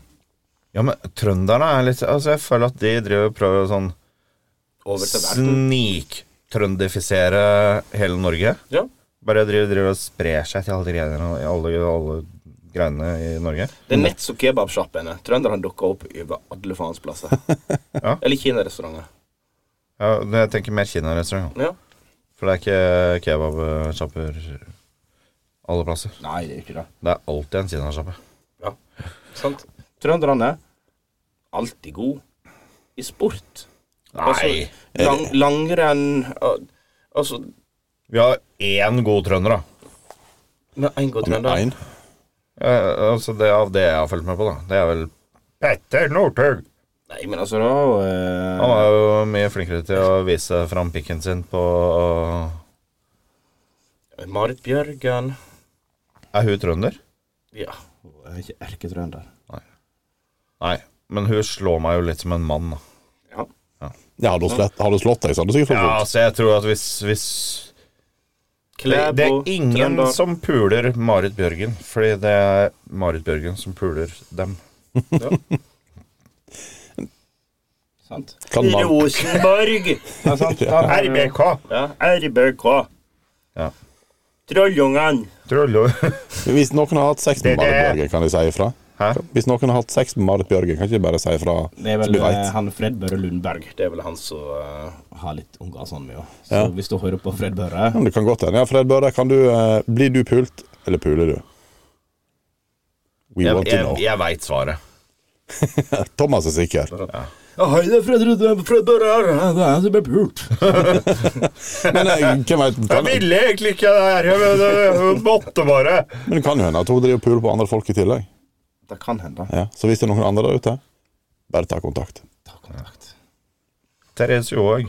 Speaker 4: Ja, men trønderne er litt Altså, jeg føler at de driver og prøver å sånn
Speaker 3: Over til verden.
Speaker 4: sniktrøndifisere hele Norge.
Speaker 3: Ja.
Speaker 4: Bare driver, driver og sprer seg til alle de greiene, i alle, alle greiene i Norge.
Speaker 3: Det er nett som kebabsjappene. Trønderne dukker opp over alle faens plasser. Eller kinarestauranter.
Speaker 4: Ja, men jeg tenker mer kinarestaurant.
Speaker 3: Ja.
Speaker 4: For det er ikke kebabsjapper alle plasser.
Speaker 3: Nei, det er jo ikke det.
Speaker 4: Det er alltid en kinasjappe.
Speaker 3: Ja. Sant. Trønderne alltid god i sport. Altså, lang, langrenn al- Altså,
Speaker 4: Vi har én god trønder, da.
Speaker 3: med én god
Speaker 2: Men
Speaker 3: trønder
Speaker 2: en.
Speaker 4: Eh, altså det Av det jeg har fulgt med på, da. Det er vel Petter Northug.
Speaker 3: Nei, men altså, da eh,
Speaker 4: Han er jo mye flinkere til å vise fram pikken sin på eh,
Speaker 3: Marit Bjørgen
Speaker 4: Er hun trønder?
Speaker 3: Ja, hun er ikke erketrønder.
Speaker 4: Nei. Men hun slår meg jo litt som en mann, da.
Speaker 3: Ja.
Speaker 2: Ja, har, du slett, har du slått deg, så hadde du sikkert fått
Speaker 4: Ja,
Speaker 2: vondt.
Speaker 4: altså, jeg tror at hvis, hvis det,
Speaker 3: Klæbo,
Speaker 4: det er ingen
Speaker 3: trønder.
Speaker 4: som puler Marit Bjørgen, fordi det er Marit Bjørgen som puler dem.
Speaker 3: Sant?
Speaker 2: Kan man-
Speaker 3: Rosenborg! Ja, sant? Da har du-
Speaker 4: RBK!
Speaker 3: Ja, RBK.
Speaker 4: Ja.
Speaker 3: Trollungene.
Speaker 4: Troller.
Speaker 2: Men Hvis noen har hatt sex med
Speaker 4: Det- det-
Speaker 2: Marit Bjørgen, kan de si ifra?
Speaker 4: Hæ?
Speaker 2: Hvis noen har hatt sex med Marit Bjørgen, kan ikke de bare si ifra?
Speaker 3: Det er
Speaker 2: så
Speaker 3: vel
Speaker 2: vi vet?
Speaker 3: eh, han Fred Børre Lundberg. Det er vel han som eh, har litt unger sånn med òg. Så
Speaker 2: Ja.
Speaker 3: hvis du hører på Fred Børre
Speaker 2: Ja, men det kan godt hende. Ja, Fred Børre, kan du, eh, blir du pult, eller puler du? We
Speaker 4: Jeg,
Speaker 2: want to
Speaker 4: jeg,
Speaker 2: know.
Speaker 4: jeg veit svaret.
Speaker 2: Thomas er sikker.
Speaker 3: Ja, hei, det er Fred, Fred Børre her. Det er jeg som blir pult.
Speaker 2: Men eh, hvem vet, kan,
Speaker 4: egentlig ikke det her, men hun måtte bare.
Speaker 2: men det kan jo hende at hun driver og puler på andre folk i tillegg.
Speaker 3: Det kan hende.
Speaker 2: Ja. Så hvis det er noen andre der ute, bare ta kontakt.
Speaker 3: Ta kontakt.
Speaker 4: Therese Johaug.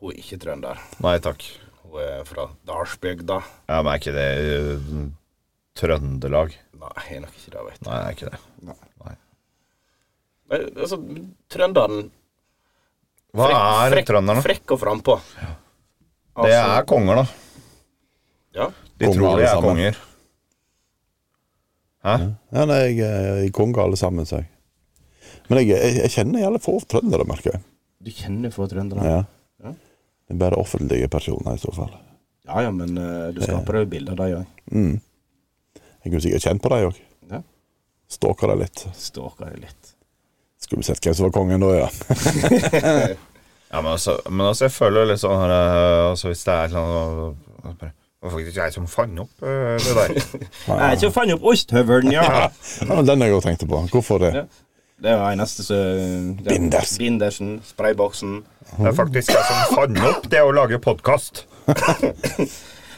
Speaker 3: Hun er ikke trønder.
Speaker 4: Nei takk.
Speaker 3: Hun er fra Dalsbygda.
Speaker 4: Ja, men er ikke det eh, Trøndelag?
Speaker 3: Nei, jeg er nok ikke det, vet du.
Speaker 4: Nei, det er ikke det.
Speaker 3: Nei, Altså, trønderen
Speaker 4: Hva er
Speaker 3: frekk,
Speaker 4: trønderne?
Speaker 3: frekk og frampå.
Speaker 4: Det er konger, da.
Speaker 3: Altså, Ja.
Speaker 4: De tror
Speaker 2: Altså, Konger
Speaker 4: de
Speaker 2: alle
Speaker 4: er
Speaker 2: sammen. Mm.
Speaker 4: konger. Hæ?
Speaker 2: Ja, nei, jeg er i konge alle sammen, sier jeg. Men jeg, jeg, jeg kjenner jævlig få trøndere, merker jeg.
Speaker 3: Du kjenner få trøndere? Ja.
Speaker 2: Ja. Det er bare offentlige personer, i så fall.
Speaker 3: ja ja, men eh, du skaper jo bilder av dem òg.
Speaker 2: Jeg kunne sikkert kjent på dem òg.
Speaker 3: Ja.
Speaker 2: Stalka dem litt.
Speaker 3: Stalker deg litt.
Speaker 2: Skulle vi sett hvem som var kongen da, ja.
Speaker 4: Ja, men altså, men altså jeg føler jo litt sånn her eh, altså, Hvis det er et eller annet og- og bare, Det var faktisk jeg som fant opp eh, det der.
Speaker 3: Nei, så fant opp osthøvelen, ja.
Speaker 2: Ja, men Den jeg òg tenkte på. Hvorfor det?
Speaker 3: Ja. Det var eneste som det-
Speaker 2: Binders.
Speaker 3: Bindersen, sprayboksen.
Speaker 4: Det er faktisk jeg som fant opp det å lage podkast.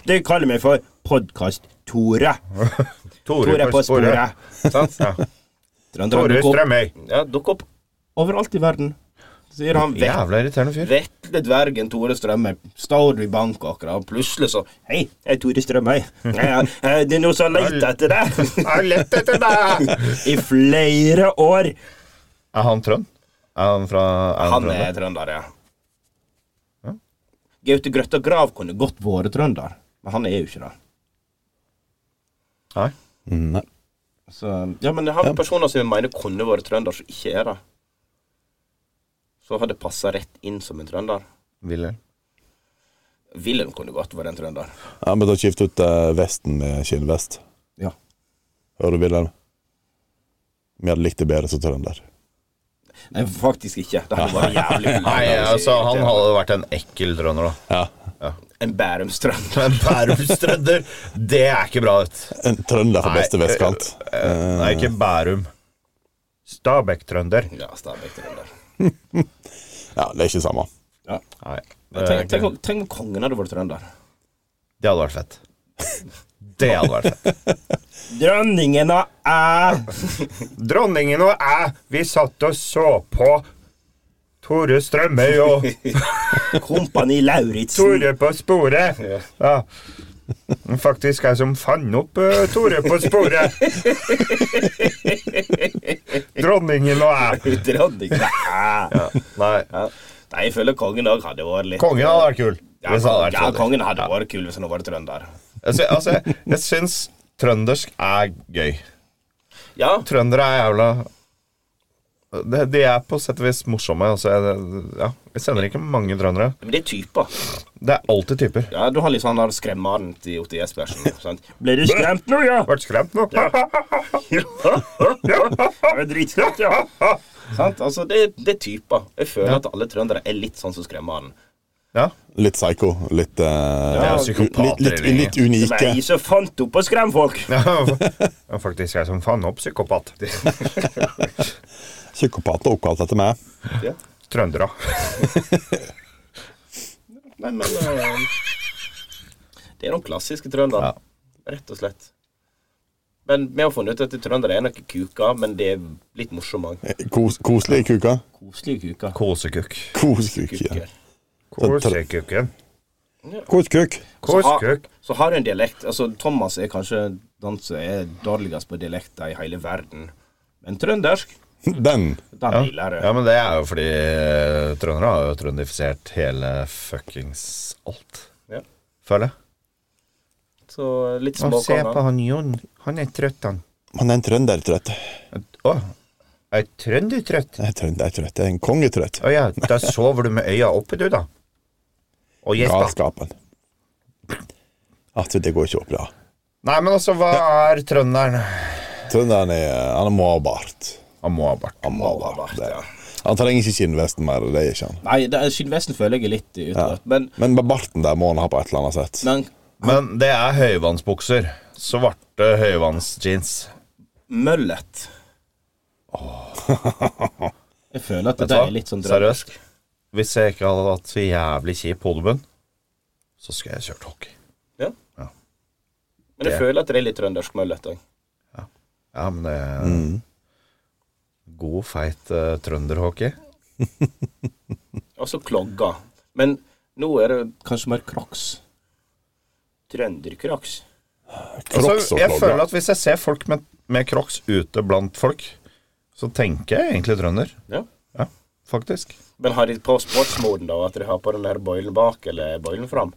Speaker 3: Du kaller meg for Podkast-Tore. Tore på sporet. Sant?
Speaker 4: Ja.
Speaker 3: Trønderne
Speaker 4: Tore
Speaker 3: dukker opp-
Speaker 4: Strømøy.
Speaker 3: Ja, dukker opp overalt i verden. sier han vekk
Speaker 4: Jævla irriterende fyr.
Speaker 3: Vetle dvergen Tore Strømøy. Står du i Bangkok, da, og plutselig så Hei, jeg er Tore Strømøy. Ja, ja, Det er noen som leter etter deg.
Speaker 9: Jeg har lett etter deg!
Speaker 3: I flere år.
Speaker 4: Er han trønd? Er han fra er
Speaker 3: Han
Speaker 4: han trønder?
Speaker 3: er trønder, ja. Gaute Grøtta Grav kunne godt vært trønder, men han er jo ikke det.
Speaker 4: Nei.
Speaker 2: Nei.
Speaker 3: Så, ja, men jeg har personer som jeg mener kunne vært trønder, som ikke er det. Så hadde passa rett inn som en trønder.
Speaker 4: Wilhelm.
Speaker 3: Wilhelm kunne godt vært en trønder.
Speaker 2: Ja, men da skift ut eh, vesten med skinnvest.
Speaker 3: Ja.
Speaker 2: Hører du, Wilhelm? Vi hadde likt det bedre som trønder.
Speaker 3: Nei, faktisk ikke. Det hadde vært jævlig
Speaker 4: Nei, altså, han hadde vært en ekkel trønder, da.
Speaker 2: Ja.
Speaker 3: En Bærumstrønder.
Speaker 4: Men Bærumstrønder, det er ikke bra, vet du.
Speaker 2: En trønder fra
Speaker 4: Nei,
Speaker 2: beste vestkant.
Speaker 4: Nei, ikke Bærum. Stabekk-trønder.
Speaker 3: Ja, Stabæk trønder.
Speaker 2: Ja, det er ikke samme.
Speaker 3: Ja.
Speaker 4: Nei. Eh, det er
Speaker 3: Tenk, tenk,
Speaker 4: ikke-
Speaker 3: om- tenk om kongen hadde vært trønder.
Speaker 4: Det hadde vært fett. Det hadde vært fett.
Speaker 3: Dronningen av æ!
Speaker 9: Dronningen og jeg, vi satt og så på Tore Strømøy og
Speaker 3: Kompani Lauritzen.
Speaker 9: Tore på sporet. Ja. Faktisk jeg som fant opp eh, Tore på sporet. Dronningen og jeg.
Speaker 3: Dronningen av æ!
Speaker 4: Nei,
Speaker 3: Ja. Nei, jeg føler kongen òg hadde vært litt
Speaker 4: kongen hadde vært kul.
Speaker 3: Ja,
Speaker 4: Hvis han hadde vært
Speaker 3: ja,
Speaker 4: trønder.
Speaker 3: kongen hadde vært kul hvis han hadde vært trønder.
Speaker 4: Jeg sy- Altså, jeg, jeg syns trøndersk er gøy.
Speaker 3: Ja,
Speaker 4: Trøndere er jævla de, de er på sett og vis morsomme. Altså, jeg, ja, jeg sender ikke mange trøndere.
Speaker 3: men det er typer.
Speaker 4: Det er alltid typer.
Speaker 3: Ja, Du har litt sånn der skremmeren til Otte Jespersen. sant? Ble du skremt nå, ja?
Speaker 9: Ble skremt nå.
Speaker 3: Jeg er dritskremt, ja. Sant? Altså, det, det er typer. Jeg føler at alle trøndere er litt sånn som skremmeren.
Speaker 4: Ja.
Speaker 2: Litt psycho. Litt, eh,
Speaker 3: Ja,
Speaker 4: psykopater,
Speaker 2: litt, litt, litt unike.
Speaker 3: Nei, så fant opp å skremme folk.
Speaker 4: ja faktisk jeg som faen opp psykopat.
Speaker 2: Psykopater oppkalt etter meg.
Speaker 3: Ja.
Speaker 4: Trøndere.
Speaker 3: Nei, men eh, Det er noen klassiske trøndere. Rett og slett. Men vi har funnet ut at trøndere er noen kuker, men det er litt morsomme. òg.
Speaker 2: Kos, koselige kuker.
Speaker 3: Koselige kuker.
Speaker 4: Kosekuk.
Speaker 2: Kosekuk. Ja.
Speaker 3: kuker.
Speaker 4: Kosekuken.
Speaker 2: Kosekuk.
Speaker 4: Kosekuk.
Speaker 3: Så ah. har du en dialekt Altså, Thomas er kanskje den som er dårligst på dialekter i hele verden. Men trøndersk,
Speaker 2: Den.
Speaker 3: den
Speaker 4: Ja.
Speaker 3: hviler
Speaker 4: ja, men det er jo fordi eh, trøndere har jo trøndifisert hele fuckings alt.
Speaker 3: Ja.
Speaker 4: Føler jeg.
Speaker 3: Så
Speaker 4: Å,
Speaker 3: litt
Speaker 4: se på
Speaker 3: småkonger.
Speaker 4: han Jon. Han er trøtt, han.
Speaker 2: Han er en trøndertrøtt.
Speaker 4: Å, er trønder trøtt?
Speaker 2: Det er trøndertrøtt. Det er en kongetrøtt.
Speaker 4: Å ja, da sover du med øya oppe, du, da. Og gjespa.
Speaker 2: Galskapen. Altså, det går ikke opp, ja.
Speaker 4: Nei, men altså, hva er trønderen?
Speaker 2: Trønderen er Han må ha bart.
Speaker 4: Han må ha bart.
Speaker 2: Han må ha bart. det.
Speaker 3: ja.
Speaker 2: Han trenger ikke skinnvesten mer, det er ikke han.
Speaker 3: Nei, det er- skinnvesten føler jeg er litt utrørt. Men,
Speaker 2: Men bare barten der må han ha på et eller annet sett.
Speaker 3: men
Speaker 4: Men det er høyvannsbukser. Svarte høyvannsjeans.
Speaker 3: møllet Jeg føler at
Speaker 4: Vet du
Speaker 3: det
Speaker 4: hva?
Speaker 3: er litt sånn
Speaker 4: Seriøst. Hvis jeg ikke hadde hatt så jævlig kjip hodebunn, så skulle jeg kjørt hockey.
Speaker 3: Ja.
Speaker 4: Ja.
Speaker 3: Men jeg
Speaker 4: Det-
Speaker 3: føler at det er litt trøndersk møllet òg.
Speaker 4: Ja, men det er
Speaker 3: Mm.
Speaker 4: God, feit eh, trønderhockey.
Speaker 3: Og så klogger. Men nå er det kanskje mer crocs. Trøndercrocs.
Speaker 2: Crocs
Speaker 4: Altså,
Speaker 2: og
Speaker 4: jeg føler
Speaker 2: klogger.
Speaker 4: at hvis jeg ser folk med, med crocs ute blant folk, så tenker jeg egentlig trønder.
Speaker 3: Ja.
Speaker 4: Ja, faktisk.
Speaker 3: Men har de på sportsmoden, da? At de har på den her bøylen bak eller bøylen fram?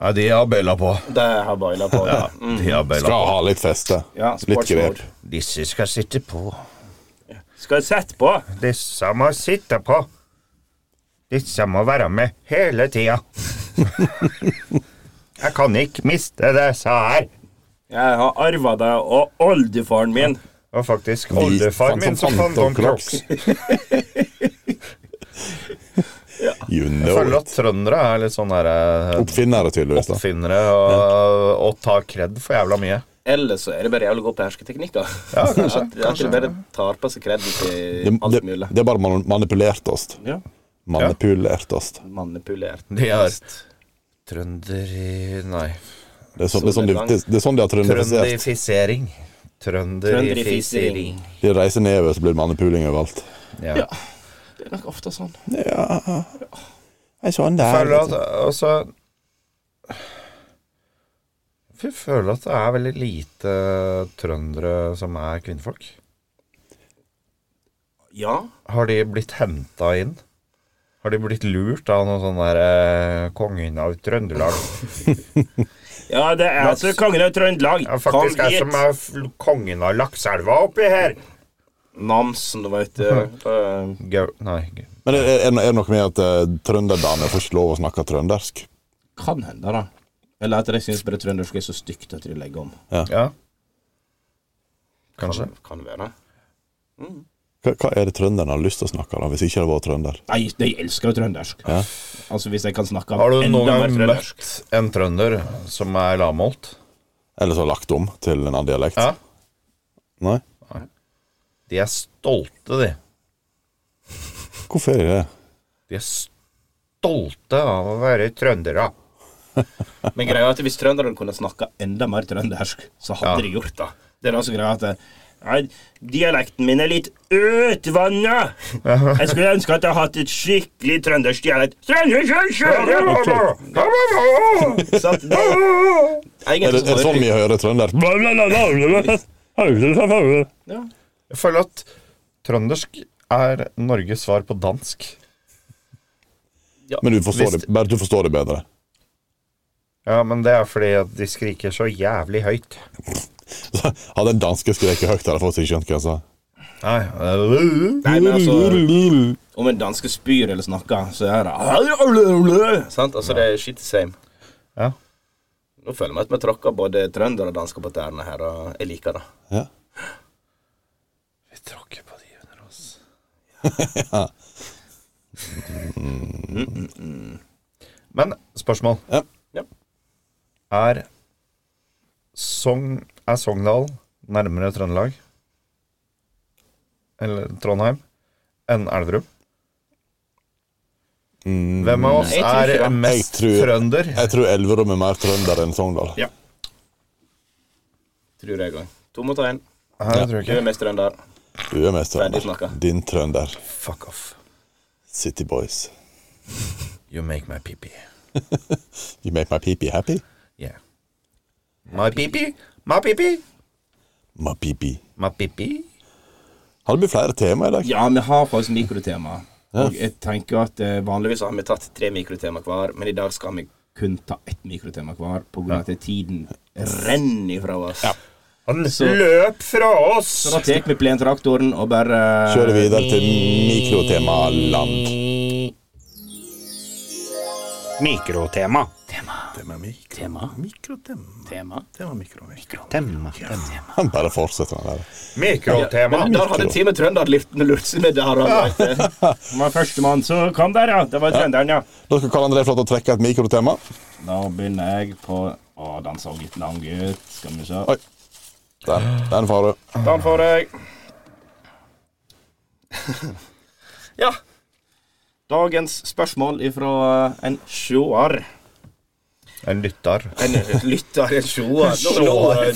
Speaker 4: Nei, de har bøyla på.
Speaker 3: Det har bøyla på.
Speaker 4: Ja,
Speaker 3: Ja. Mm.
Speaker 4: de har bøyla
Speaker 2: Skal
Speaker 4: på.
Speaker 2: ha litt feste.
Speaker 3: Ja,
Speaker 2: litt grep.
Speaker 3: sportsmode.
Speaker 4: Disse skal sitte på.
Speaker 3: Skal jeg sette på?
Speaker 9: Disse må sitte på. Disse må være med hele tida. Jeg kan ikke miste disse her.
Speaker 3: Jeg har arva det av oldefaren min.
Speaker 9: Og faktisk
Speaker 2: De-
Speaker 9: oldefar
Speaker 2: han
Speaker 9: min som fant
Speaker 2: opp
Speaker 9: om Crocs.
Speaker 2: You
Speaker 4: Jeg
Speaker 2: know
Speaker 4: føler at
Speaker 2: it.
Speaker 4: trøndere er litt sånn her eh,
Speaker 2: Oppfinnere, tydeligvis. da.
Speaker 4: oppfinnere og, og tar kred for jævla mye.
Speaker 3: Eller så er det bare jævlig god på hersketeknikker.
Speaker 4: Ja, kanskje,
Speaker 3: at, at de bare tar på seg kreden
Speaker 2: Det,
Speaker 3: til alt
Speaker 2: det,
Speaker 3: mulig.
Speaker 2: det er bare man- manipulert oss.
Speaker 3: Ja.
Speaker 2: Manipulert oss.
Speaker 3: Manipulert.
Speaker 4: De har Trønder i Nei.
Speaker 2: Det er, sånn- det, er sånn de, det, det er sånn de har trønderfisert.
Speaker 4: Trønderifisering. Trønderifisering.
Speaker 3: Trønderifisering.
Speaker 2: De reiser nedover, så blir det manipuling overalt.
Speaker 4: Ja.
Speaker 3: Det er nok ofte sånn.
Speaker 2: Ja Jeg sånn det
Speaker 4: føler at
Speaker 2: er.
Speaker 4: Altså Jeg føler at det er veldig lite trøndere som er kvinnfolk.
Speaker 3: Ja.
Speaker 4: Har de blitt henta inn? Har de blitt lurt av noen sånn der eh, kongen av Trøndelag?
Speaker 3: Ja, det er altså kongen av Trøndelag.
Speaker 4: Ja, faktisk
Speaker 3: Kom
Speaker 4: er
Speaker 3: hit.
Speaker 4: som er f- kongen av Lakselva oppi her!
Speaker 3: Namsen, veit du.
Speaker 4: Mhm.
Speaker 3: Eh,
Speaker 4: Gau... Nei. Gau-
Speaker 2: Men er, er, er det noe med at uh, trønderdamer får ikke lov å snakke trøndersk?
Speaker 3: kan hende, da. Eller at de syns bare trøndersk er så stygt at de legger om.
Speaker 4: Ja. Kanskje.
Speaker 3: Kan, kan være.
Speaker 2: Hva, hva er det trønderne har lyst til å snakke da, hvis ikke det var trønder?
Speaker 3: Nei, de elsker jo trøndersk. Altså, hvis jeg kan snakke
Speaker 4: Har du noen
Speaker 3: enda mer
Speaker 4: gang
Speaker 3: trøndersk.
Speaker 4: møtt en trønder som er lavmålt?
Speaker 2: Eller så lagt om til en annen dialekt?
Speaker 4: Ja.
Speaker 2: Nei?
Speaker 4: De er stolte, de.
Speaker 2: Hvorfor er de det?
Speaker 4: De er stolte av å være trøndere.
Speaker 3: Men greia er at hvis trønderne kunne snakka enda mer trøndersk, så hadde de gjort det. Det er altså greia at eh, Nei, dialekten min er litt utvanna. Jeg skulle ønske at jeg hadde hatt et skikkelig trøndersk dialekt. Så at det,
Speaker 2: Er det,
Speaker 3: egentlig
Speaker 2: er det sånn vi hører trønder?
Speaker 3: ja.
Speaker 4: Jeg føler at trøndersk er Norges svar på dansk.
Speaker 2: Men du forstår, det, bare du forstår det bedre.
Speaker 4: Ja, men det er fordi at de skriker så jævlig høyt.
Speaker 2: Hadde en danske skreket høyt, hadde jeg fått ikke skjønt hva jeg sa.
Speaker 4: Nei,
Speaker 3: Nei, men altså Om en danske spyr eller snakker, så er det Sant? Altså, det er shit the same.
Speaker 4: Ja.
Speaker 3: Nå føler jeg at vi tråkker både trønder og dansker på tærne her, og jeg liker det.
Speaker 2: Ja.
Speaker 4: Vi tråkker på de under oss. Men spørsmål.
Speaker 2: Ja.
Speaker 3: Ja.
Speaker 4: Er Sogn Er Sogndal nærmere Trøndelag? Eller Trondheim? Enn Elverum? Hvem av oss
Speaker 3: Nei, jeg tror ikke
Speaker 4: er
Speaker 3: det.
Speaker 4: mest
Speaker 2: Jeg tror-
Speaker 4: trønder?
Speaker 2: Jeg tror Elverum er mer trønder enn Sogndal.
Speaker 3: Ja. Tror jeg òg. To mot én.
Speaker 4: Her tror jeg
Speaker 3: Du er
Speaker 4: ikke.
Speaker 3: mest trønder.
Speaker 2: Du er mest
Speaker 3: Ferdig
Speaker 2: trønder.
Speaker 3: snakka.
Speaker 2: Din trønder.
Speaker 4: Fuck off.
Speaker 2: City Boys.
Speaker 4: You make my pee-pee.
Speaker 2: You make my pee-pee happy?
Speaker 4: Yeah. My pee-pee. My pee-pee.
Speaker 2: My pee-pee.
Speaker 4: My pee-pee.
Speaker 2: Har det blitt flere tema i dag?
Speaker 3: Ja, vi har faktisk mikrotema. Og jeg tenker at eh, Vanligvis har vi tatt tre mikrotema hver, men i dag skal vi kun ta ett mikrotema hver pga. at tiden renner ifra oss.
Speaker 4: Han
Speaker 3: Så-
Speaker 4: løp fra oss!
Speaker 3: Så da tar vi plentraktoren og bare
Speaker 2: Kjører videre til mikrotema-land.
Speaker 10: Mikrotema.
Speaker 3: Tema. Tema.
Speaker 10: Tema.
Speaker 2: Han bare fortsetter med det.
Speaker 4: Mikrotema.
Speaker 3: Men der hadde Team Trønderliftene lurt seg med der. Han var førstemann, så kom der, ja. Det var trønderen, ja.
Speaker 2: Da skal Karl André få lov til å trekke et mikrotema.
Speaker 3: Da begynner jeg på Å, den så litt lang ut. Skal vi se.
Speaker 2: Oi. Der. Den får du.
Speaker 3: Den får jeg. ja. Dagens spørsmål ifra eh, en sjoar.
Speaker 4: En lytter.
Speaker 3: En lytter, en sjoar. Nå, nå,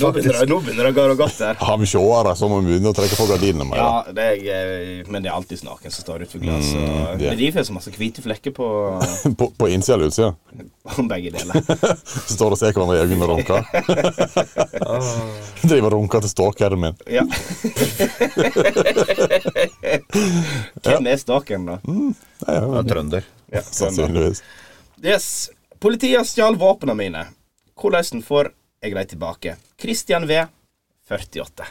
Speaker 3: nå, begynner det- nå begynner det å gå godt der.
Speaker 2: Har vi seere, så må vi begynne å trekke på gardinene. Med.
Speaker 3: Ja, det er, eh, men det er alltid noen som står utenfor glasset. og
Speaker 2: ja.
Speaker 3: Mm, Det er derfor så masse hvite flekker på,
Speaker 2: På, på innsida eller utsida.
Speaker 3: på begge deler.
Speaker 2: Så står og ser hverandre i øynene og runker.
Speaker 3: Ah.
Speaker 2: Driver og runker til stalkeren min.
Speaker 3: Ja. Hvem er staken, da?
Speaker 2: Nei, ja,
Speaker 4: En trønder.
Speaker 3: Ja,
Speaker 2: sannsynligvis.
Speaker 3: Yes. Politiet stjal våpnene mine. Hvordan får jeg dem tilbake? Christian V. 48.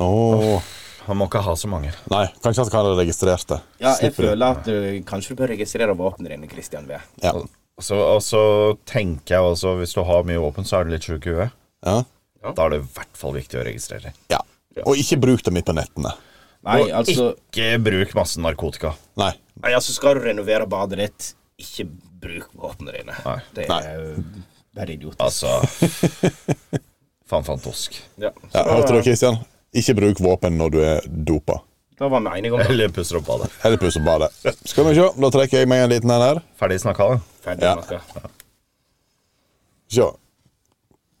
Speaker 2: Åh.
Speaker 4: Han må ikke ha så mange.
Speaker 2: Nei, kanskje han kan ha registrert det.
Speaker 3: Ja, jeg
Speaker 2: Slipper det.
Speaker 3: føler at du kanskje du bør registrere våpnene dine, Christian V.
Speaker 2: Ja.
Speaker 4: Og så, og så tenker jeg også, hvis du har mye våpen, så er du litt sjuk i huet.
Speaker 2: Ja.
Speaker 4: Da er det i hvert fall viktig å registrere.
Speaker 2: ja. Og ikke bruk det midt på nettene.
Speaker 3: Nei,
Speaker 4: og
Speaker 3: altså,
Speaker 4: ikke bruk masse narkotika.
Speaker 2: Nei.
Speaker 3: nei, altså skal du renovere badet ditt, ikke bruk våpnene dine.
Speaker 4: Nei.
Speaker 3: Det
Speaker 2: Nei.
Speaker 3: er jo bare idiotisk.
Speaker 4: Altså Faen fantosk.
Speaker 3: Ja. Så
Speaker 2: Ja, hørte du,
Speaker 3: da,
Speaker 2: Christian? Ikke bruk våpen når du er dopa.
Speaker 3: da var vi enige om det.
Speaker 4: Eller pusser opp badet.
Speaker 2: Eller pusser badet. Skal vi sjå, da trekker jeg meg en liten en her.
Speaker 4: Ferdig snakka, da.
Speaker 3: Ferdig
Speaker 2: Ja.
Speaker 3: snakka.
Speaker 2: Sjå.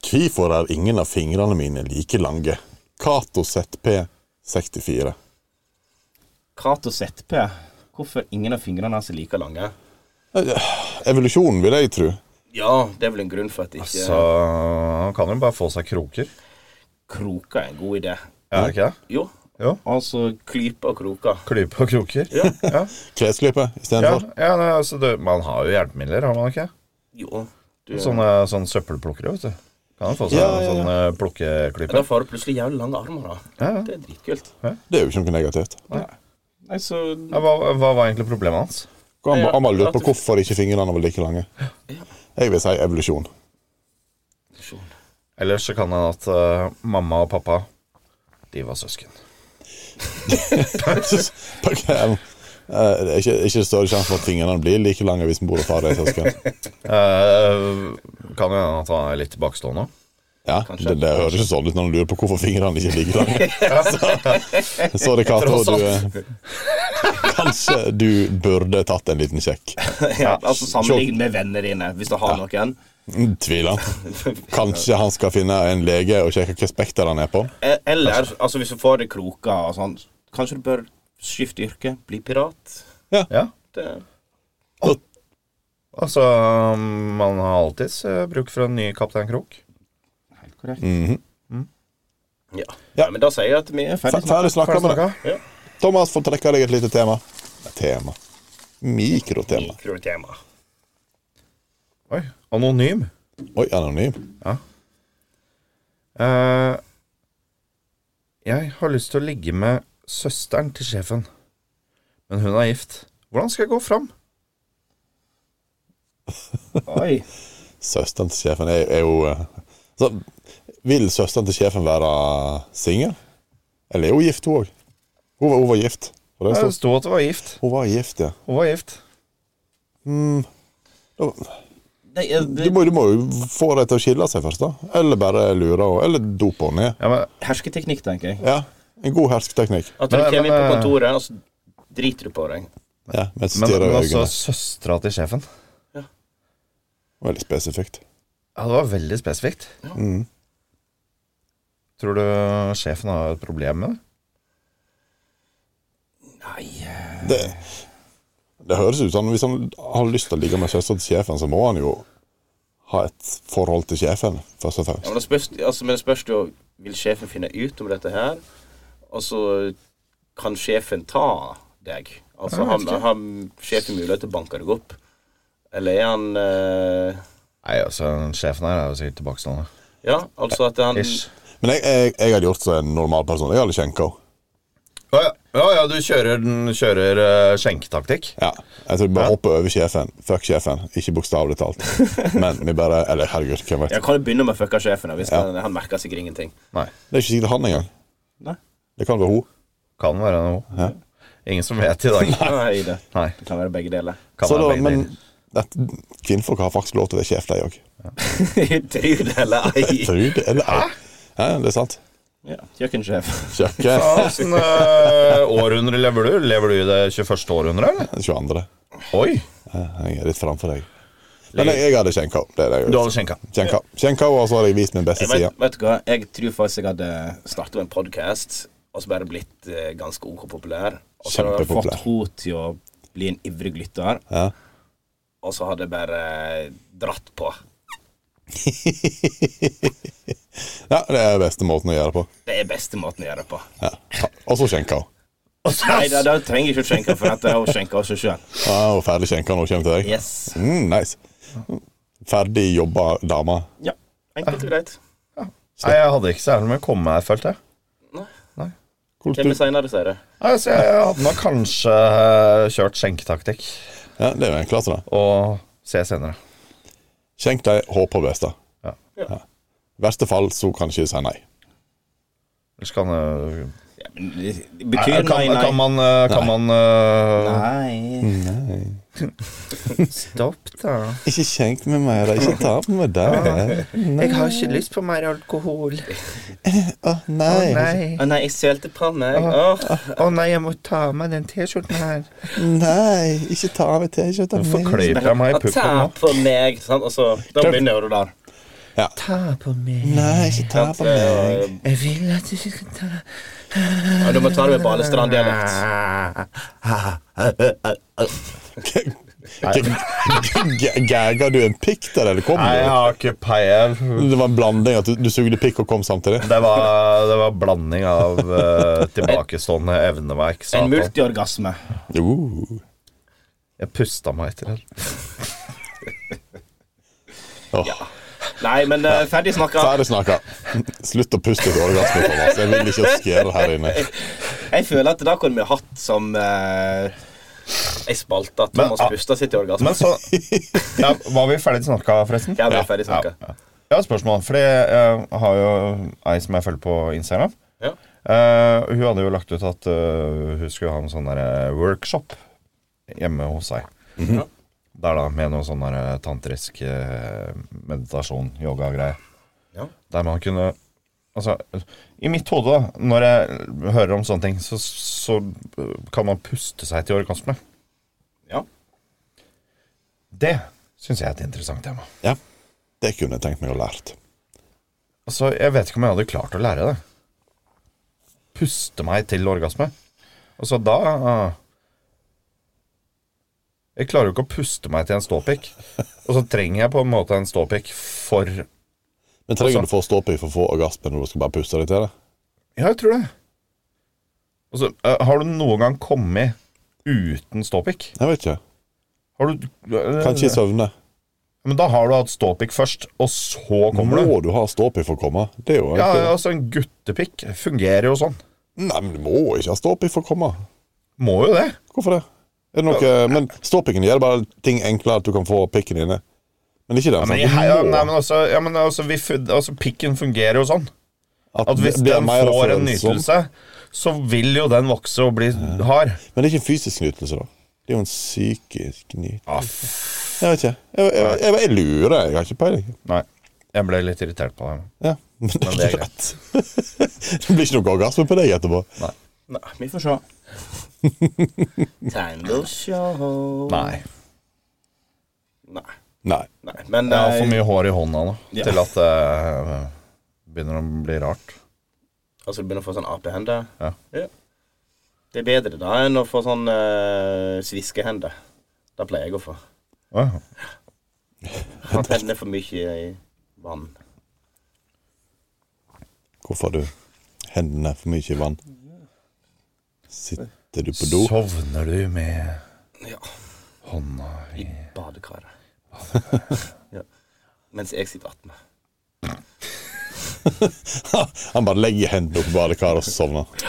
Speaker 2: Hvorfor er ingen av fingrene mine like lange? Cato ZP64.
Speaker 3: Cato ZP. hvorfor ingen av fingrene hans er like lange.
Speaker 2: Evolusjonen, vil jeg tro.
Speaker 3: Ja, det er vel en grunn for at ikke
Speaker 4: Så han kan jo bare få seg kroker.
Speaker 3: kroker er en god idé.
Speaker 4: Er det ikke det?
Speaker 3: Jo.
Speaker 4: Jo.
Speaker 3: Altså klype og kroker.
Speaker 4: Klype og kroker. Ja, ja.
Speaker 2: Klesklype
Speaker 4: ja,
Speaker 2: istedenfor.
Speaker 4: nei, altså, det, Man har jo hjelpemidler, har man ikke?
Speaker 3: Jo. Du,
Speaker 4: Sånne, sånne søppelplukkere, vet du. Kan jo få seg
Speaker 2: Ja, ja, ja.
Speaker 4: en sånn eh,
Speaker 3: Men da
Speaker 4: plukkeklype.
Speaker 3: får du plutselig jævlig lange armer. da.
Speaker 4: Ja, ja.
Speaker 3: Det er dritkult.
Speaker 2: Det er jo ikke noe negativt.
Speaker 3: Nei, så
Speaker 4: Ja, hva, hva var egentlig problemet hans?
Speaker 2: Han han bare lurte på hvorfor ikke fingrene var like lange. Jeg vil si evolusjon.
Speaker 4: Ellers så kan det hende at eh, mamma og pappa De var søsken.
Speaker 2: Beklager. Eh, det er ikke, ikke større sjanse for at fingrene blir like lange hvis mor og far er søsken.
Speaker 4: Eh, kan jo hende at han er litt tilbakestående.
Speaker 2: Ja, det, det høres ikke sånn ut når du lurer på hvorfor fingrene ikke er like lange. Så, så det Cato,
Speaker 4: Tross alt.
Speaker 2: du eh, Kanskje du burde tatt en liten sjekk.
Speaker 3: ja, altså Sammenlign med vennene dine, hvis du har noen.
Speaker 2: Mm, Tviler. Kanskje han skal finne en lege og sjekke hva spekter han er på.
Speaker 3: Eh, Eller altså hvis du får det kroka og sånn, kanskje du bør skifte yrke, bli pirat.
Speaker 4: Ja.
Speaker 3: Det,
Speaker 4: Altså, man har alltids eh, bruk for en ny Kaptein Krok.
Speaker 3: helt korrekt. Mm.
Speaker 2: Mhm.
Speaker 3: Ja.
Speaker 2: Ja.
Speaker 3: Nei, Men da sier jeg at vi er
Speaker 2: Fer-
Speaker 3: ferdig snart.
Speaker 2: Ferdig snakka med det.
Speaker 4: Snakka.
Speaker 2: Thomas får trekke deg et lite tema. Tema. Mikrotema.
Speaker 3: Mikrotema.
Speaker 4: Oi. Anonym.
Speaker 2: Oi, anonym.
Speaker 4: Eh, jeg har lyst til å ligge med søsteren til sjefen, men hun er gift. Hvordan skal jeg gå fram?
Speaker 3: Oi.
Speaker 2: Søsteren til sjefen er, er jo eh, så, Vil søsteren til sjefen være singel? Eller er hun gift, hun òg? Hun, var- hun var gift. Og det
Speaker 4: Det
Speaker 2: stod,
Speaker 4: sto at hun var gift.
Speaker 2: hun var gift, ja.
Speaker 4: Hun var gift.
Speaker 3: Nei, eh,
Speaker 2: Du
Speaker 3: det,
Speaker 2: må, du må jo få det til å skille seg først, da. Eller bare lure henne. Eller dope henne ned.
Speaker 4: Ja, men
Speaker 3: hersketeknikk, tenker jeg.
Speaker 2: Ja. En god hersketeknikk.
Speaker 3: At du
Speaker 4: Men-
Speaker 3: kommer inn på
Speaker 4: men, eh,
Speaker 3: kontoret, og så driter du på deg.
Speaker 2: Ja, med et
Speaker 4: Men,
Speaker 2: stirr i
Speaker 4: men altså
Speaker 2: øynene.
Speaker 4: søstera til sjefen.
Speaker 2: Veldig spesifikt.
Speaker 4: Ja, det var veldig spesifikt. Mm. Tror du sjefen har et problem med det?
Speaker 2: Det, det høres ut som hvis han har lyst til å ligge med søsteren til sjefen, så må han jo ha et forhold til sjefen, først og
Speaker 3: Ja,
Speaker 2: fremst.
Speaker 3: men, det spørs, altså, men det spørs jo Vil sjefen finne ut om dette her? Og så kan sjefen ta deg. Altså har, har sjefen mulighet til å banke deg opp? Eller er han eh,
Speaker 4: Nei, altså, sjefen her er jo sikkert tilbakestående.
Speaker 3: Ja, altså at han
Speaker 4: Ish.
Speaker 2: Men jeg, jeg, jeg hadde gjort som en normal person. Jeg hadde skjenka henne.
Speaker 4: Å ja. ja, ja, du kjører, den- kjører eh, skjenketaktikk?
Speaker 2: Ja. Jeg tror vi bare hopper over sjefen. Fuck sjefen. Ikke bokstavelig talt. Men vi bare Eller herregud, hvem vet.
Speaker 3: Jeg kan jo begynne med å fucke sjefen da, hvis han, han merker sikkert ingenting.
Speaker 4: Nei.
Speaker 2: Det er ikke sikkert han engang.
Speaker 3: Nei.
Speaker 2: Det kan være hun.
Speaker 4: Kan være noe. Ingen som vet i dag.
Speaker 3: Nei, det.
Speaker 4: Nei.
Speaker 3: det kan være begge deler.
Speaker 4: Kan
Speaker 2: Så
Speaker 4: være
Speaker 2: da,
Speaker 4: begge
Speaker 2: men
Speaker 4: deler.
Speaker 2: dette, kvinnfolk har faktisk lov til å være sjef, de òg.
Speaker 3: Tror det eller ei.
Speaker 2: Trud eller ei. Ja, det er sant.
Speaker 3: Ja, Kjøkkensjef.
Speaker 2: Kjøkke
Speaker 4: Åssen eh, århundre lever du? Lever du i det 21. århundre, eller?
Speaker 2: 22.
Speaker 4: Oi!
Speaker 2: Ja, Jeg er litt framfor deg. Men jeg, jeg hadde skjenka henne. Det er det jeg
Speaker 4: Du
Speaker 2: gjør.
Speaker 4: hadde skjenka.
Speaker 2: Skjenka Skjenka henne, og så hadde jeg vist min beste
Speaker 3: Jeg vet,
Speaker 2: side.
Speaker 3: vet du hva, jeg tror faktisk jeg hadde startet med en podkast, og så bare blitt eh, ganske OK populær. Og så hadde jeg fått
Speaker 2: Kjempepopulær.
Speaker 3: henne til å bli en ivrig lytter,
Speaker 2: Ja.
Speaker 3: og så hadde jeg bare eh, dratt på.
Speaker 2: ja, det er beste måten å gjøre det på.
Speaker 3: Det er beste måten å gjøre det på.
Speaker 2: Ja. Og så skjenka hun.
Speaker 3: Nei, da, da trenger jeg ikke å skjenke, for at hun skjenker oss sjøl.
Speaker 2: Ja, og ferdig skjenka når hun kommer til deg.
Speaker 3: Yes.
Speaker 2: Mm, nice. Ferdig jobba dame.
Speaker 3: Ja, enkelt og greit.
Speaker 4: Nei, jeg hadde ikke så jævlig med å komme her, følte jeg.
Speaker 3: Kommer seinere, sier jeg.
Speaker 4: Nei, så jeg hadde nok kanskje eh, kjørt skjenketaktikk.
Speaker 2: Ja, det er jo enklest, det.
Speaker 4: Og se senere.
Speaker 2: Skjenk deg håp på beste.
Speaker 4: Ja.
Speaker 2: Ja. Verste fall så kan ikke si nei.
Speaker 4: Ellers kan eh,
Speaker 3: Ja, men det
Speaker 4: Nei,
Speaker 3: betyr
Speaker 4: kan,
Speaker 3: nei, nei.
Speaker 4: Kan man, eh, kan man eh,
Speaker 3: Nei.
Speaker 2: Mm.
Speaker 4: Stopp, da.
Speaker 2: Ikke skjenk med mer, ikke ta på med det.
Speaker 4: Jeg har ikke lyst på mer alkohol.
Speaker 2: Å nei,
Speaker 3: Å nei, jeg sølte på meg. Åh.
Speaker 4: Å nei, jeg må ta av meg den T-skjorten her.
Speaker 2: nei, ikke ta av meg T-skjorta
Speaker 4: Hvorfor kløyper jeg meg i
Speaker 3: Ta
Speaker 4: puppen nå?
Speaker 3: på meg. Sant? Og så, da begynner jo du der.
Speaker 2: Ja.
Speaker 5: Ta på meg.
Speaker 2: Nei, ikke ta på
Speaker 3: Eh,
Speaker 2: meg.
Speaker 5: Jeg vil at du skal ta
Speaker 3: Ja, du må ta det med Balestrand-dialekt.
Speaker 2: Gagga du en pikk der, eller kom
Speaker 4: Nei, jeg
Speaker 2: du?
Speaker 4: har ikke peil.
Speaker 2: Det var en blanding at du, du sugde pikk og kom samtidig?
Speaker 4: Det var, det var blanding av eh, tilbakestående evneverk.
Speaker 3: En
Speaker 4: Satan.
Speaker 3: multiorgasme.
Speaker 2: Uh.
Speaker 4: Jeg pusta meg etter det.
Speaker 2: Åh,
Speaker 3: Nei, men eh, ferdig snakka.
Speaker 2: Ferdig snakka. Slutt å puste ut orgasme, Thomas. Jeg vil ikke skjære her inne.
Speaker 3: Jeg føler at det kunne vi hatt som eh, ei spalte at Thomas
Speaker 4: Men, ah,
Speaker 3: puster sitt i orgasme.
Speaker 4: Men så ja, Var vi ferdig snakka, forresten?
Speaker 3: Ja, vi er ferdig snakka.
Speaker 4: Ja. Jeg har et spørsmål, fordi jeg har jo ei som jeg følger på Instagram.
Speaker 3: Ja.
Speaker 4: Eh, hun hadde jo lagt ut at eh, hun skulle ha en sånn der eh, workshop hjemme hos seg.
Speaker 3: Mhm.
Speaker 4: Der da, med noe sånn der eh, tantrisk eh, meditasjon, yoga-greie.
Speaker 3: Ja.
Speaker 4: Der man kunne Altså, i mitt hode, da, når jeg hører om sånne ting, så, så eh, kan man puste seg til orgasme.
Speaker 3: Ja.
Speaker 4: Det syns jeg er et interessant tema.
Speaker 2: Ja, det kunne jeg tenkt meg å lært.
Speaker 4: Altså, Jeg vet ikke om jeg hadde klart å lære det. Puste meg til orgasme. Altså, da Jeg klarer jo ikke å puste meg til en ståpikk. Og så trenger jeg på en måte en ståpikk for Ja,
Speaker 2: Men trenger
Speaker 4: Altså-
Speaker 2: du få ståpikk for å få orgasme når du skal bare puste deg til det?
Speaker 4: jeg tror det. Altså, eh, Har du noen gang kommet uten ståpikk?
Speaker 2: Jeg vet ikke.
Speaker 4: Har du eh,
Speaker 2: Kan ikke søvne.
Speaker 4: Men da har du hatt ståpikk først, og så kommer du.
Speaker 2: Må du ha ståpikk for å komme? Det er jo
Speaker 4: Ja,
Speaker 2: egentlig
Speaker 4: altså, en guttepikk fungerer jo sånn.
Speaker 2: Nei, men du må ikke ha ståpikk for å komme.
Speaker 4: Må jo det.
Speaker 2: Hvorfor det? Er det noe, men ståpikken gjør bare ting enklere at du kan få pikken inne. Men ikke den.
Speaker 4: Ja, men,
Speaker 2: sant? Du
Speaker 4: jeg- ja,
Speaker 2: må-
Speaker 4: nei, men altså, ja, men altså, vi, fun- altså Pikken fungerer jo sånn. At hvis
Speaker 2: det blir
Speaker 4: den
Speaker 2: mer
Speaker 4: får en
Speaker 2: følsom.
Speaker 4: nytelse, så vil jo den vokse og bli hard.
Speaker 2: Men det er ikke en fysisk nytelse, da. Det er jo en psykisk nytelse.
Speaker 4: Ah, f-
Speaker 2: Jeg vet ikke. Jeg, jeg, jeg, jeg lurer, jeg har ikke peiling.
Speaker 4: nei. Jeg ble litt irritert på deg.
Speaker 2: Ja, men det
Speaker 4: Men
Speaker 2: er greit. det blir ikke noe orgasme på deg etterpå.
Speaker 3: Nei, vi får se. Time will show.
Speaker 4: Nei.
Speaker 3: Nei.
Speaker 2: Nei.
Speaker 3: Nei. Men
Speaker 4: Jeg har
Speaker 3: eh,
Speaker 4: for mye hår i hånda nå
Speaker 3: Ja.
Speaker 4: til at det eh, begynner å bli rart.
Speaker 3: altså, du begynner å få sånn apehender.
Speaker 4: Ja.
Speaker 3: Det er bedre da enn å få sånn eh, sviskehender. Det pleier jeg å få.
Speaker 4: Åh,
Speaker 3: Han tenner for mye i vann.
Speaker 2: Hvorfor har du hendene for mye i vann? Sitter du på do?
Speaker 4: Sovner du med
Speaker 3: Ja.
Speaker 4: hånda i
Speaker 3: I badekaret. ja. Mens jeg sitter attmed.
Speaker 2: Han bare legger hendene opp i badekaret og sovner.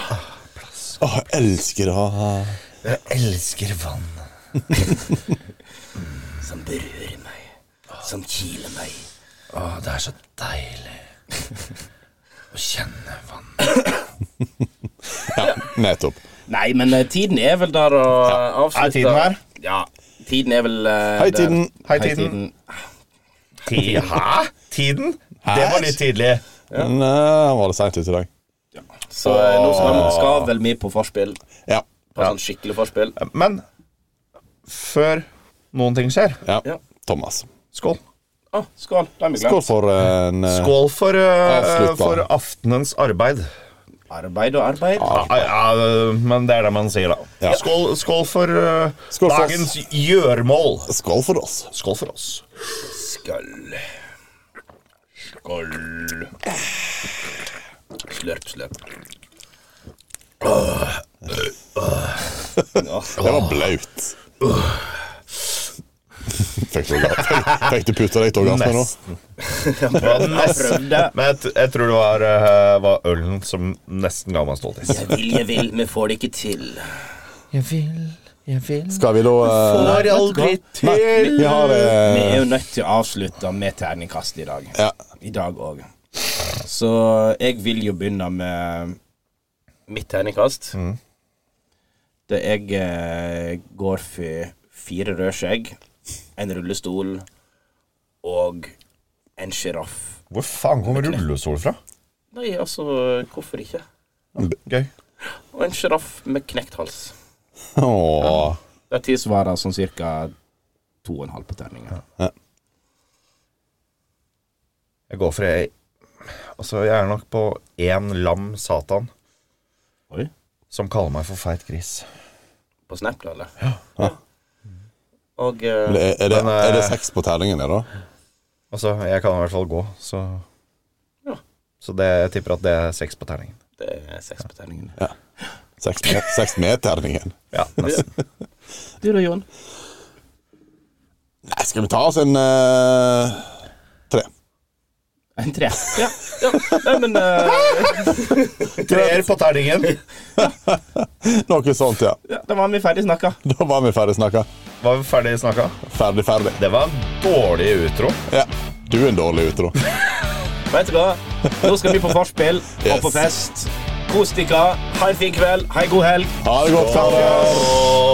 Speaker 2: Å, jeg elsker å ha
Speaker 4: Jeg elsker vann.
Speaker 3: Som berører meg. Som kiler meg.
Speaker 4: Åh, det er så deilig å kjenne vann.
Speaker 2: Ja, nettopp.
Speaker 3: Nei, men eh, tiden er vel der å avslutte.
Speaker 4: Er tiden her?
Speaker 3: Ja. Tiden er vel eh,
Speaker 2: Hei,
Speaker 3: der.
Speaker 2: tiden.
Speaker 4: Hei, tiden. Ti- Hæ? Tiden? Det var litt tidlig.
Speaker 2: Nei, han var litt seint ute i dag.
Speaker 3: Så eh, nå skal, skal vel vi på forspill.
Speaker 2: Ja.
Speaker 3: På sånn skikkelig forspill.
Speaker 4: Men før noen ting skjer
Speaker 2: ja.
Speaker 3: Ja.
Speaker 2: Thomas.
Speaker 4: Skål.
Speaker 3: Å, skål. Det har vi
Speaker 2: Skål
Speaker 3: glemt.
Speaker 2: for en eh,
Speaker 4: Skål for, eh,
Speaker 2: Avslutt, da.
Speaker 4: for aftenens arbeid.
Speaker 3: Arbeid og arbeid.
Speaker 4: Ja, ja, men det er det man sier, da.
Speaker 2: Ja.
Speaker 4: Skål, skål for eh,
Speaker 2: Skål for oss.
Speaker 4: dagens gjøremål.
Speaker 2: Skål for oss.
Speaker 4: Skål for oss.
Speaker 3: Skål. Skål. Slurp, slurp. Åh. Åh.
Speaker 2: Det var blaut. Fikk du, orga- fikk du puta deg til orgasme nå?
Speaker 4: Nesten. Det var nesten.
Speaker 3: prøvde.
Speaker 4: Men jeg, t- jeg tror det var, eh, var ølen som nesten ga meg stolthet.
Speaker 3: Jeg vil, jeg vil, vi får det ikke til.
Speaker 5: Jeg vil, jeg vil
Speaker 2: Skal vi da eh,
Speaker 5: Får aldri
Speaker 2: Nei, vi har
Speaker 3: Vi
Speaker 2: eh,
Speaker 3: er jo nødt til å avslutte med terningkast i dag.
Speaker 2: Ja.
Speaker 3: I dag òg. Så jeg vil jo begynne med mitt terningkast.
Speaker 2: Mm.
Speaker 3: Det jeg eh, går for fire rødskjegg, en rullestol og en sjiraff.
Speaker 4: Hvor faen kom rullestol fra?
Speaker 3: Nei, altså, hvorfor ikke?
Speaker 4: Gøy.
Speaker 3: Og en sjiraff med knekt hals.
Speaker 2: Åh.
Speaker 3: Det tilsvarer sånn ca. to og en halv på terningen.
Speaker 4: Jeg går for ei Altså, jeg er nok på én lam satan.
Speaker 3: Oi.
Speaker 4: Som kaller meg for feit gris.
Speaker 3: På Snap, da, eller? Ja. Og eh,
Speaker 2: Men er, er, det,
Speaker 4: Men, eh,
Speaker 2: er det seks på terningen her, da?
Speaker 4: Altså, jeg kan i hvert fall gå, så
Speaker 3: Ja.
Speaker 4: Så det, jeg tipper at det er seks på terningen.
Speaker 3: det er seks på terningen.
Speaker 2: Seks med, seks med terningen?
Speaker 4: Ja, nesten.
Speaker 3: Du da, Jon?
Speaker 2: Nei, skal vi ta oss en eh, tre?
Speaker 3: En tre. Ja. ja. Nei, men eh,
Speaker 4: Treer på terningen!
Speaker 2: Noe sånt, ja.
Speaker 3: ja, da var vi ferdig snakka.
Speaker 2: Da var vi ferdig snakka.
Speaker 4: Var vi ferdig snakka?
Speaker 2: Ferdig, ferdig.
Speaker 4: Det var en dårlig utro.
Speaker 2: Ja. Du er en dårlig utro.
Speaker 3: Vet du hva? Nå skal vi på vorspiel og
Speaker 2: Yes.
Speaker 3: på fest. Kos dere. Ha en fin kveld. Ha en god helg.
Speaker 2: Ha det godt, karer.
Speaker 4: Og